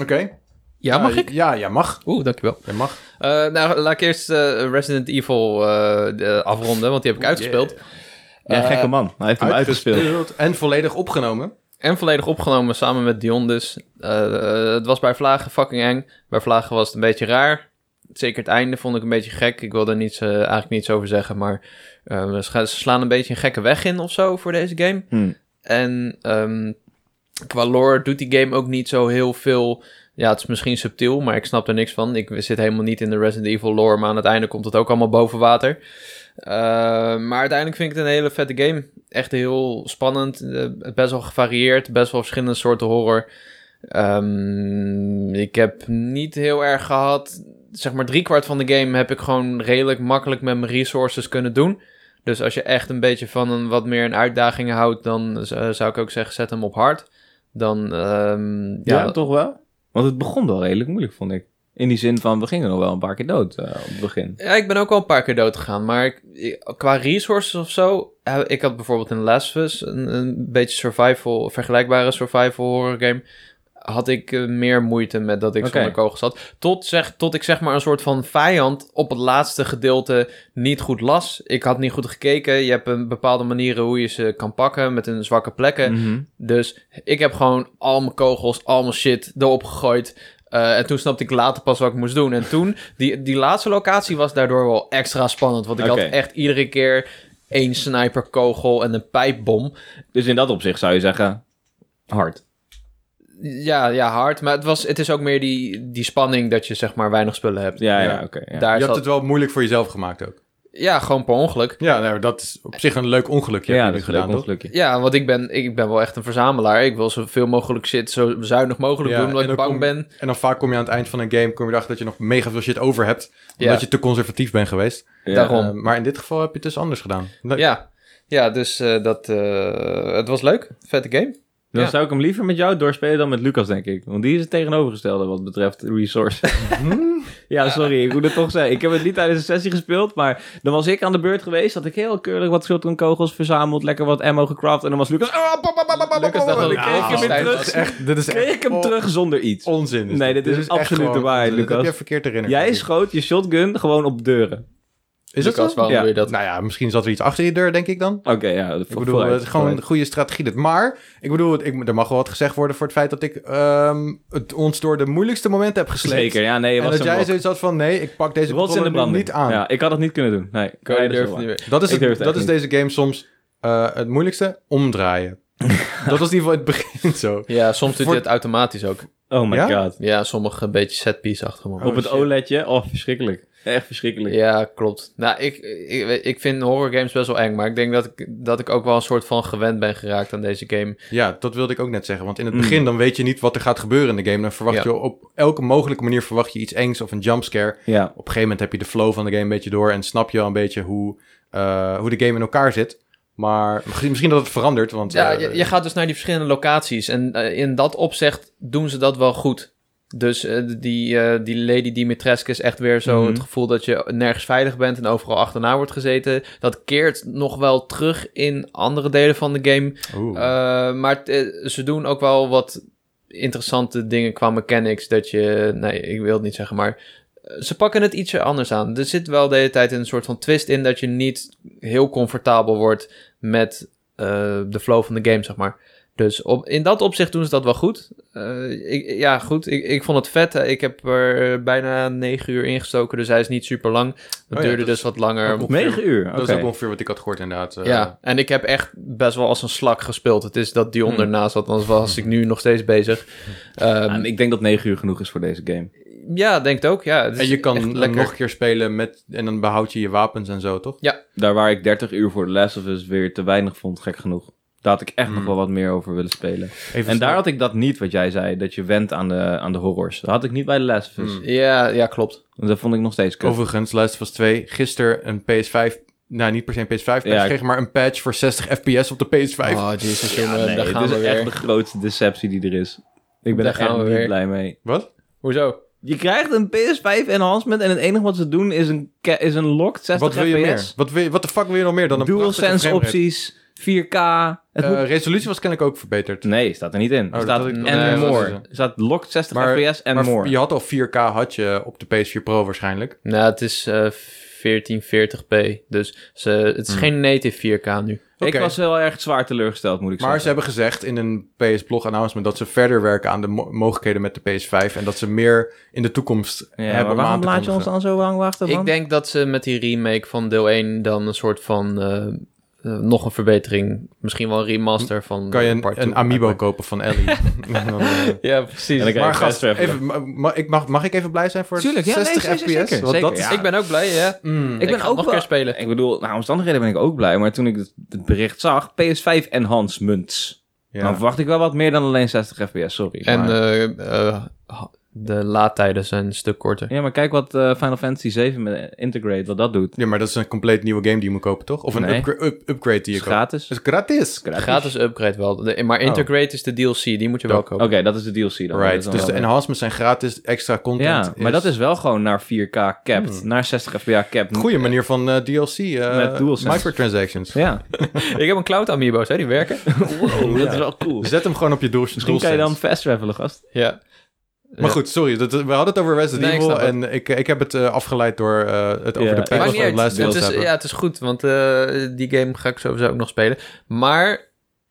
Oké.
Ja, mag
Ja,
ik?
Ja, ja, mag.
Oeh, dankjewel.
Je mag.
Eh, nou, laat ik eerst eh, Resident Evil eh, de- afronden, want die heb ik uitgespeeld.
Oh, Ja,
Eh,
gekke man. Hij heeft hem uitgespeeld.
[laughs] En volledig opgenomen.
En volledig opgenomen samen met Dion dus. Eh, eh, het was bij Vlagen fucking eng. Bij Vlagen was het een beetje raar. Zeker het einde vond ik een beetje gek. Ik wil daar niets, eh, eigenlijk niets over zeggen, maar eh, ze, gaan- ze slaan een beetje een gekke weg in of zo voor deze game.
Hm.
En ehm, qua lore doet die game ook niet zo heel veel. Ja, het is misschien subtiel, maar ik snap er niks van. Ik zit helemaal niet in de Resident Evil lore, maar aan het einde komt het ook allemaal boven water. Eh, maar uiteindelijk vind ik het een hele vette game. Echt heel spannend, eh, best wel gevarieerd, best wel verschillende soorten horror. Ehm, ik heb niet heel erg gehad, zeg maar driekwart van de game heb ik gewoon redelijk makkelijk met mijn resources kunnen doen. Dus als je echt een beetje van een wat meer een uitdaging houdt, dan eh, zou ik ook zeggen zet hem op hard. Dan, ehm,
Ja,
ja,
toch wel? Want het begon wel redelijk moeilijk, vond ik. In die zin van, we gingen nog wel een paar keer dood eh, op het begin.
Ja, ik ben ook al een paar keer dood gegaan, maar ik- ik- qua resources of zo, eh, ik had bijvoorbeeld in Last of Us een, een beetje survival, vergelijkbare survival horror game, had ik eh, meer moeite met dat ik
Oké.
zonder kogels had. Tot, zeg, tot ik zeg maar een soort van vijand op het laatste gedeelte niet goed las. Ik had niet goed gekeken, je hebt een bepaalde manieren hoe je ze kan pakken met hun zwakke
Eh,
plekken.
Mhm.
Dus ik heb gewoon al mijn kogels, al mijn shit erop gegooid. Eh, en toen snapte ik later pas wat ik moest doen. En toen, die, die laatste locatie was daardoor wel extra spannend. Want ik
Oké.
had echt iedere keer één sniperkogel en een pijpbom.
Dus in dat opzicht zou je zeggen, hard.
Ja, ja, hard. Maar het, was, het is ook meer die, die spanning dat je zeg maar weinig spullen hebt.
Ja, ja,
Ja.
oké. ja.
Daar
Je
zat-
hebt het wel moeilijk voor jezelf gemaakt ook.
Ja, gewoon per ongeluk.
Ja, nou, dat is op zich een leuk ongelukje.
Ja,
heb je
dat is
nu
een leuk
gedaan, toch?
ongelukje.
Ja, want ik ben, ik ben wel echt een verzamelaar. Ik wil zoveel mogelijk shit zo zuinig mogelijk
Ja,
doen. Omdat
en
ik
dan
bang
kom-
ben.
En dan vaak kom je aan het eind van een game, kom je erachter dat je nog mega veel shit over hebt.
Ja.
Omdat je te conservatief bent geweest.
Daarom.
Eh, maar in dit geval heb je het dus anders gedaan. Leuk.
Ja, ja dus eh, dat, eh, het was leuk. Vette game.
Dan
Ja.
zou ik hem liever met jou doorspelen dan met Lucas, denk ik. Want die is het tegenovergestelde wat betreft resource.
[laughs]
ja, sorry, ik moet het toch zeggen. Ik heb het niet tijdens de sessie gespeeld, maar dan was ik aan de beurt geweest. Had ik heel keurig wat shotgun kogels verzameld, lekker wat ammo gecraft. En dan was Lucas... "Ah, pa, pa, pa, pa, pa,
Lucas dacht
pa."
dat ik
En kreeg ik hem weer
afgeleid
terug.
Dat is echt, dit is
Kreeg
echt
ik hem
on-
terug zonder iets.
Onzin.
Nee, dit is
echt
absoluut de
gewoon
waarheid,
onzin. Dat
Lucas.
heb je verkeerd herinnerd.
Jij schoot je shotgun gewoon op deuren.
Is dat
Lucas,
zo?
waarom
Ja.
doe je dat?
Nou ja, misschien zat er iets achter je deur, denk ik dan.
Oké, ja.
Ik bedoel, het is gewoon een goede strategie. Dit. Maar, ik bedoel, ik, er mag wel wat gezegd worden voor het feit dat ik ehm, het ons door de moeilijkste momenten heb gesleept.
Zeker, ja, nee, je
En
was
dat
een
jij
blok.
zoiets had van, nee, ik pak deze
Rots in de
controller nu
branding.
niet aan.
Ja, ik had dat niet kunnen doen. Nee,
Cody
Nee, dat is
durft
wel
niet
waar.
meer.
Dat is,
Ik durf
het,
het
dat is
echt
deze game soms eh, het moeilijkste,
[laughs]
omdraaien. dat was in ieder geval in het begin zo.
Ja, soms doet
Voor-
hij het automatisch ook.
Oh my
Ja?
god.
Ja, sommige een beetje setpiece achter me.
Op het
shit.
OLEDje, oh, verschrikkelijk. Echt verschrikkelijk.
Ja, klopt. Nou, ik, ik, ik vind horror games best wel eng, maar ik denk dat ik, dat ik ook wel een soort van gewend ben geraakt aan deze game.
Ja, dat wilde ik ook net zeggen. Want in het
Mm.
begin dan weet je niet wat er gaat gebeuren in de game. Dan verwacht
Ja.
je op elke mogelijke manier verwacht je iets engs of een jumpscare. Op
Ja.
een gegeven moment heb je de flow van de game een beetje door en snap je al een beetje hoe, eh, hoe de game in elkaar zit. Maar misschien, misschien dat het verandert, want
Ja,
eh,
je, je gaat dus naar die verschillende locaties en eh, in dat opzicht doen ze dat wel goed. Dus eh, die, eh, die Lady Dimitrescu is echt weer zo
Mhm.
het gevoel dat je nergens veilig bent en overal achterna wordt gezeten. Dat keert nog wel terug in andere delen van de game.
oeh.
Eh, maar t- eh, ze doen ook wel wat interessante dingen qua mechanics. Dat je, nee, ik wil het niet zeggen, maar eh, ze pakken het ietsje anders aan. Er zit wel de hele tijd een soort van twist in dat je niet heel comfortabel wordt met eh, de flow van de game, zeg maar. Dus op, in dat opzicht doen ze dat wel goed. Eh, ik, ja, goed. Ik, ik vond het vet. Eh, Ik heb er bijna negen uur ingestoken, dus hij is niet super lang. Het
Oh ja,
duurde
dat
dus wat langer.
ook
Negen uur,
Dat is
oké.
ook ongeveer wat ik had gehoord inderdaad. eh.
Ja, en ik heb echt best wel als een slak gespeeld. Het is dat
Hmm.
Dion ernaast zat, anders was ik
[laughs]
nu nog steeds bezig. Ehm,
En ik denk dat 9 uur genoeg is voor deze game.
ja, denk het ook. Ja, Het is
En je kan
echt
hem
lekker.
nog een keer spelen met, en dan behoud je je wapens en zo, toch?
Daar waar ik 30 uur voor The Last of Us weer te weinig vond, gek genoeg. Daar had ik echt nog
Hmm.
wel wat meer over willen spelen.
Even
En
snel.
daar had ik dat niet, wat jij zei, dat je went aan de, aan de horrors. Dat had ik niet bij The Last of Us.
Hmm.
Ja, ja, klopt.
Want Dat vond ik nog steeds kut.
Overigens, Last of Us 2, gisteren een PS5, nou niet per se een PS5 patch
Ja, ik-
kreeg, maar een patch voor 60 fps op de PS5.
Oh, jezus, jongen,
Ja, nee,
daar
dit
gaan
is
we weer.
echt de grootste deceptie die er is. Ik ben
Daar
er
gaan
echt
we
niet
weer.
blij mee.
Wat?
Hoezo?
Je krijgt een PS5 enhancement en het enige wat ze doen is een, ca- is een locked 60
Wat wil je meer?
fps.
Wat, wil je, wat de fuck wil je nog meer dan een prachtige
DualSense
framerate?
opties, 4K. Het
Eh,
moet-
resolutie was kennelijk ook verbeterd.
Nee, staat er niet in.
Oh, dat
er staat
had ik-
en
nee, dat
more.
is het.
Er staat locked 60
Maar-
fps en
maar
more.
je had al 4K had je op de PS4 Pro waarschijnlijk.
Nou, het is eh 1440p. Dus ze, het is
Hmm.
geen native 4K nu.
Oké.
Ik was heel erg zwaar teleurgesteld, moet ik
Maar ze
zeggen.
hebben gezegd in een PS-blog announcement dat ze verder werken aan de mo- mogelijkheden met de PS5 en dat ze meer in de toekomst
Ja,
hebben.
maar
om aan
waarom
te
laat je ons
kondigen.
dan zo lang wachten? man?
Ik denk dat ze met die remake van deel 1 dan een soort van... eh, eh, nog een verbetering. Misschien wel een remaster van...
Kan je
eh,
een,
part
een
two.
amiibo kopen van
[laughs]
Ellie? En dan, eh,
Ja, precies.
En dan krijg
maar
je
gast,
fast travel.
even, ma- ma- ik mag, mag ik even blij zijn voor
Tuurlijk, ja, nee,
60
zeker,
fps?
zeker,
Want
zeker,
dat
ja.
is-
Ik ben ook blij, ja.
Mm.
Ik, ben ook nog
wel-
een keer spelen.
Ik bedoel, nou, omstandigheden ben ik ook blij. Maar toen ik het, het bericht zag, PS5 enhancements.
Ja.
Dan verwacht ik wel wat meer dan alleen 60 fps, sorry.
En
maar,
eh, eh, ha- de laadtijden zijn een stuk korter.
ja, maar kijk wat eh, Final Fantasy 7 met Integrate, wat dat doet.
Ja, maar dat is een compleet nieuwe game die je moet kopen, toch? Of een
Nee.
upgra- up- upgrade die
Is
je koopt.
gratis.
Het is gratis.
Gratis upgrade wel. De- maar Integrate is de DLC, die moet je wel
Oké.
kopen.
Oké, dat is de DLC dan. Dat is
Right,
dan
dus de
wel-
enhancements zijn gratis, extra content.
Ja, maar dat is wel gewoon naar 4K capped. Naar 60 fps capped.
een goede manier van eh, DLC. eh,
Met DualSense.
Microtransactions.
Ja.
Ik heb een cloud amiibo's, hè, die werken.
[laughs] wow, dat is wel cool.
Zet hem gewoon op je doel.
Dus Misschien kan je dan fast travelen, gast.
[laughs] ja.
Maar goed, sorry. Dat, we hadden het over Resident
Nee, ik
Evil.
snap het.
en ik, ik heb het eh, afgeleid door eh, het over de
Ja, ik was
patch
Maakt niet
van
uit.
Last
Het
Deals
is,
hebben.
ja, het is goed, want eh, die game ga ik sowieso ook nog spelen. Maar,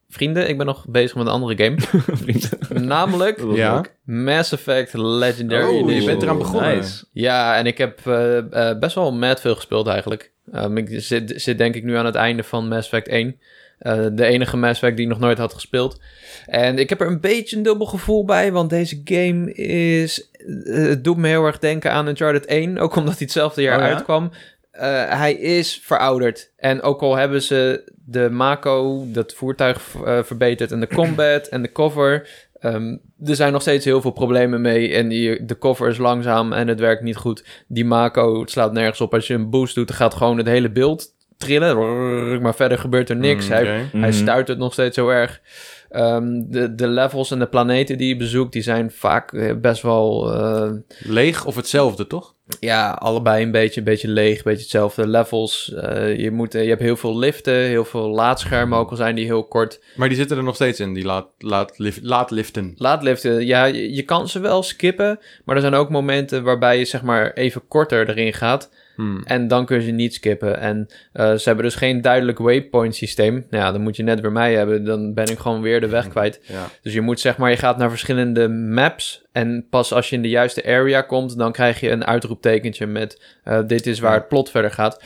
vrienden, ik ben nog bezig met een andere [laughs] game.
[laughs] Vriend.
namelijk
Ja.
Mass Effect Legendary
Oh, je
Edition.
bent eraan begonnen.
Nice. Ah,
Ja, en ik heb eh, eh, best wel mad veel gespeeld eigenlijk. Ehm, ik zit, zit denk ik nu aan het einde van Mass Effect 1. Eh, de enige Mass Effect die ik nog nooit had gespeeld. En ik heb er een beetje een dubbel gevoel bij, want deze game is... eh, het doet me heel erg denken aan Uncharted 1, ook omdat hij hetzelfde jaar
Oh ja?
uitkwam. Eh, hij is verouderd. En ook al hebben ze de Mako, dat voertuig, eh, verbeterd... en de combat en de cover... Ehm, er zijn nog steeds heel veel problemen mee. En die, de cover is langzaam en het werkt niet goed. Die Mako het slaat nergens op. Als je een boost doet, dan gaat gewoon het hele beeld trillen. Rrrr, Maar verder gebeurt er niks.
Mm,
Hij-
oké.
hij
Mhm.
stuit het nog steeds heel erg. Ehm, de, de levels en de planeten die je bezoekt, die zijn vaak eh, best wel... eh,
Leeg of hetzelfde, toch?
ja, allebei een beetje, een beetje leeg, een beetje hetzelfde. Levels, eh, je, moet, eh, je hebt heel veel liften, heel veel laadschermen ook al zijn die heel kort.
Maar die zitten er nog steeds in, die laat, laat, lif- laat liften.
Laadliften, ja, je, je kan ze wel skippen, maar er zijn ook momenten waarbij je zeg maar even korter erin gaat
Hmm.
en dan kun je ze niet skippen. En eh, ze hebben dus geen duidelijk waypoint systeem. Nou ja, dan moet je net weer mij hebben, dan ben ik gewoon weer de weg kwijt.
Ja.
Dus je moet zeg maar, je gaat naar verschillende maps en pas als je in de juiste area komt, dan krijg je een uitroeptekentje met eh, dit is waar het plot verder gaat.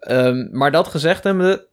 Ehm, maar dat gezegd hebbende,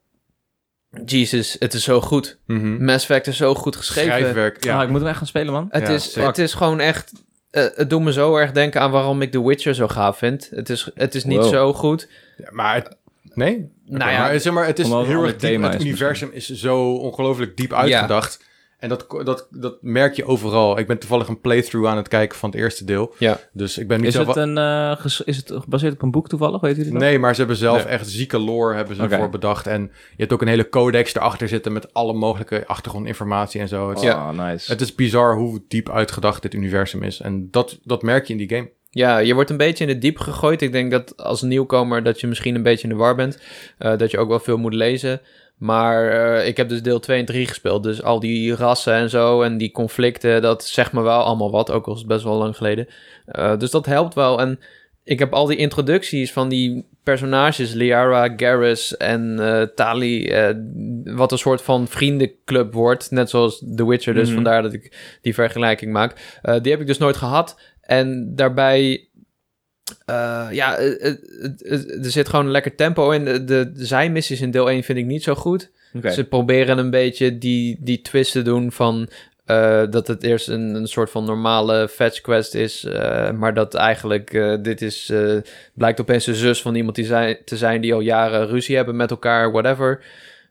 Jesus, het is zo goed.
Mhm.
Mass Effect is zo goed geschreven.
Schrijfwerk,
Ja.
ja.
ik moet hem echt gaan spelen, man.
Het,
Ja,
is,
zeker.
het is gewoon echt. eh, het doet me zo erg denken aan waarom ik The Witcher zo gaaf vind. Het is, het is niet
Wow.
zo goed.
Ja, maar het- nee. Oké,
nou ja,
maar, eh, zeg maar, het is
omdat het een
heel erg
ander
diep.
thema
Het
is
universum is zo ongelooflijk diep uitgedacht. En dat, dat, dat merk je overal. Ik ben toevallig een playthrough aan het kijken van het eerste deel.
Ja.
Dus ik ben niet
Is
zelf...
het, een, eh, ges- is het gebaseerd op een boek toevallig? Weet jullie dat?
Nee, maar ze hebben zelf
Nee.
echt zieke lore hebben ze
Oké.
ervoor bedacht. En je hebt ook een hele codex erachter zitten met alle mogelijke achtergrondinformatie en zo. Het,
Oh,
is-
Ja.
nice.
het is bizar hoe diep uitgedacht dit universum is. En dat, dat merk je in die game.
ja, je wordt een beetje in het diep gegooid. Ik denk dat als nieuwkomer dat je misschien een beetje in de war bent. Eh, dat je ook wel veel moet lezen. Maar eh, ik heb dus deel 2 en 3 gespeeld. Dus al die rassen en zo en die conflicten, dat zegt me wel allemaal wat. Ook al is het best wel lang geleden. Eh, dus dat helpt wel. En ik heb al die introducties van die personages, Liara, Garrus en eh, Tali, eh, wat een soort van vriendenclub wordt, net zoals The Witcher, dus
Mhm.
vandaar dat ik die vergelijking maak. Eh, die heb ik dus nooit gehad en daarbij, eh, ja, eh, eh, eh, eh, er zit gewoon een lekker tempo in. De, de, de zijmissies in deel 1 vind ik niet zo goed.
Oké.
Ze proberen een beetje die, die twist te doen van eh, dat het eerst een, een soort van normale fetch quest is, eh, maar dat eigenlijk eh, dit is, eh, blijkt opeens de zus van iemand die zijn, te zijn die al jaren ruzie hebben met elkaar, whatever.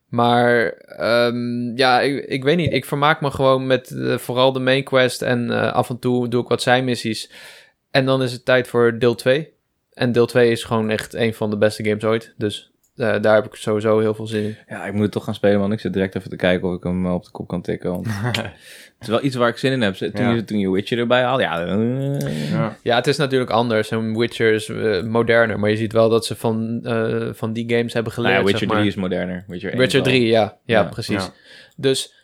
Maar ehm, ja, ik, ik weet niet, ik vermaak me gewoon met eh, vooral de main quest en eh, af en toe doe ik wat zijmissies. En dan is het tijd voor deel 2. En deel 2 is gewoon echt een van de beste games ooit, dus eh, daar heb ik sowieso heel veel zin in.
Ja, ik moet het toch gaan spelen, man. Ik zit direct even te kijken of ik hem eh, op de kop kan tikken. [laughs] Want het is wel iets waar ik zin in heb. Toen,
Ja.
je, toen je Witcher erbij haalde, ja... eh,
Ja.
Ja, het is natuurlijk anders. En Witcher is eh, moderner, maar je ziet wel dat ze van, eh, van die games hebben
Nou
geleerd.
ja, Witcher 3
zeg maar.
is moderner. Witcher, 1
Witcher
is al-
3, ja. Ja,
Ja,
precies.
ja.
Dus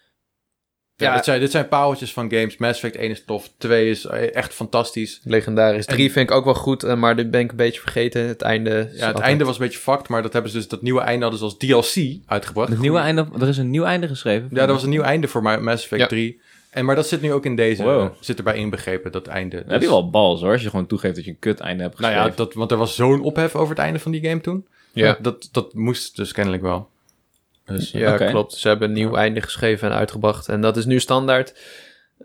Ja,
Ja.
dit zijn, dit zijn pareltjes van games. Mass Effect 1 is tof, 2 is eh, echt fantastisch.
legendarisch.
En-
3 vind ik ook wel goed, eh, maar dit ben ik een beetje vergeten. Het einde. is
Ja, het
altijd-
einde was een beetje fucked, maar dat hebben ze dus dat nieuwe einde hadden ze als DLC uitgebracht.
Het nieuwe einde, er is een nieuw einde geschreven.
Ja, dat was een nieuw einde voor Ma- Mass Effect
Ja.
3. En, maar dat zit nu ook in deze, eh,
Wow.
zit erbij inbegrepen, dat einde.
Dan heb je
Dus-
wel bals, hoor. Als je gewoon toegeeft dat je een kut einde hebt
Nou
geschreven.
ja, dat, want er was zo'n ophef over het einde van die game toen.
Ja,
Dat, dat moest dus kennelijk wel.
[laughs]
Dus, eh,
ja
Oké.
klopt. Ze hebben een nieuw einde geschreven en uitgebracht. En dat is nu standaard.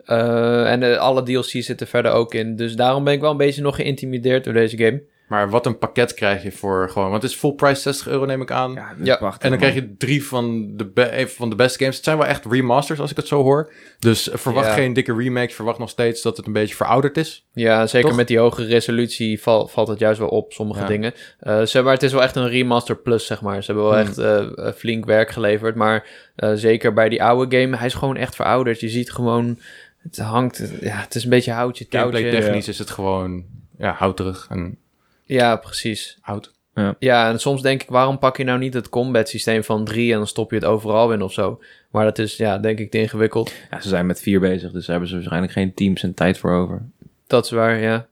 Eh, en eh, alle DLC's zitten verder ook in. Dus daarom ben ik wel een beetje nog geïntimideerd door deze game.
Maar wat een pakket krijg je voor gewoon... Want het is full price 60 euro, neem ik aan.
Ja, dus dat is
Ja,
prachtig,
en dan
man.
krijg je drie van de, be- eh, van de beste games. Het zijn wel echt remasters, als ik het zo hoor. Dus eh, verwacht
Ja.
geen dikke remakes. Verwacht nog steeds dat het een beetje verouderd is.
Ja, zeker
Toch?
met die hoge resolutie val- valt het juist wel op, sommige
Ja.
dingen. Eh, ze, maar het is wel echt een remaster plus, zeg maar. Ze hebben wel
Hmm.
echt eh, eh, flink werk geleverd. Maar eh, zeker bij die oude game, hij is gewoon echt verouderd. Je ziet gewoon, het hangt, ja, het is een beetje houtje,
Gameplay
touwtje.
technisch is het gewoon ja, houterig en
Ja, precies.
oud.
Ja, en soms denk ik, waarom pak je nou niet het combat systeem van 3 en dan stop je het overal in of zo? Maar dat is, ja, denk ik te ingewikkeld.
Ja, ze zijn met vier bezig, dus daar hebben ze waarschijnlijk geen teams en tijd voor over.
Dat is waar, ja.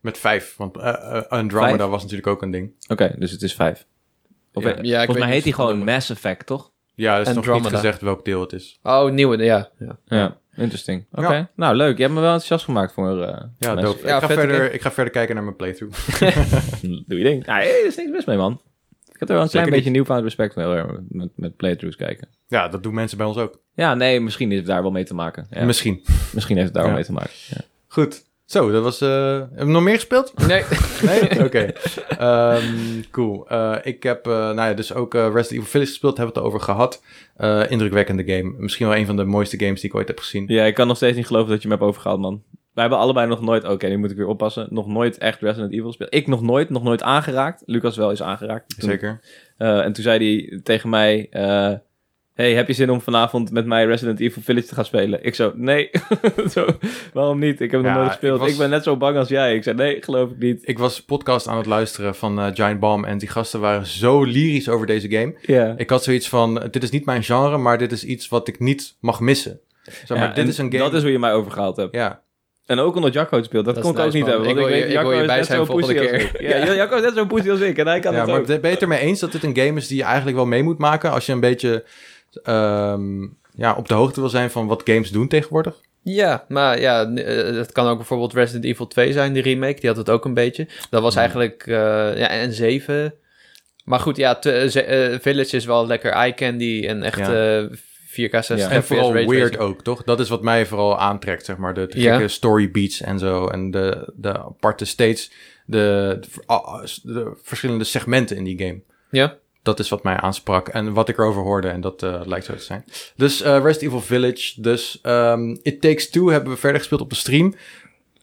Met vijf, want eh, eh, Andromeda
Vijf?
was natuurlijk ook een ding.
Oké, dus het is vijf. Of,
Ja.
eh,
Ja,
ik
volgens
weet
mij
niet
heet hij
of-
gewoon Mass Effect, toch?
Ja, dat is nog niet
Andromeda.
gezegd welk deel het is.
Oh, nieuwe, ja. ja.
Ja, interesting. Oké,
Ja.
nou leuk. Je hebt me wel enthousiast gemaakt voor... eh
Ja,
Mass
dope.
Effect.
Ja,
ik, ga
vette
verder,
game.
ik ga verder kijken naar mijn playthrough. [laughs]
Hm, Doe je ding. Nee, er is niks mis mee, man. Ik heb er wel een
Zeker
klein
niet.
beetje nieuwfout respect voor eh, met, met playthroughs kijken.
ja, dat doen mensen bij ons ook.
Ja, nee, misschien heeft het daar wel mee te maken. Ja,
Misschien.
misschien heeft het daar wel
Ja.
mee te maken. Ja.
Goed. Zo, dat was... eh hebben we nog meer gespeeld?
Nee,
Nee? Oké. Ehm, cool. Eh, ik heb eh, nou ja, dus ook eh, Resident Evil Village gespeeld. Hebben we het over gehad. Eh, indrukwekkende game. Misschien wel een van de mooiste games die ik ooit heb gezien.
ja, ik kan nog steeds niet geloven dat je me hebt overgehaald, man. Wij hebben allebei nog nooit... Oké, nu moet ik weer oppassen. Nog nooit echt Resident Evil gespeeld. Ik nog nooit, nog nooit aangeraakt. Lucas wel is aangeraakt. Toen-
Zeker.
Eh, en toen zei hij tegen mij... eh, hey, heb je zin om vanavond met mij Resident Evil Village te gaan spelen? Ik zo, nee. [laughs] zo, waarom niet? Ik heb nog
Ja,
nooit gespeeld.
ik
Ik,
was-
ben net zo bang als jij. Ik zei, nee, geloof ik niet.
Ik was podcast aan het luisteren van eh, Giant Bomb. En die gasten waren zo lyrisch over deze game.
Ja.
Ik had zoiets van, dit is niet mijn genre, maar dit is iets wat ik niet mag missen. Zeg maar,
Ja,
dit
en
is een game...
Dat is hoe je mij overgehaald hebt.
Ja,
En ook omdat Jacco het speelt. Dat,
Dat is
kon ik ook
nice,
niet
man.
hebben. Want
Ik
ik,
wil je-
weet,
ik
Jacco
wil je
is
bij
net
zijn
zo'n
volgende
poesie als
keer.
ik. Ja, Jacco is net zo'n poesie als ik. En hij kan
ja
het
maar
ook.
ik ben het er mee eens dat dit een game is die je eigenlijk wel mee moet maken... als je een beetje ehm, ja, op de hoogte wil zijn van wat games doen tegenwoordig.
Ja, maar ja, n- eh, het kan ook bijvoorbeeld Resident Evil 2 zijn, die remake. Die had het ook een beetje. Dat was eigenlijk eh, ja, en 7. Maar goed, ja, t- eh, ze- eh, Village is wel lekker eye candy en echt
Ja.
eh, 4K 60
Ja.
FPS
en vooral
raytracing.
weird ook, toch? Dat is wat mij vooral aantrekt, zeg maar. De, de
Ja.
gekke story beats en zo. En de, de aparte states, de, de ver- ah, de verschillende segmenten in die game.
Ja.
Dat is wat mij aansprak en wat ik erover hoorde. En dat eh, lijkt zo te zijn. Dus eh Resident Evil Village. Dus ehm, It Takes Two hebben we verder gespeeld op de stream.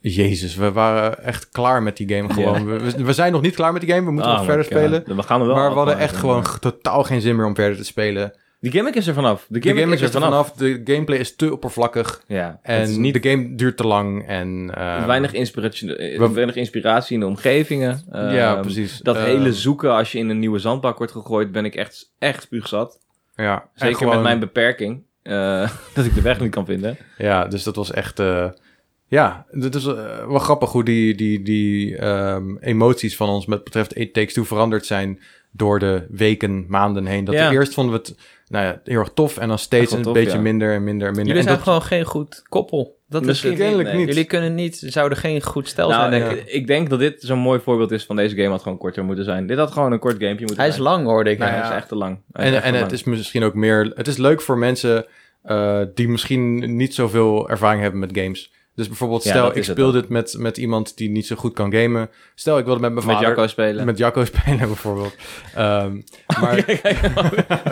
Jezus, we waren echt klaar met die game gewoon. We- We, we zijn nog niet klaar met die game. We moeten
Oh
nog
my
verder
God.
spelen.
We gaan er wel
Maar we hadden
afmaken.
echt gewoon g- totaal geen zin meer om verder te spelen.
Die gimmick is er vanaf. De
De
gimmick,
game is er
vanaf.
vanaf. De gameplay is te oppervlakkig.
Ja. Het is
En niet, de game duurt te lang. En, eh,
Weinig, inspiratie, eh,
we-
weinig inspiratie in de omgevingen.
Ja,
Ehm,
precies.
Dat
Eh,
hele zoeken als je in een nieuwe zandbak wordt gegooid, ben ik echt, echt spuugzat.
Ja, en
Zeker
gewoon-
[laughs] met mijn beperking. eh, dat ik de weg niet kan vinden.
Ja, dus dat was echt... eh, Ja, het is eh, wel grappig hoe die, die, die ehm, emoties van ons met betreft It Takes Two veranderd zijn door de weken, maanden heen. Dat
Ja.
we eerst vonden we het nou ja, heel erg tof en dan steeds
Echt wel
een
tof,
beetje
ja.
minder en minder en minder.
Jullie
en
zijn
dat-
gewoon geen goed koppel. Dat
Misschien
is het.
kennelijk
nee.
niet.
Jullie kunnen niet, zouden geen goed stel zijn,
Nou,
denk
ja.
ik.
ik, ik denk dat dit zo'n mooi voorbeeld is van deze game had gewoon korter moeten zijn. Dit had gewoon een kort gamepje moeten
Hij is
zijn.
lang, hoorde ik.
Nou
ja.
Hij is echt te lang. Hij is
En,
echt
en
te
het
lang.
is misschien ook meer. Het is leuk voor mensen eh, die misschien niet zoveel ervaring hebben met games. Dus bijvoorbeeld,
Ja,
stel,
dat
ik
is het
speel
dan.
dit met, met iemand die niet zo goed kan gamen. Stel, ik wilde met mijn
met
vader...
Jacco spelen. [laughs]
Met Jacco [laughs] spelen, bijvoorbeeld. Ehm, maar...
Oh, Die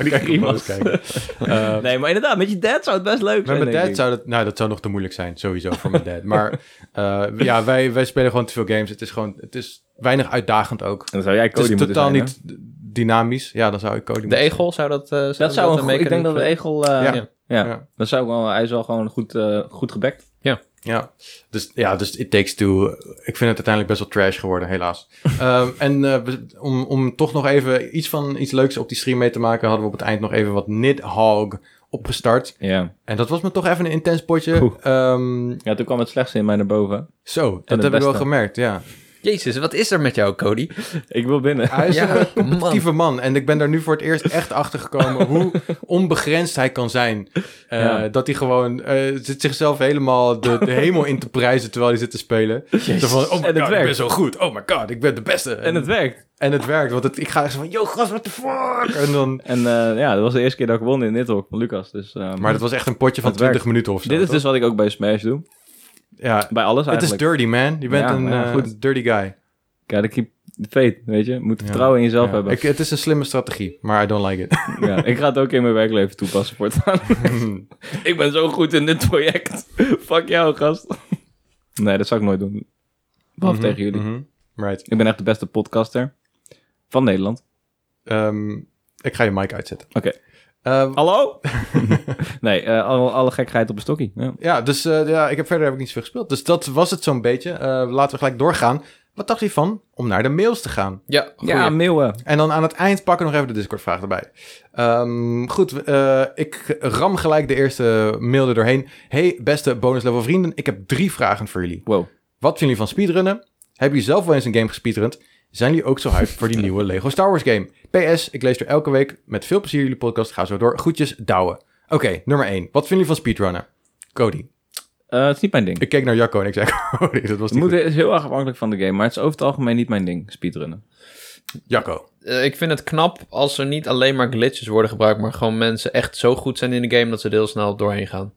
Kijk,
grimas. [laughs]
kijken. Eh,
Nee, maar inderdaad, met je dad zou het best leuk
Met
zijn.
mijn
denk
dad
ik.
zou dat... Nou, dat zou nog te moeilijk zijn, sowieso, voor mijn dad.
[laughs]
Maar eh, ja, wij, wij spelen gewoon te veel games. Het is gewoon... Het is weinig uitdagend ook.
Dan zou jij
Het
Cody
is
moeten
totaal
zijn, hè?
niet dynamisch. Ja, dan zou ik Cody
De
moeten
egel zou dat... eh,
Dat zou een
een
goe- Ik denk dat de
mechanisme-
egel... eh,
Ja.
ja.
Ja.
Dat zou wel, hij is wel gewoon goed, eh, goed gebekt.
Ja, dus, ja, dus It Takes Two. Ik vind het uiteindelijk best wel trash geworden,
[laughs]
helaas. Ehm, en eh, we- om, om toch nog even iets van iets leuks op die stream mee te maken, hadden we op het eind nog even wat Nidhogg opgestart.
Ja.
En dat was me toch even een intens potje.
Poeh.
Ehm,
ja, toen kwam het slechtste in mij naar boven.
zo, dat
het
heb ik wel
beste.
gemerkt, ja.
Jezus, wat is er met jou, Cody?
Ik wil binnen.
Hij is eh,
Ja,
een
man.
actieve man. En ik ben daar nu voor het eerst echt achter gekomen
[laughs]
hoe onbegrensd hij kan zijn. Eh,
Ja.
Dat hij gewoon eh, zit zichzelf helemaal de,
[laughs]
de hemel in te prijzen terwijl hij zit te spelen. Zo van, oh
En
my
het
god, ik
werkt.
ben zo goed. Oh my god, ik ben de beste.
En het werkt.
En het werkt, want het, ik ga echt zo van, yo gast, what the fuck? En dan,
En eh, ja, dat was de eerste keer dat ik won in dit hok van Lucas. Dus, eh,
maar dat was echt een potje van
Het werkt.
20 minuten of zo.
dit is
toch?
dus wat ik ook bij Smash doe.
Ja,
Bij alles
het is
eigenlijk.
dirty, man. Je bent
Ja,
een
maar ja,
eh,
goed.
dirty guy.
Kijk, ik keep the faith, weet je. Je Moet
Ja.
vertrouwen in jezelf
Ja.
hebben.
Ik, het is een slimme strategie, maar I don't like it.
Ja, ik ga het ook in mijn werkleven toepassen [laughs] voortaan.
Ik ben zo goed in dit project.
[laughs] Fuck jou, gast. Nee, dat zou ik nooit doen. Behalve tegen jullie.
Mhm, Right.
Ik ben echt de beste podcaster van Nederland.
Ehm, ik ga je mic uitzetten.
Oké.
Ehm,
Hallo? [laughs] nee, eh, alle, alle gekheid op een stokkie. Ja.
ja, dus eh, ja, ik heb, verder heb ik niet zoveel gespeeld. Dus dat was het zo'n beetje. Eh, laten we gelijk doorgaan. Wat dacht je van om naar de mails te gaan?
Ja,
Ja,
goeie.
meeuwen.
En dan aan het eind pakken we nog even de Discord-vraag erbij. Ehm, goed, eh, ik ram gelijk de eerste mail er doorheen. Hey, beste bonuslevel vrienden, ik heb drie vragen voor jullie.
Wow.
Wat vinden jullie van speedrunnen? Hebben jullie zelf wel eens een game gespeedrund? Zijn jullie ook zo hyped voor die nieuwe Lego Star Wars game? PS, ik lees er elke week met veel plezier jullie podcast. Ga zo door. Groetjes, douwen. Oké, nummer 1. Wat vinden jullie van speedrunnen? Cody.
Eh, het is niet mijn ding.
Ik keek naar Jacco en ik zei [laughs] Cody, dat was
Het
niet
moet,
goed.
het is heel erg afhankelijk van de game, maar het is over het algemeen niet mijn ding, speedrunnen.
Jacco.
Eh, ik vind het knap als er niet alleen maar glitches worden gebruikt, maar gewoon mensen echt zo goed zijn in de game dat ze er heel snel doorheen gaan.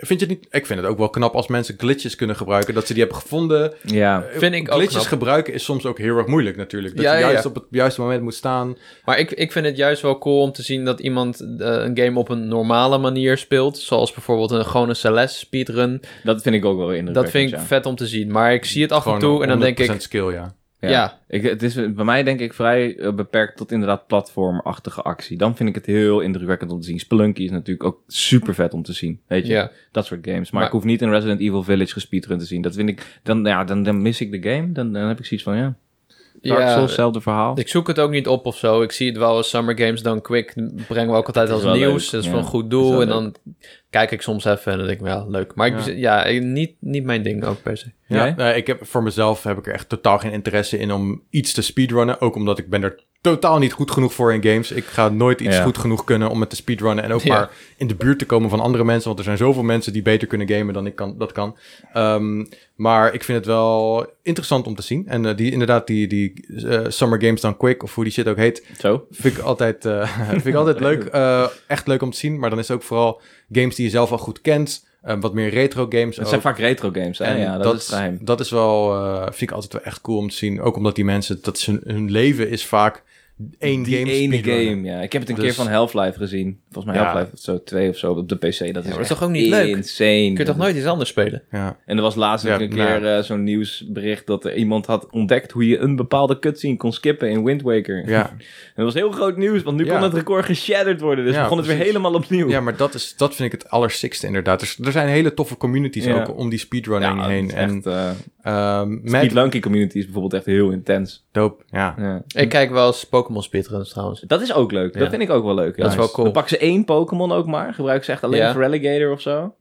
Vind je het niet? Ik vind het ook wel knap als mensen glitches kunnen gebruiken. Dat ze die hebben gevonden.
Ja.
Vind ik ook
Glitches
knap.
gebruiken is soms ook heel erg moeilijk natuurlijk. Dat
Ja,
je
ja,
juist
ja.
op het juiste moment moet staan.
Maar ik, ik vind het juist wel cool om te zien dat iemand eh, een game op een normale manier speelt. Zoals bijvoorbeeld een gewone Celeste speedrun.
Dat vind ik ook wel
Dat
indrukwekkend.
vind ik
ja.
vet om te zien. Maar ik zie het af en
Gewoon
toe en dan denk
100%
ik...
skill, ja.
Ja.
Ja.
Ik, het is bij mij denk ik vrij eh, beperkt tot inderdaad platformachtige actie. Dan vind ik het heel indrukwekkend om te zien. Spelunky is natuurlijk ook super vet om te zien. Weet je,
Ja.
dat soort games. Maar,
Maar-
ik hoef niet een Resident Evil Village gespeedrun te zien. Dat vind ik, dan, ja, dan, dan mis ik de game. Dan, dan heb ik zoiets van, ja, Dark Souls,
Ja,
hetzelfde verhaal.
ik zoek het ook niet op of zo. Ik zie het wel als Summer Games dan Quick brengen we ook altijd
is
als
wel
nieuws.
leuk,
Dat is
ja.
wel een goed
Dat is
doel.
wel
En dan kijk ik soms even en dan denk ik, ja, leuk. Maar ik-
Ja.
ja, ik- niet, niet mijn ding ook per se.
Ja,
Jij?
nee, ik heb, voor mezelf heb ik er echt totaal geen interesse in om iets te speedrunnen. Ook omdat ik ben er totaal niet goed genoeg voor in games. Ik ga nooit iets
Ja.
goed genoeg kunnen om het te speedrunnen. En ook
Ja.
maar in de buurt te komen van andere mensen. Want er zijn zoveel mensen die beter kunnen gamen dan ik kan, dat kan. Ehm, maar ik vind het wel interessant om te zien. En eh, die, inderdaad, die, die eh, Summer Games Done Quick, of hoe die shit ook heet.
Zo.
Vind ik altijd, eh, [laughs] vind ik altijd leuk. eh, echt leuk om te zien. Maar dan is het ook vooral games die je zelf al goed kent. eh, wat meer retro games.
Het
ook.
zijn vaak retro games. Hè?
Oh. En
ja, dat, is het geheim.
dat is wel, eh, vind ik altijd wel echt cool om te zien. Ook omdat die mensen, dat is hun, hun leven is vaak één
Die
game
ene
speedrunnen.
game, ja. Ik heb het een
Dus-
keer van Half-Life gezien. Volgens mij
Ja.
Half-Life of zo, 2 of zo, op de PC. Dat is,
dat is
echt
toch ook niet leuk?
insane.
Kun je toch nooit iets anders spelen?
Ja,
En er was laatst ook
Ja,
een
nou.
keer eh, zo'n nieuwsbericht dat er iemand had ontdekt hoe je een bepaalde cutscene kon skippen in Wind Waker. [laughs]
ja.
En dat was heel groot nieuws, want nu
Ja.
kon het record geshatterd worden. Dus
Ja,
we begon het weer
precies.
helemaal opnieuw.
ja maar dat, is, dat vind ik het allerstikste inderdaad. Dus er zijn hele toffe communities
Ja.
ook om die speedrunning
Ja,
heen.
dat is
En
echt, eh
ehm
Speed
Mad
Lunky community is bijvoorbeeld echt heel intens.
Dope, ja.
Ja.
Ik kijk wel eens Pokémon speedruns trouwens.
Dat is ook leuk.
Ja.
Dat vind ik ook wel leuk. ja.
Dat is wel cool.
Dan pakken ze één Pokémon ook maar. Gebruiken ze echt alleen
Ja.
voor Alligator of zo.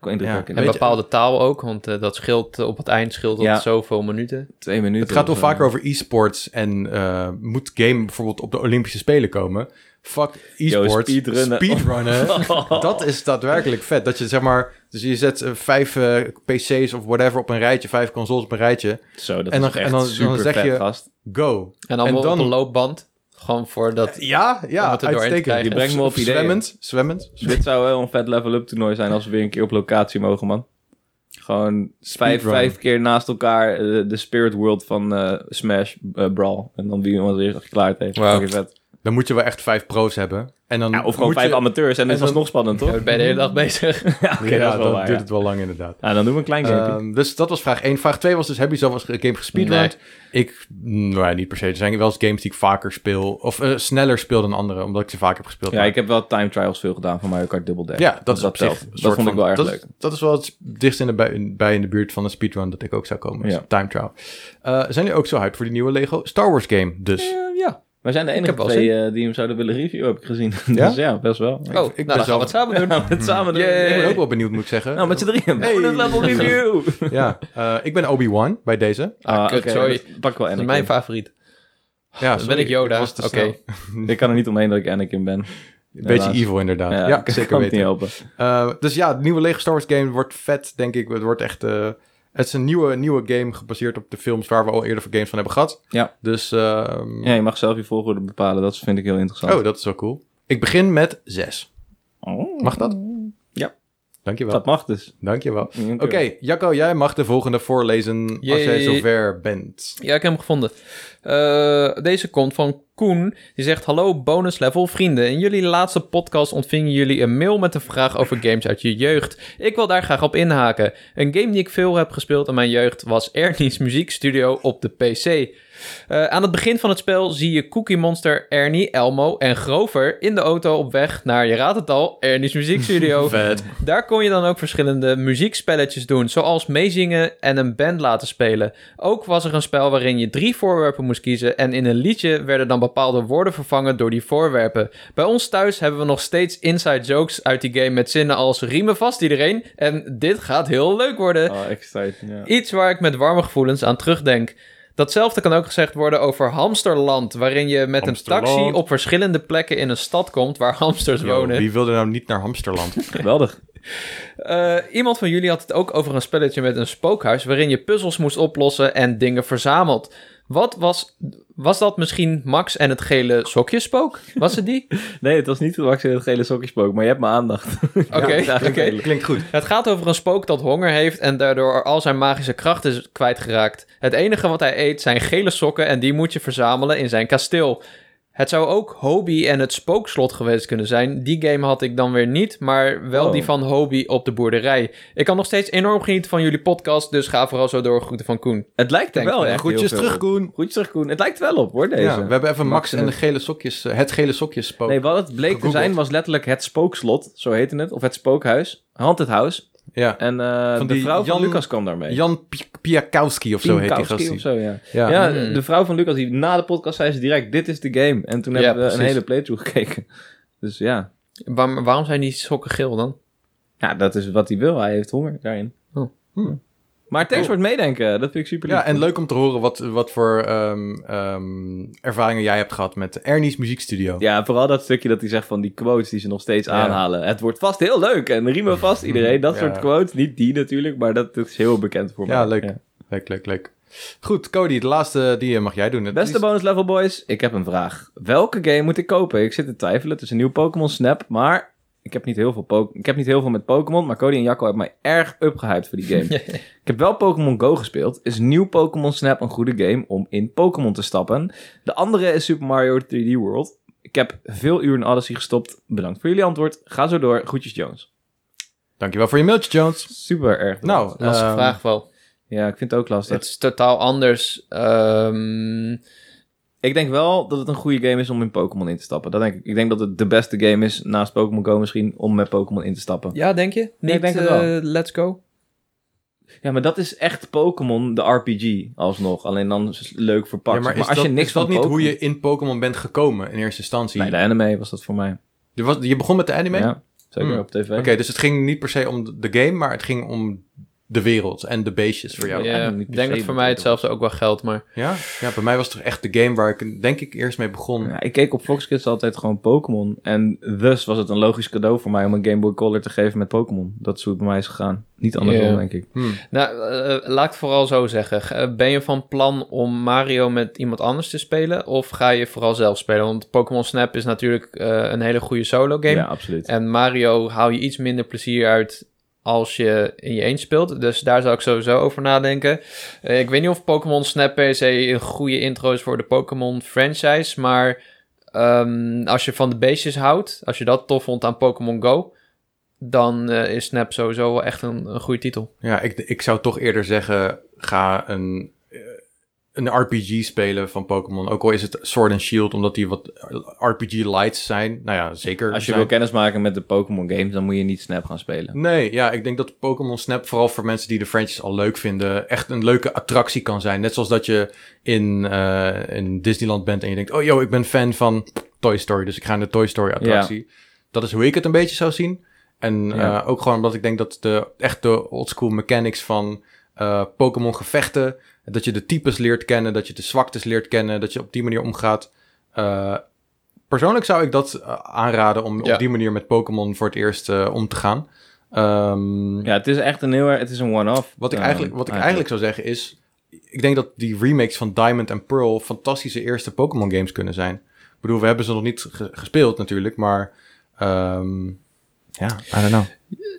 Kon indruk
Ja.
wekken.
En
Weet je-
bepaalde taal ook, want eh, dat scheelt eh, op het eind scheelt dat
Ja.
zoveel minuten.
Twee minuten.
Het gaat toch
of,
vaker
eh,
over e-sports en eh, moet game bijvoorbeeld op de Olympische Spelen komen. Fuck e-sports.
speedrunnen. [laughs]
Speedrunnen. dat is daadwerkelijk vet. Dat je zeg maar, dus je zet eh, vijf eh, PC's of whatever op een rijtje, vijf consoles op een rijtje.
Zo, dat
En dan-
is echt
en dan- dan
super
zeg
vet,
je-
gast.
Go.
En allemaal
En dan-
op een loopband. Gewoon voor dat...
Ja,
Om
ja,
het er doorheen te
uitstekend.
krijgen.
Je brengt me op ideeën.
Zwemmend, zwemmend.
Dit zou wel een vet level-up toernooi zijn als we weer een keer op locatie mogen, man. Gewoon vijf,
Speedrun.
vijf keer naast elkaar eh, de Spirit World van eh, Smash eh, Brawl. En dan wie iemand weer geklaard heeft.
Wauw.
Fucking vet.
Dan moet je wel echt vijf pro's hebben. En dan
Ja, of gewoon
moet
vijf
je-
amateurs en dat
en
was
dan-
nog spannend, [laughs] toch?
Ja, ben je de hele dag bezig.
Ja, oké,
ja,
dat is wel
dan
waar,
duurt
ja.
het wel lang inderdaad.
Ja, dan doen we een klein gamepje.
Ehm, dus dat was vraag 1. Vraag 2 was dus, heb je zelf als game gespeedrunned? Ik, nou ja, niet per se. Er zijn wel eens games die ik vaker speel, of eh, sneller speel dan andere, omdat ik ze vaak heb gespeeld.
ja,
Maar-
ik heb wel time trials veel gedaan van Mario Kart Double Dash.
ja, dat
Dus
is op zich
telt.
een
Dat
soort
vond ik
van-
wel erg
dat
leuk.
Is, dat is wel het dichtst in de, bij, bij in de buurt van een speedrun dat ik ook zou komen. Dus
Ja.
Time trial. Eh, zijn jullie ook zo hyped voor die nieuwe Lego Star Wars game? Dus
Eh,
[laughs]
ja, wij zijn de enige
heb wel
twee eh, die hem zouden willen reviewen, heb ik gezien. [laughs]
Ja?
dus ja, best wel.
Oh, nou,
ben
dan gaan
zelf-
we het samen doen.
[laughs] Ja, we het samen doen.
Yay.
ik ben ook wel benieuwd, moet ik zeggen.
Nou, met z'n drieën.
Oh,
Hey.
Bonus
[laughs]
level review!
ja, eh, ik ben Obi-Wan bij deze.
Ah,
kut,
oké,
sorry.
dan Pak ik wel
Dat is
Anakin.
mijn favoriet.
Ja,
Dan ben
sorry,
ik Yoda.
was te
Oké.
snel.
Ik kan er niet omheen dat ik Anakin ben.
Beetje
Helaas.
evil inderdaad. Ja,
ik
zeker
kan het
weten.
niet helpen.
Eh, dus ja, de nieuwe Lego Star Wars game wordt vet, denk ik. Het wordt echt... eh, het is een nieuwe, nieuwe game gebaseerd op de films waar we al eerder voor games van hebben gehad.
Ja.
Dus, ehm,
Ja, je mag zelf je volgorde bepalen. Dat vind ik heel interessant.
oh, dat is wel cool. Ik begin met 6.
Oh,
Mag dat?
Ja.
Dankjewel.
dat mag dus.
Dankjewel. Oké, Jacco, jij mag de volgende voorlezen als jij
Yay.
zover bent.
Ja, ik heb hem gevonden. Eh, deze komt van Koen. Die zegt: Hallo, bonus level vrienden. In jullie laatste podcast ontvingen jullie een mail met een vraag over games uit je jeugd. Ik wil daar graag op inhaken. Een game die ik veel heb gespeeld in mijn jeugd was Ernie's Muziekstudio op de PC. Eh, aan het begin van het spel zie je Cookie Monster, Ernie, Elmo en Grover in de auto op weg naar, je raadt het al, Ernie's Muziekstudio.
Vet.
Daar kon je dan ook verschillende muziekspelletjes doen, zoals meezingen en een band laten spelen. Ook was er een spel waarin je drie voorwerpen moest kiezen en in een liedje werden dan bepaalde woorden vervangen door die voorwerpen. Bij ons thuis hebben we nog steeds inside jokes uit die game met zinnen als riemen vast iedereen en dit gaat heel leuk worden.
Oh, exciting, ja.
Iets waar ik met warme gevoelens aan terugdenk. Datzelfde kan ook gezegd worden over Hamsterland, waarin je met
Hamsterland.
een taxi op verschillende plekken in een stad komt waar hamsters
Yo,
wonen.
wie wilde nou niet naar Hamsterland?
Geweldig.
Eh, iemand van jullie had het ook over een spelletje met een spookhuis waarin je puzzels moest oplossen en dingen verzamelt. Wat was, was dat misschien Max en het gele sokjespook? Was het die?
Nee, het was niet de wax in het gele sokjespook, maar je hebt mijn aandacht.
Oké,
[laughs]
oké.
Klinkt goed.
Het gaat over een spook dat honger heeft en daardoor al zijn magische krachten is kwijtgeraakt. Het enige wat hij eet zijn gele sokken en die moet je verzamelen in zijn kasteel. Het zou ook Hobie en het spookslot geweest kunnen zijn. Die game had ik dan weer niet, maar wel
Oh.
die van Hobie op de boerderij. Ik kan nog steeds enorm genieten van jullie podcast, dus ga vooral zo door. Groeten van Koen.
Het lijkt er
Thanks,
wel
man.
echt
Groetjes
heel veel
terug,
op.
Koen.
Groetjes terug, Koen. Het lijkt wel op, hoor, deze.
Ja, we hebben even Max,
Max
en
en
de gele sokjes, eh, het gele sokjes spook.
Nee, wat het bleek
Gegoogeld.
te zijn was letterlijk het spookslot, zo heette het, of het spookhuis, Haunted House.
ja.
En eh,
Van
de
die
vrouw
Jan-
van Lucas kwam daarmee.
Jan Pi- Piakowski of zo heet die
Pinkowski
gast.
of zo, ja.
Ja.
Ja,
Hmm.
de vrouw van Lucas, die na de podcast zei ze direct, dit is de game. En toen
Ja,
hebben we een
precies.
hele playthrough gekeken. [laughs] Dus ja.
Waar- waarom zijn die sokken geel dan?
ja, dat is wat hij wil. Hij heeft honger daarin.
Oh.
Hmm.
Maar thanks voor het meedenken. Dat vind ik super
Ja, en leuk om te horen wat, wat voor ehm, ehm, ervaringen jij hebt gehad met Ernie's muziekstudio.
Ja, vooral dat stukje dat hij zegt van die quotes die ze nog steeds
Ja.
aanhalen. Het wordt vast heel leuk en riemen
[laughs]
vast iedereen. Dat
Ja.
soort quotes. Niet die natuurlijk, maar dat is heel bekend voor
Ja,
mij.
leuk. Leuk, leuk, leuk. Goed, Cody, de laatste die eh, mag jij doen. Het
Beste
is-
bonus level boys, ik heb een vraag. Welke game moet ik kopen? Ik zit te twijfelen tussen nieuw Pokémon Snap, maar ik heb niet heel veel, po- ik heb niet heel veel met Pokémon, maar Cody en Jacco hebben mij erg upgehyped [laughs] voor die game. ik heb wel Pokémon Go gespeeld. Is nieuw Pokémon Snap een goede game om in Pokémon te stappen? De andere is Super Mario 3D World. Ik heb veel uren in Odyssey gestopt. Bedankt voor jullie antwoord. Ga zo door. Groetjes Jones.
Dankjewel voor je mailtje, Jones.
Super erg. bedankt.
Nou,
Lastige
ehm,
vraag wel.
Ja, ik vind het ook lastig.
Het is totaal anders. Ehm,
Ik denk wel dat het een goede game is om in Pokémon in te stappen. Dat denk ik. ik denk dat het de beste game is naast Pokémon Go misschien om met Pokémon in te stappen.
ja, denk je? Niet,
ik denk het wel.
eh, let's go.
Ja, maar dat is echt Pokémon de RPG alsnog. Alleen dan is het leuk verpakt.
Ja,
maar
is
als
dat,
je niks
is dat
van
niet hoe
Pokémon-
je in Pokémon bent gekomen in eerste instantie?
Bij de anime was dat voor mij.
Je, was, je begon met de anime?
Ja. Zeker
Hmm.
op tv.
Oké, dus het ging niet per se om de game, maar het ging om de wereld en de beestjes voor jou. Ja,
Ja.
Ja,
eigenlijk niet
ik
per
denk
se
dat voor mij
natuurlijk.
hetzelfde ook wel geldt, maar...
ja? bij mij was het toch echt de game waar ik denk ik eerst mee begon.
Ja, ik keek op Fox Kids altijd gewoon Pokémon. En dus was het een logisch cadeau voor mij om een Game Boy Color te geven met Pokémon. Dat is hoe het bij mij is gegaan. Niet andersom,
Ja.
denk ik.
Hmm.
Nou, eh, laat ik het vooral zo zeggen. Eh, Ben je van plan om Mario met iemand anders te spelen? Of ga je vooral zelf spelen? Want Pokémon Snap is natuurlijk eh, een hele goede solo game.
Ja, absoluut.
En Mario haal je iets minder plezier uit als je in je eentje speelt. Dus daar zou ik sowieso over nadenken. Eh, ik weet niet of Pokémon Snap per se een goede intro is voor de Pokémon franchise. Maar ehm, als je van de beestjes houdt, als je dat tof vond aan Pokémon Go... dan eh, is Snap sowieso wel echt een, een goede titel.
Ja, ik, ik zou toch eerder zeggen, ga een, eh, een RPG spelen van Pokémon. Ook al is het Sword and Shield, omdat die wat RPG-lights zijn. Nou ja, zeker.
Als je
zijn.
wil kennismaken met de Pokémon games, dan moet je niet Snap gaan spelen.
Nee, ja, ik denk dat Pokémon Snap vooral voor mensen die de franchise al leuk vinden, echt een leuke attractie kan zijn. Net zoals dat je in, eh, in Disneyland bent en je denkt, oh yo, ik ben fan van Toy Story, dus ik ga in de Toy Story attractie. Dat is hoe ik het een beetje zou zien. En
Ja.
eh, ook gewoon omdat ik denk dat de echte oldschool mechanics van eh, Pokémon gevechten, dat je de types leert kennen, dat je de zwaktes leert kennen, dat je op die manier omgaat. Eh, persoonlijk zou ik dat eh, aanraden om
Ja.
op die manier met Pokémon voor het eerst eh, om te gaan. Ehm,
Ja, het is echt een heel erg... Het is een one-off.
Wat ik,
eh,
eigenlijk, wat ik eigenlijk zou zeggen is... Ik denk dat die remakes van Diamond en Pearl... fantastische eerste Pokémon games kunnen zijn. Ik bedoel, we hebben ze nog niet ge- gespeeld natuurlijk, maar... ehm, ja, I don't know.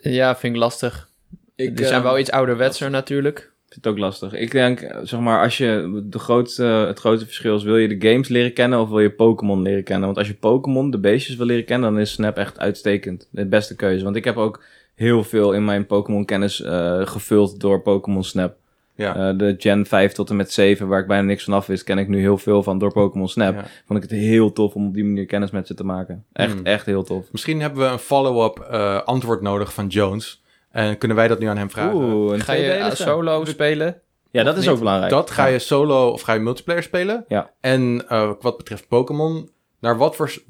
Ja, vind ik lastig.
Ik,
Die
eh,
zijn wel iets ouderwetser natuurlijk.
vind het ook lastig. Ik denk, eh, zeg maar, als je de grootste, het grootste verschil is, wil je de games leren kennen of wil je Pokémon leren kennen? Want als je Pokémon, de beestjes wil leren kennen, dan is Snap echt uitstekend. De beste keuze. Want ik heb ook heel veel in mijn Pokémon kennis eh, gevuld door Pokémon Snap.
Ja.
Eh, de Gen 5 tot en met 7, waar ik bijna niks van af wist, ken ik nu heel veel van door Pokémon Snap.
Ja.
Vond ik het heel tof om op die manier kennis met ze te maken. Echt,
Mm.
echt heel tof.
Misschien hebben we een follow-up eh, antwoord nodig van Jones. En kunnen wij dat nu aan hem vragen?
Oeh, een
Ga je eh,
tweedelige.
solo spelen?
Ja, dat is
niet?
ook belangrijk.
Dat ga je solo of ga je multiplayer spelen?
Ja.
En eh, wat betreft Pokémon, naar wat voor s-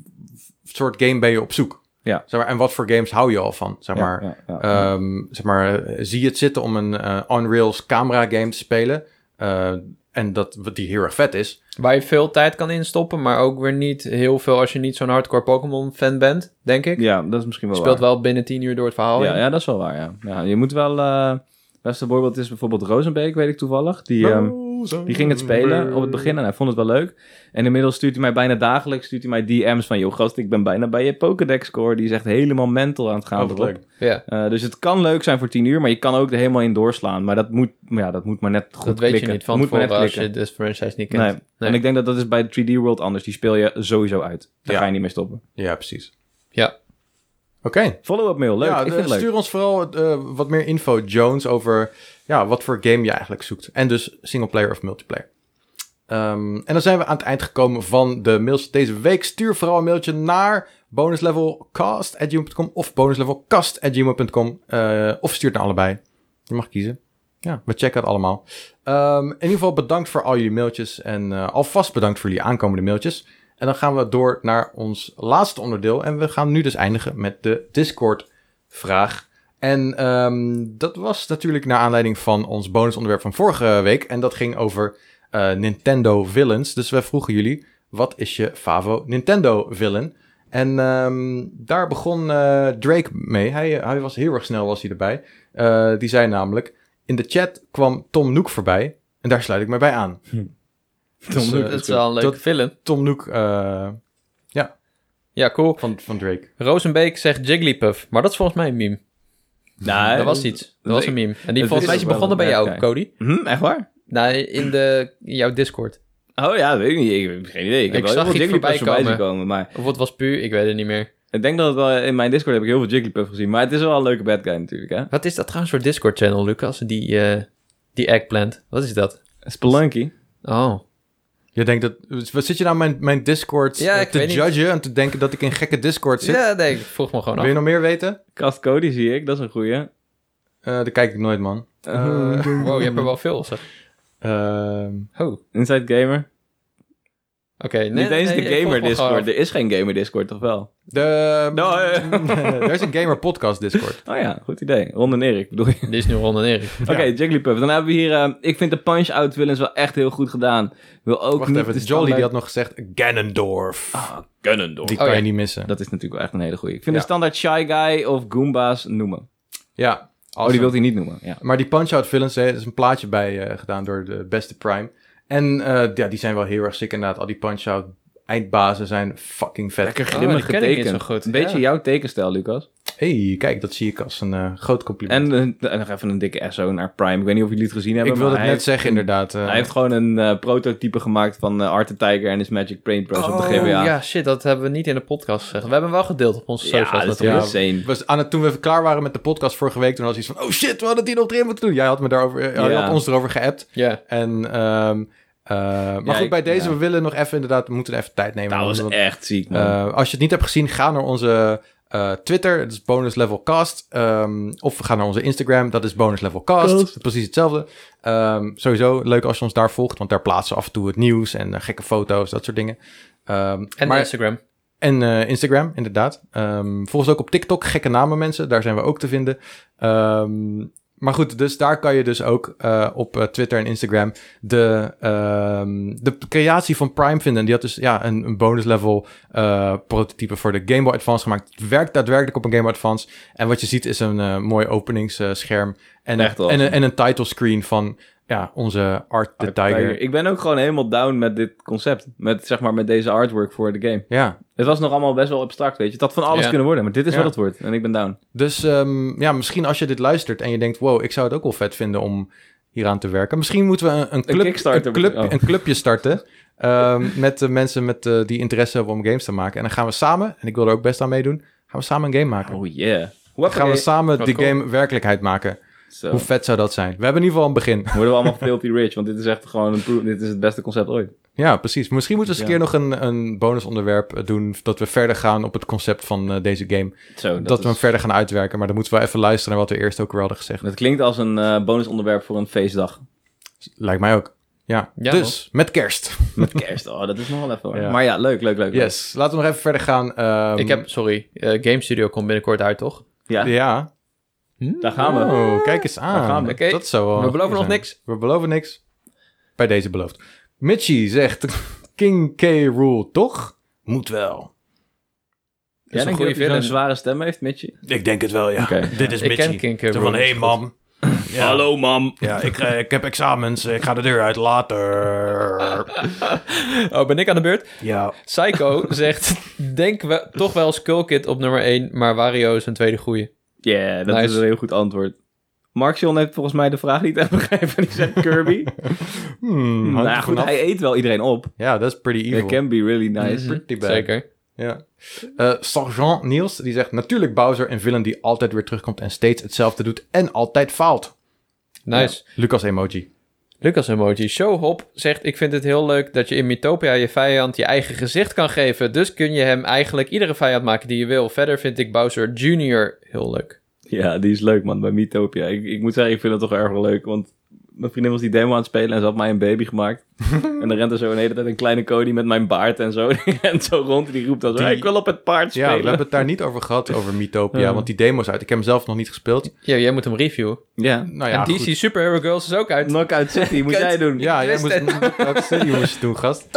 soort game ben je op zoek?
Ja.
Zeg maar, en wat voor games hou je al van? Zeg
Ja,
maar,
ja, ja, ja.
Ehm, zeg maar, eh, zie je het zitten om een eh, on-rails camera game te spelen. Eh, en dat, wat die heel erg vet is.
Waar je veel tijd kan instoppen, maar ook weer niet heel veel als je niet zo'n hardcore Pokémon-fan bent, denk ik.
ja, dat is misschien wel
Je
waar.
speelt wel binnen 10 uur door het verhaal.
ja,
heen.
ja, dat is wel waar, ja. ja je moet wel... eh het beste voorbeeld is bijvoorbeeld Rozenbeek, weet ik toevallig. Die, ehm, die ging het spelen op het begin en hij vond het wel leuk. En inmiddels stuurt hij mij bijna dagelijks stuurt hij mij DM's van... joh gast, ik ben bijna bij je Pokédex-score. Die is echt helemaal mental aan het gaan.
Oh, wat
erop.
leuk.
Ja,
Eh, dus het kan leuk zijn voor tien uur, maar je kan ook er helemaal in doorslaan. Maar dat moet, maar ja, dat moet maar net goed
dat weet je
klikken.
niet van
moet maar net
tevoren als
klikken.
je de franchise niet kent.
Nee.
Nee.
En ik denk dat dat is bij 3D World anders. Die speel je sowieso uit. Daar
Ja.
ga je niet mee stoppen.
Ja, precies.
Ja.
Oké.
Follow-up mail, leuk.
Ja,
ik
de-
vind het leuk.
stuur ons vooral eh, wat meer info, Jones, over ja, wat voor game je eigenlijk zoekt. En dus singleplayer of multiplayer. Ehm, en dan zijn we aan het eind gekomen van de mails deze week. Stuur vooral een mailtje naar bonuslevelcast.gmail.com of bonuslevelcast.gmail.com. eh, of stuur het naar allebei. Je mag kiezen. Ja, we checken het allemaal. Ehm, in ieder geval bedankt voor al jullie mailtjes. En eh, alvast bedankt voor jullie aankomende mailtjes. En dan gaan we door naar ons laatste onderdeel. En we gaan nu dus eindigen met de Discord-vraag. En ehm, dat was natuurlijk naar aanleiding van ons bonusonderwerp van vorige week. En dat ging over eh, Nintendo villains. Dus we vroegen jullie, wat is je favo Nintendo villain? En ehm, daar begon eh, Drake mee. Hij, hij was heel erg snel was hij erbij. Eh, die zei namelijk, in de chat kwam Tom Nook voorbij. En daar sluit ik mij bij aan.
Tom
Dus,
Nook
eh,
Hm. dat is wel een leuke
dat-
film.
Tom Nook eh,
Ja, cool.
van, van Drake.
Rosenbeek zegt Jigglypuff, maar dat is volgens mij een meme.
Nou,
dat was iets. Dat was een meme. En die
het
volgens
is
mij is
wel
begonnen bij
een
jou,
merk,
Cody.
Hm, echt waar?
Nou, in de, in jouw Discord.
Oh ja, weet ik niet. Ik heb geen idee. Ik, heb
Ik
wel
zag
heel veel
iets
Jigglypuff
voorbij
voorbij zien komen. Maar
Of het was puur, ik weet het niet meer.
ik denk dat het wel... In mijn Discord heb ik heel veel Jigglypuff gezien. Maar het is wel een leuke bad guy natuurlijk, hè?
Wat is dat trouwens voor Discord-channel, Lucas? Die, eh, die eggplant. Wat is dat?
Spelunky.
Oh.
Je denkt dat... Wat zit je nou mijn, mijn Discord
Ja,
eh,
ik
te
weet niet.
judgen en te denken dat ik in gekke Discord zit?
Ja, nee, ik vroeg me gewoon
Wil je
af.
nog meer weten?
Cast Cody zie ik. Dat is een goeie.
Eh dat kijk ik nooit, man.
[laughs]
Oh.
Eh,
Eh,
Wow, je hebt er wel veel, zeg.
ehm,
Oh.
Inside Gamer.
nee,
Niet eens
nee,
de
ik volg
gamer
wel gewoon
Discord. Er is geen gamer Discord, toch wel?
De,
Nou, eh.
[laughs] er is een gamer podcast Discord.
Oh ja, goed idee. Ron en Erik, bedoel je?
[laughs] af. Dit is nu Ron en Erik.
Oké, Jigglypuff. Dan hebben we hier... eh, ik vind de Punch-Out villains wel echt heel goed gedaan. Wil ook
Wacht
niet
even,
de
Jolly die
standaard-
had nog gezegd Ganondorf.
Ah, Ganondorf.
die
oh
kan
ja.
je niet missen.
Dat is natuurlijk wel echt een hele goeie. Ik vind
Ja.
de standaard Shy Guy of Goombas noemen.
ja,
Oh,
awesome.
die wilt hij niet noemen. Ja.
Maar die Punch-Out villains, hè, er is een plaatje bij eh, gedaan door de beste Prime. En eh, ja, die zijn wel heel erg sick inderdaad. Al die Punch-Out eindbazen zijn fucking vet.
Lekker
die ken ik niet zo goed,
Een beetje
ja.
jouw tekenstijl, Lucas.
hey, kijk, dat zie ik als een eh, groot compliment.
En, eh, en nog even een dikke SO naar Prime. Ik weet niet of jullie het gezien hebben.
ik wilde
maar
het net
hij heeft-
zeggen inderdaad. eh,
Hij heeft gewoon een eh, prototype gemaakt van eh, Art the Tiger en his Magic Paintbrush op de
Oh,
GBA.
ja, shit, dat hebben we niet in de podcast gezegd. We hebben hem wel gedeeld op onze
Ja,
socials
dat is
natuurlijk.
insane.
was aan het, toen we klaar waren met de podcast vorige week, toen was iets van, oh shit, we hadden het hier nog erin moeten doen. Jij had, me daarover, eh, jij
Ja.
had ons erover geappt.
Ja.
En, ehm, eh, maar
Ja,
goed,
ik-
bij deze,
ja. Nou,
we willen nog even inderdaad, we moeten even tijd nemen.
Dat was
Want,
echt ziek, man.
eh, als je het niet hebt gezien, ga naar onze eh, Twitter, dat is Bonus Level Cast. Ehm, of ga naar onze Instagram, dat is Bonus Level Cast.
Cast.
Precies hetzelfde. Ehm, sowieso leuk als je ons daar volgt, want daar plaatsen we af en toe het nieuws en eh, gekke foto's, dat soort dingen. Ehm,
En
maar-
Instagram.
en eh, Instagram, inderdaad. Ehm volgens ook op TikTok, gekke namen mensen. Daar zijn we ook te vinden. Ehm, maar goed, dus daar kan je dus ook eh, op eh, Twitter en Instagram de, ehm, de creatie van Prime vinden. En die had dus ja, een, een bonus level eh, prototype voor de Game Boy Advance gemaakt. Het werkt daadwerkelijk op een Game Boy Advance. En wat je ziet is een eh, mooi openingsscherm. en,
Echt awesome.
en, een- en een title screen van ja, onze Art the Tiger.
Ik ben ook gewoon helemaal down met dit concept. Met, zeg maar, met deze artwork voor de game.
Ja,
Het was nog allemaal best wel abstract, weet je. Het had van alles
Ja.
kunnen worden, maar dit is
Ja.
wat het wordt. En ik ben down.
Dus ehm, ja, misschien als je dit luistert en je denkt... wow, ik zou het ook wel vet vinden om hieraan te werken. Misschien moeten we een, een, club,
Kickstarter
een, club,
moet- oh.
een clubje starten... ehm, met de mensen met, eh, die interesse hebben om games te maken. En dan gaan we samen, en ik wil er ook best aan meedoen... gaan we samen een game maken.
Oh yeah.
dan gaan we samen
Wat
die
cool.
game werkelijkheid maken.
Zo.
Hoe vet zou dat zijn? We hebben in ieder geval een begin. [laughs]
Worden we allemaal filthy rich, want dit is echt gewoon een pro- Dit is het beste concept ooit.
Ja, precies. Misschien moeten we eens een
Ja.
keer nog een, een bonusonderwerp eh, doen... dat we verder gaan op het concept van eh, deze game.
Zo, dat,
dat we hem
is-
verder gaan uitwerken. Maar dan moeten we even luisteren naar wat we eerst ook weer hadden gezegd.
Dat klinkt als een eh, bonusonderwerp voor een feestdag.
Lijkt mij ook. Ja,
Ja,
dus met kerst. [laughs]
Met kerst. Oh, dat is nog wel even hoor.
Ja.
Maar ja, leuk, leuk, leuk. leuk.
Yes, laten we nog even verder gaan. Ehm,
ik heb, sorry, eh, Game Studio komt binnenkort uit, toch?
Ja,
Ja.
daar gaan we.
Oh, kijk eens aan.
gaan we.
Oké.
Dat zou wel
We
een
beloven
goeie
nog
zijn.
niks.
We beloven niks. Bij deze beloofd. Mitchie zegt, King K. Rule, toch? Moet wel.
Jij
een
denkt dat
goede
hij zo'n
villain.
zware stem heeft, Mitchie?
Ik denk het wel, ja.
Oké.
Dit is
Ik ken King K.
Zo
Rool niet goed. [laughs]
mam. Ja.
mam.
Ja, ik, eh, ik heb examens. Ik ga de deur uit
[laughs]
later.
Oh, ben ik aan de beurt?
Ja.
Psycho [laughs] zegt, denk we toch wel Skull Kid op nummer 1, maar Wario is een tweede goeie.
Ja, dat
Nice.
is een heel goed antwoord. Mark John heeft volgens mij de vraag niet even [laughs] begrepen. Die zegt Kirby.
[laughs] Hmm, hangt
nou
er
ja, goed,
vanaf.
hij eet wel iedereen op.
Ja, dat is pretty evil.
It can be really nice.
Mhm,
pretty bad.
Zeker.
Ja. Eh, Sergeant Niels, die zegt natuurlijk Bowser, een villain die altijd weer terugkomt en steeds hetzelfde doet en altijd faalt.
Nice.
Lucas emoji.
Lucas emoji. Showhop zegt: Ik vind het heel leuk dat je in Mythopia je vijand je eigen gezicht kan geven. Dus kun je hem eigenlijk iedere vijand maken die je wil. Verder vind ik Bowser Jr. heel leuk.
Ja, die is leuk, man. Bij Mythopia. Ik, ik moet zeggen, ik vind dat toch erg wel leuk. Want mijn vriendin was die demo aan het spelen en ze had mij een baby gemaakt. en dan rent er zo een hele tijd een kleine Cody met mijn baard en zo. [laughs] Die rent zo rond en die roept dan zo,
Die-
ik wil op het paard
Ja, we
spelen.
hebben het daar niet over [laughs] gehad, over Mythopia, want die demo is uit. Ik heb hem zelf nog niet gespeeld.
Ja, jij moet hem reviewen.
Ja.
Nou ja,
en DC
goed.
Superhero Girls is ook
[laughs]
uit.
Knockout City moet
Kut.
jij doen.
Ja, jij moest, [laughs] welke serie moest je doen, gast?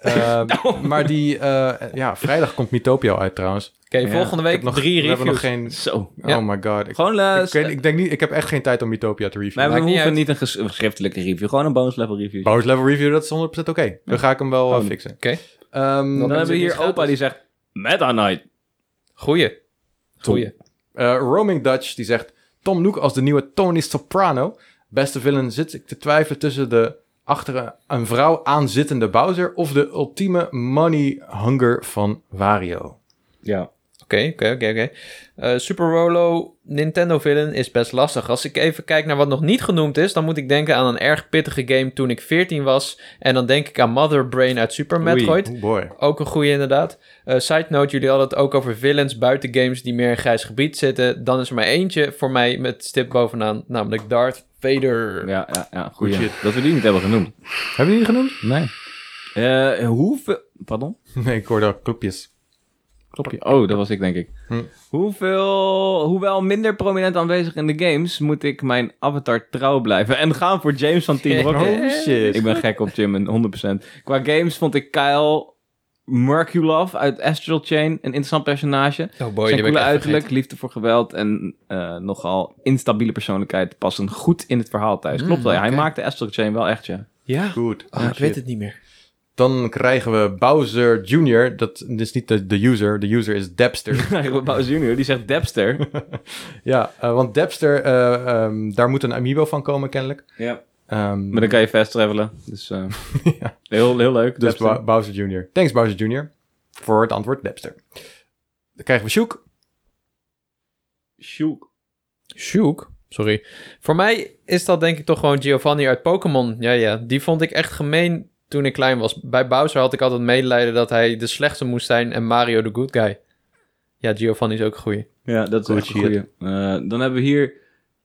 Eh, maar die, eh, ja, vrijdag komt Mythopia uit trouwens. Ik
Oké,
Ja,
volgende
heb
week
nog,
drie
we hebben nog
reviews.
geen...
Zo.
Ja.
Oh my god. Ik,
Gewoon, eh,
ik, weet- ik denk niet, ik heb echt geen tijd om Mythopia te
maar
reviewen.
we
Maakt niet
hoeven
uit.
niet een ges- schriftelijke review, gewoon een bonus level review.
Bowser's Level Review, dat is 100% oké. Dan ga ik hem wel eh,
Oh.
fixen.
Oké.
Ehm,
dan
Dan
hebben we
is het
hier
iets gratis.
opa die zegt, Meta Knight.
Goeie. Goeie.
Eh, Roaming Dutch die zegt: Tom Nook als de nieuwe Tony Soprano. Beste villain zit ik te twijfelen tussen de achter een vrouw aanzittende Bowser of de ultieme money hunger van Wario.
Ja.
Oké, oké, oké, oké. Eh, Super Rolo Nintendo Villain is best lastig. Als ik even kijk naar wat nog niet genoemd is, dan moet ik denken aan een erg pittige game toen ik 14 was. En dan denk ik aan Mother Brain uit Super Metroid.
Oh boy.
Ook een goede inderdaad. Eh, side note, jullie hadden het ook over villains buiten games die meer in grijs gebied zitten. Dan is er maar eentje voor mij met stip bovenaan, namelijk Darth Vader.
Ja, ja, ja. Goed
shit.
Dat we die niet hebben genoemd.
Hebben jullie die genoemd?
Nee. Eh, hoeveel... Pardon?
[laughs] Nee, ik hoorde al klopjes.
Klop je? Oh, dat was ik denk ik.
Hm.
Hoeveel... Hoewel minder prominent aanwezig in de games, moet ik mijn avatar trouw blijven. En gaan voor James van Team Rocket.
Oh shit.
Ik ben gek op Jim, en 100%. Qua games vond ik Kyle Merkulov uit Astral Chain een interessant personage.
Oh boy,
Zijn
die ben ik
coole
echt
uiterlijk,
vergeten.
liefde voor geweld en eh, nogal instabiele persoonlijkheid passen goed in het verhaal thuis.
Mm,
Klopt wel, ja, hij
oké.
maakte Astral Chain wel echt, ja.
Ja,
Goed.
oh,
Ah,
ik
shit.
weet het niet meer.
Dan krijgen we Bowser Jr. Dat is niet de, de user. De user is Dapster.
[laughs] Eigenlijk Bowser Jr., die zegt Depster.
ja, eh, want Dapster, eh, ehm, daar moet een amiibo van komen kennelijk.
ja.
Ehm,
Maar dan kan je fast travelen, dus eh, heel, heel leuk.
dus
Depster.
Bo- Bowser Jr. Thanks Bowser Jr. voor het antwoord Dapster. Dan krijgen we Shook.
Sjoek.
Shook? Sorry. Voor mij is dat denk ik toch gewoon Giovanni uit Pokémon. Ja, ja. Die vond ik echt gemeen toen ik klein was. Bij Bowser had ik altijd medelijden dat hij de slechtste moest zijn en Mario de good guy. Ja, Giovanni is ook een goeie.
Ja, dat is
Goed
echt een goeie. Eh, dan hebben we hier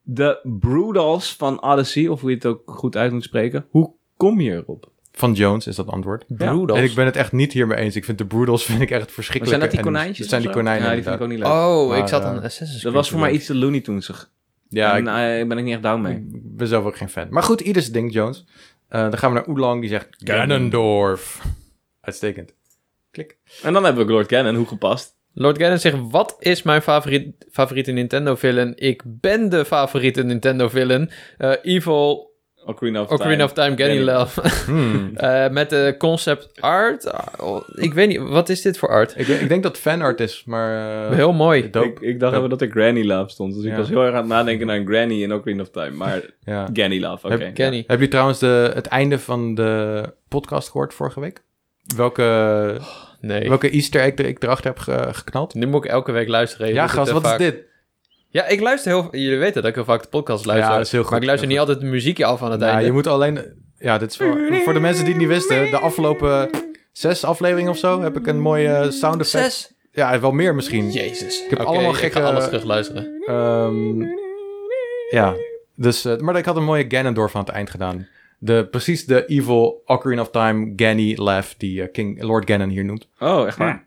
de Broodals van Odyssey, of hoe je het ook goed uit moet spreken. Hoe kom je erop?
Van Jones is dat antwoord.
Broedels.
En ik ben het echt niet hiermee eens. Ik vind de Broodles [laughs] vind ik echt verschrikkelijk.
Maar zijn dat die
En
konijntjes
Dat zijn
of
die
zo?
konijnen.
Ja, die vind ik
inderdaad.
ook niet leuk.
Oh,
Maar,
ik zat
eh,
aan Assassin's Creed.
dat was voor
te
mij
denken.
iets te Looney Tunesig.
ja,
en
ik
eh, ben ik niet echt down mee.
ik ben zelf ook geen fan. Maar goed, ieder zijn ding, Jones. Eh, dan gaan we naar Oelang, die zegt Ganondorf. Uitstekend.
En dan hebben we Lord Cannon, hoe gepast.
Lord Gannon zegt, wat is mijn favoriet, favoriete Nintendo villain? Ik ben de favoriete Nintendo villain. Eh, evil
Ocarina of
Ocarina of
Time.
Time Ganondorf.
Hmm.
Eh met de concept art. Ah, ik weet niet, wat is dit voor art?
[laughs] ik, ik denk dat fanart is, maar... eh,
Heel mooi.
dope.
Ik, ik dacht even dat er Granny Love stond, dus
Ja.
ik was heel erg aan het nadenken naar een Granny in Ocarina of Time. Maar
Ja.
Granny Love, oké.
Heb-
Kenny.
Hebben jullie trouwens de, het einde van de podcast gehoord vorige week? Welke,
Nee.
welke easter egg er- ik erachter heb ge- geknald?
Nu moet ik elke week luisteren. Je
Ja,
doet het
gast,
te
wat
vaak.
is dit?
Ja, ik luister heel... Jullie weten dat ik heel vaak de podcast luister.
Ja, dat is heel goed.
Maar ik luister
Heel
niet altijd de muziekje af aan het
Ja,
einde.
je moet alleen... Ja, dit is voor, voor de mensen die het niet wisten. De afgelopen zes afleveringen of zo heb ik een mooie eh, sound effect.
Zes.
Ja, wel meer misschien.
Jezus.
Ik heb allemaal
Ik
gekke...
ga alles terug luisteren.
Ehm, ja, dus, eh, maar ik had een mooie Ganondorf aan het eind gedaan. De, precies de evil Ocarina of Time Ganny laugh die eh, King, Lord Ganon hier noemt.
Oh, echt waar?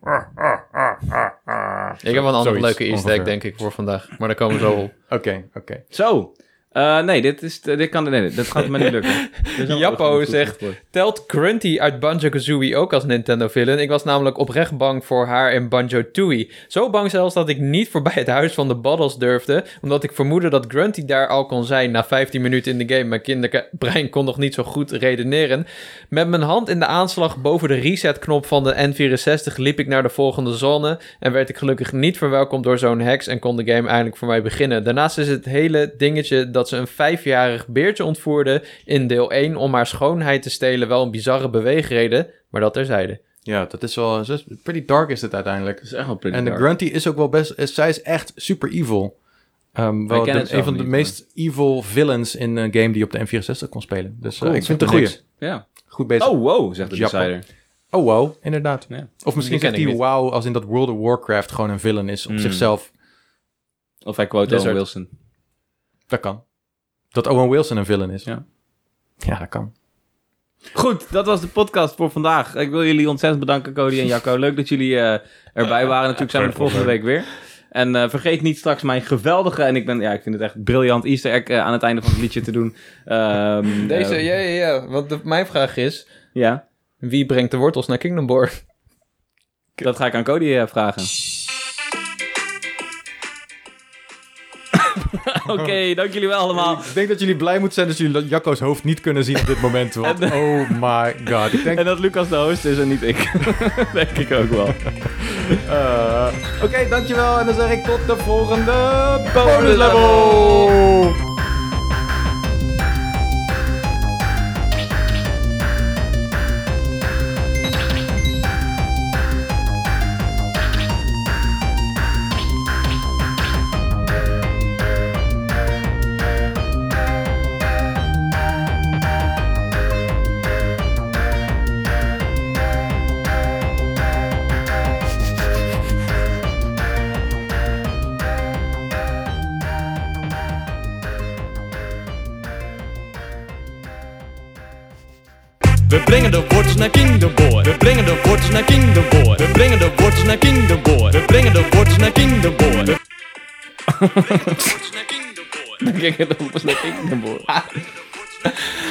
Ik heb wel een andere
Zoiets,
leuke easter egg,
ongeveer.
denk ik, voor vandaag. Maar daar komen we zo op.
Oké, oké.
Zo. Eh, nee, dit, is, dit kan, nee, nee, dat gaat me niet lukken. [laughs] Dit is wel
Jappo
een goed
zegt-
antwoord.
Telt Grunty uit Banjo-Kazooie ook als Nintendo-villain? Ik was namelijk oprecht bang voor haar in Banjo-Tooie. Zo bang zelfs dat ik niet voorbij het huis van de Bottles durfde... omdat ik vermoedde dat Grunty daar al kon zijn na 15 minuten in de game. Mijn kinderbrein kon nog niet zo goed redeneren. Met mijn hand in de aanslag boven de resetknop van de N64... liep ik naar de volgende zone... en werd ik gelukkig niet verwelkomd door zo'n heks... en kon de game eindelijk voor mij beginnen. Daarnaast is het hele dingetje dat ze een vijfjarig beertje ontvoerde in deel 1 om haar schoonheid te stelen wel een bizarre beweegreden, maar dat terzijde.
Ja, dat is wel... zo- Pretty dark is dit uiteindelijk.
Dat is echt wel pretty
En de
dark.
Grunty is ook wel best... Is, zij is echt super evil. Ehm wel
kennen
de-
het
een
zelf
van de
niet,
meest evil villains in een game die je op de N64 kon spelen. Dus eh,
Cool,
ik vind het
dat
een
is
goeie.
Ja.
Goed bezig. Oh,
Oh, wow, zegt de
Jappo.
decider.
wow, inderdaad.
Ja.
Of misschien
Die
zegt
ken ik
hij
niet.
wow als in dat World of Warcraft gewoon een villain is op
Mm.
zichzelf.
Of hij quote
Lizard.
Owen Wilson.
Dat kan. Dat Owen Wilson een villain is.
Ja.
Ja, dat kan.
Goed, dat was de podcast voor vandaag. Ik wil jullie ontzettend bedanken, Cody en Jacco. Leuk dat jullie eh, erbij waren. Natuurlijk zijn we de volgende week weer. En eh, vergeet niet straks mijn geweldige, en ik, ben, ja, ik vind het echt briljant, Easter egg eh, aan het einde van het liedje te doen. Ehm,
Deze,
eh,
ja, ja, ja. Want de- mijn vraag is,
ja,
wie brengt de wortels naar Kingdom [laughs] Board?
dat ga ik aan Cody eh, [laughs] vragen. Oké, dank jullie wel allemaal.
Ik denk dat jullie blij moeten zijn dat jullie Jacco's hoofd niet kunnen zien op dit moment.
[laughs]
Want oh my god. Ik denk...
En dat Lucas de host is en niet ik. [laughs] Denk ik ook wel.
eh, Oké, dankjewel. En dan zeg ik tot de volgende bonus level.
We brengen de wortels naar Kingdom Boy. We brengen de wortels naar Kingdom Boy. We brengen de wortels naar Kingdom Boy. We brengen de wortels naar Kingdom Boy. We brengen de wortels naar Kingdom Boy.
Kijk, dat was net ik naar boven.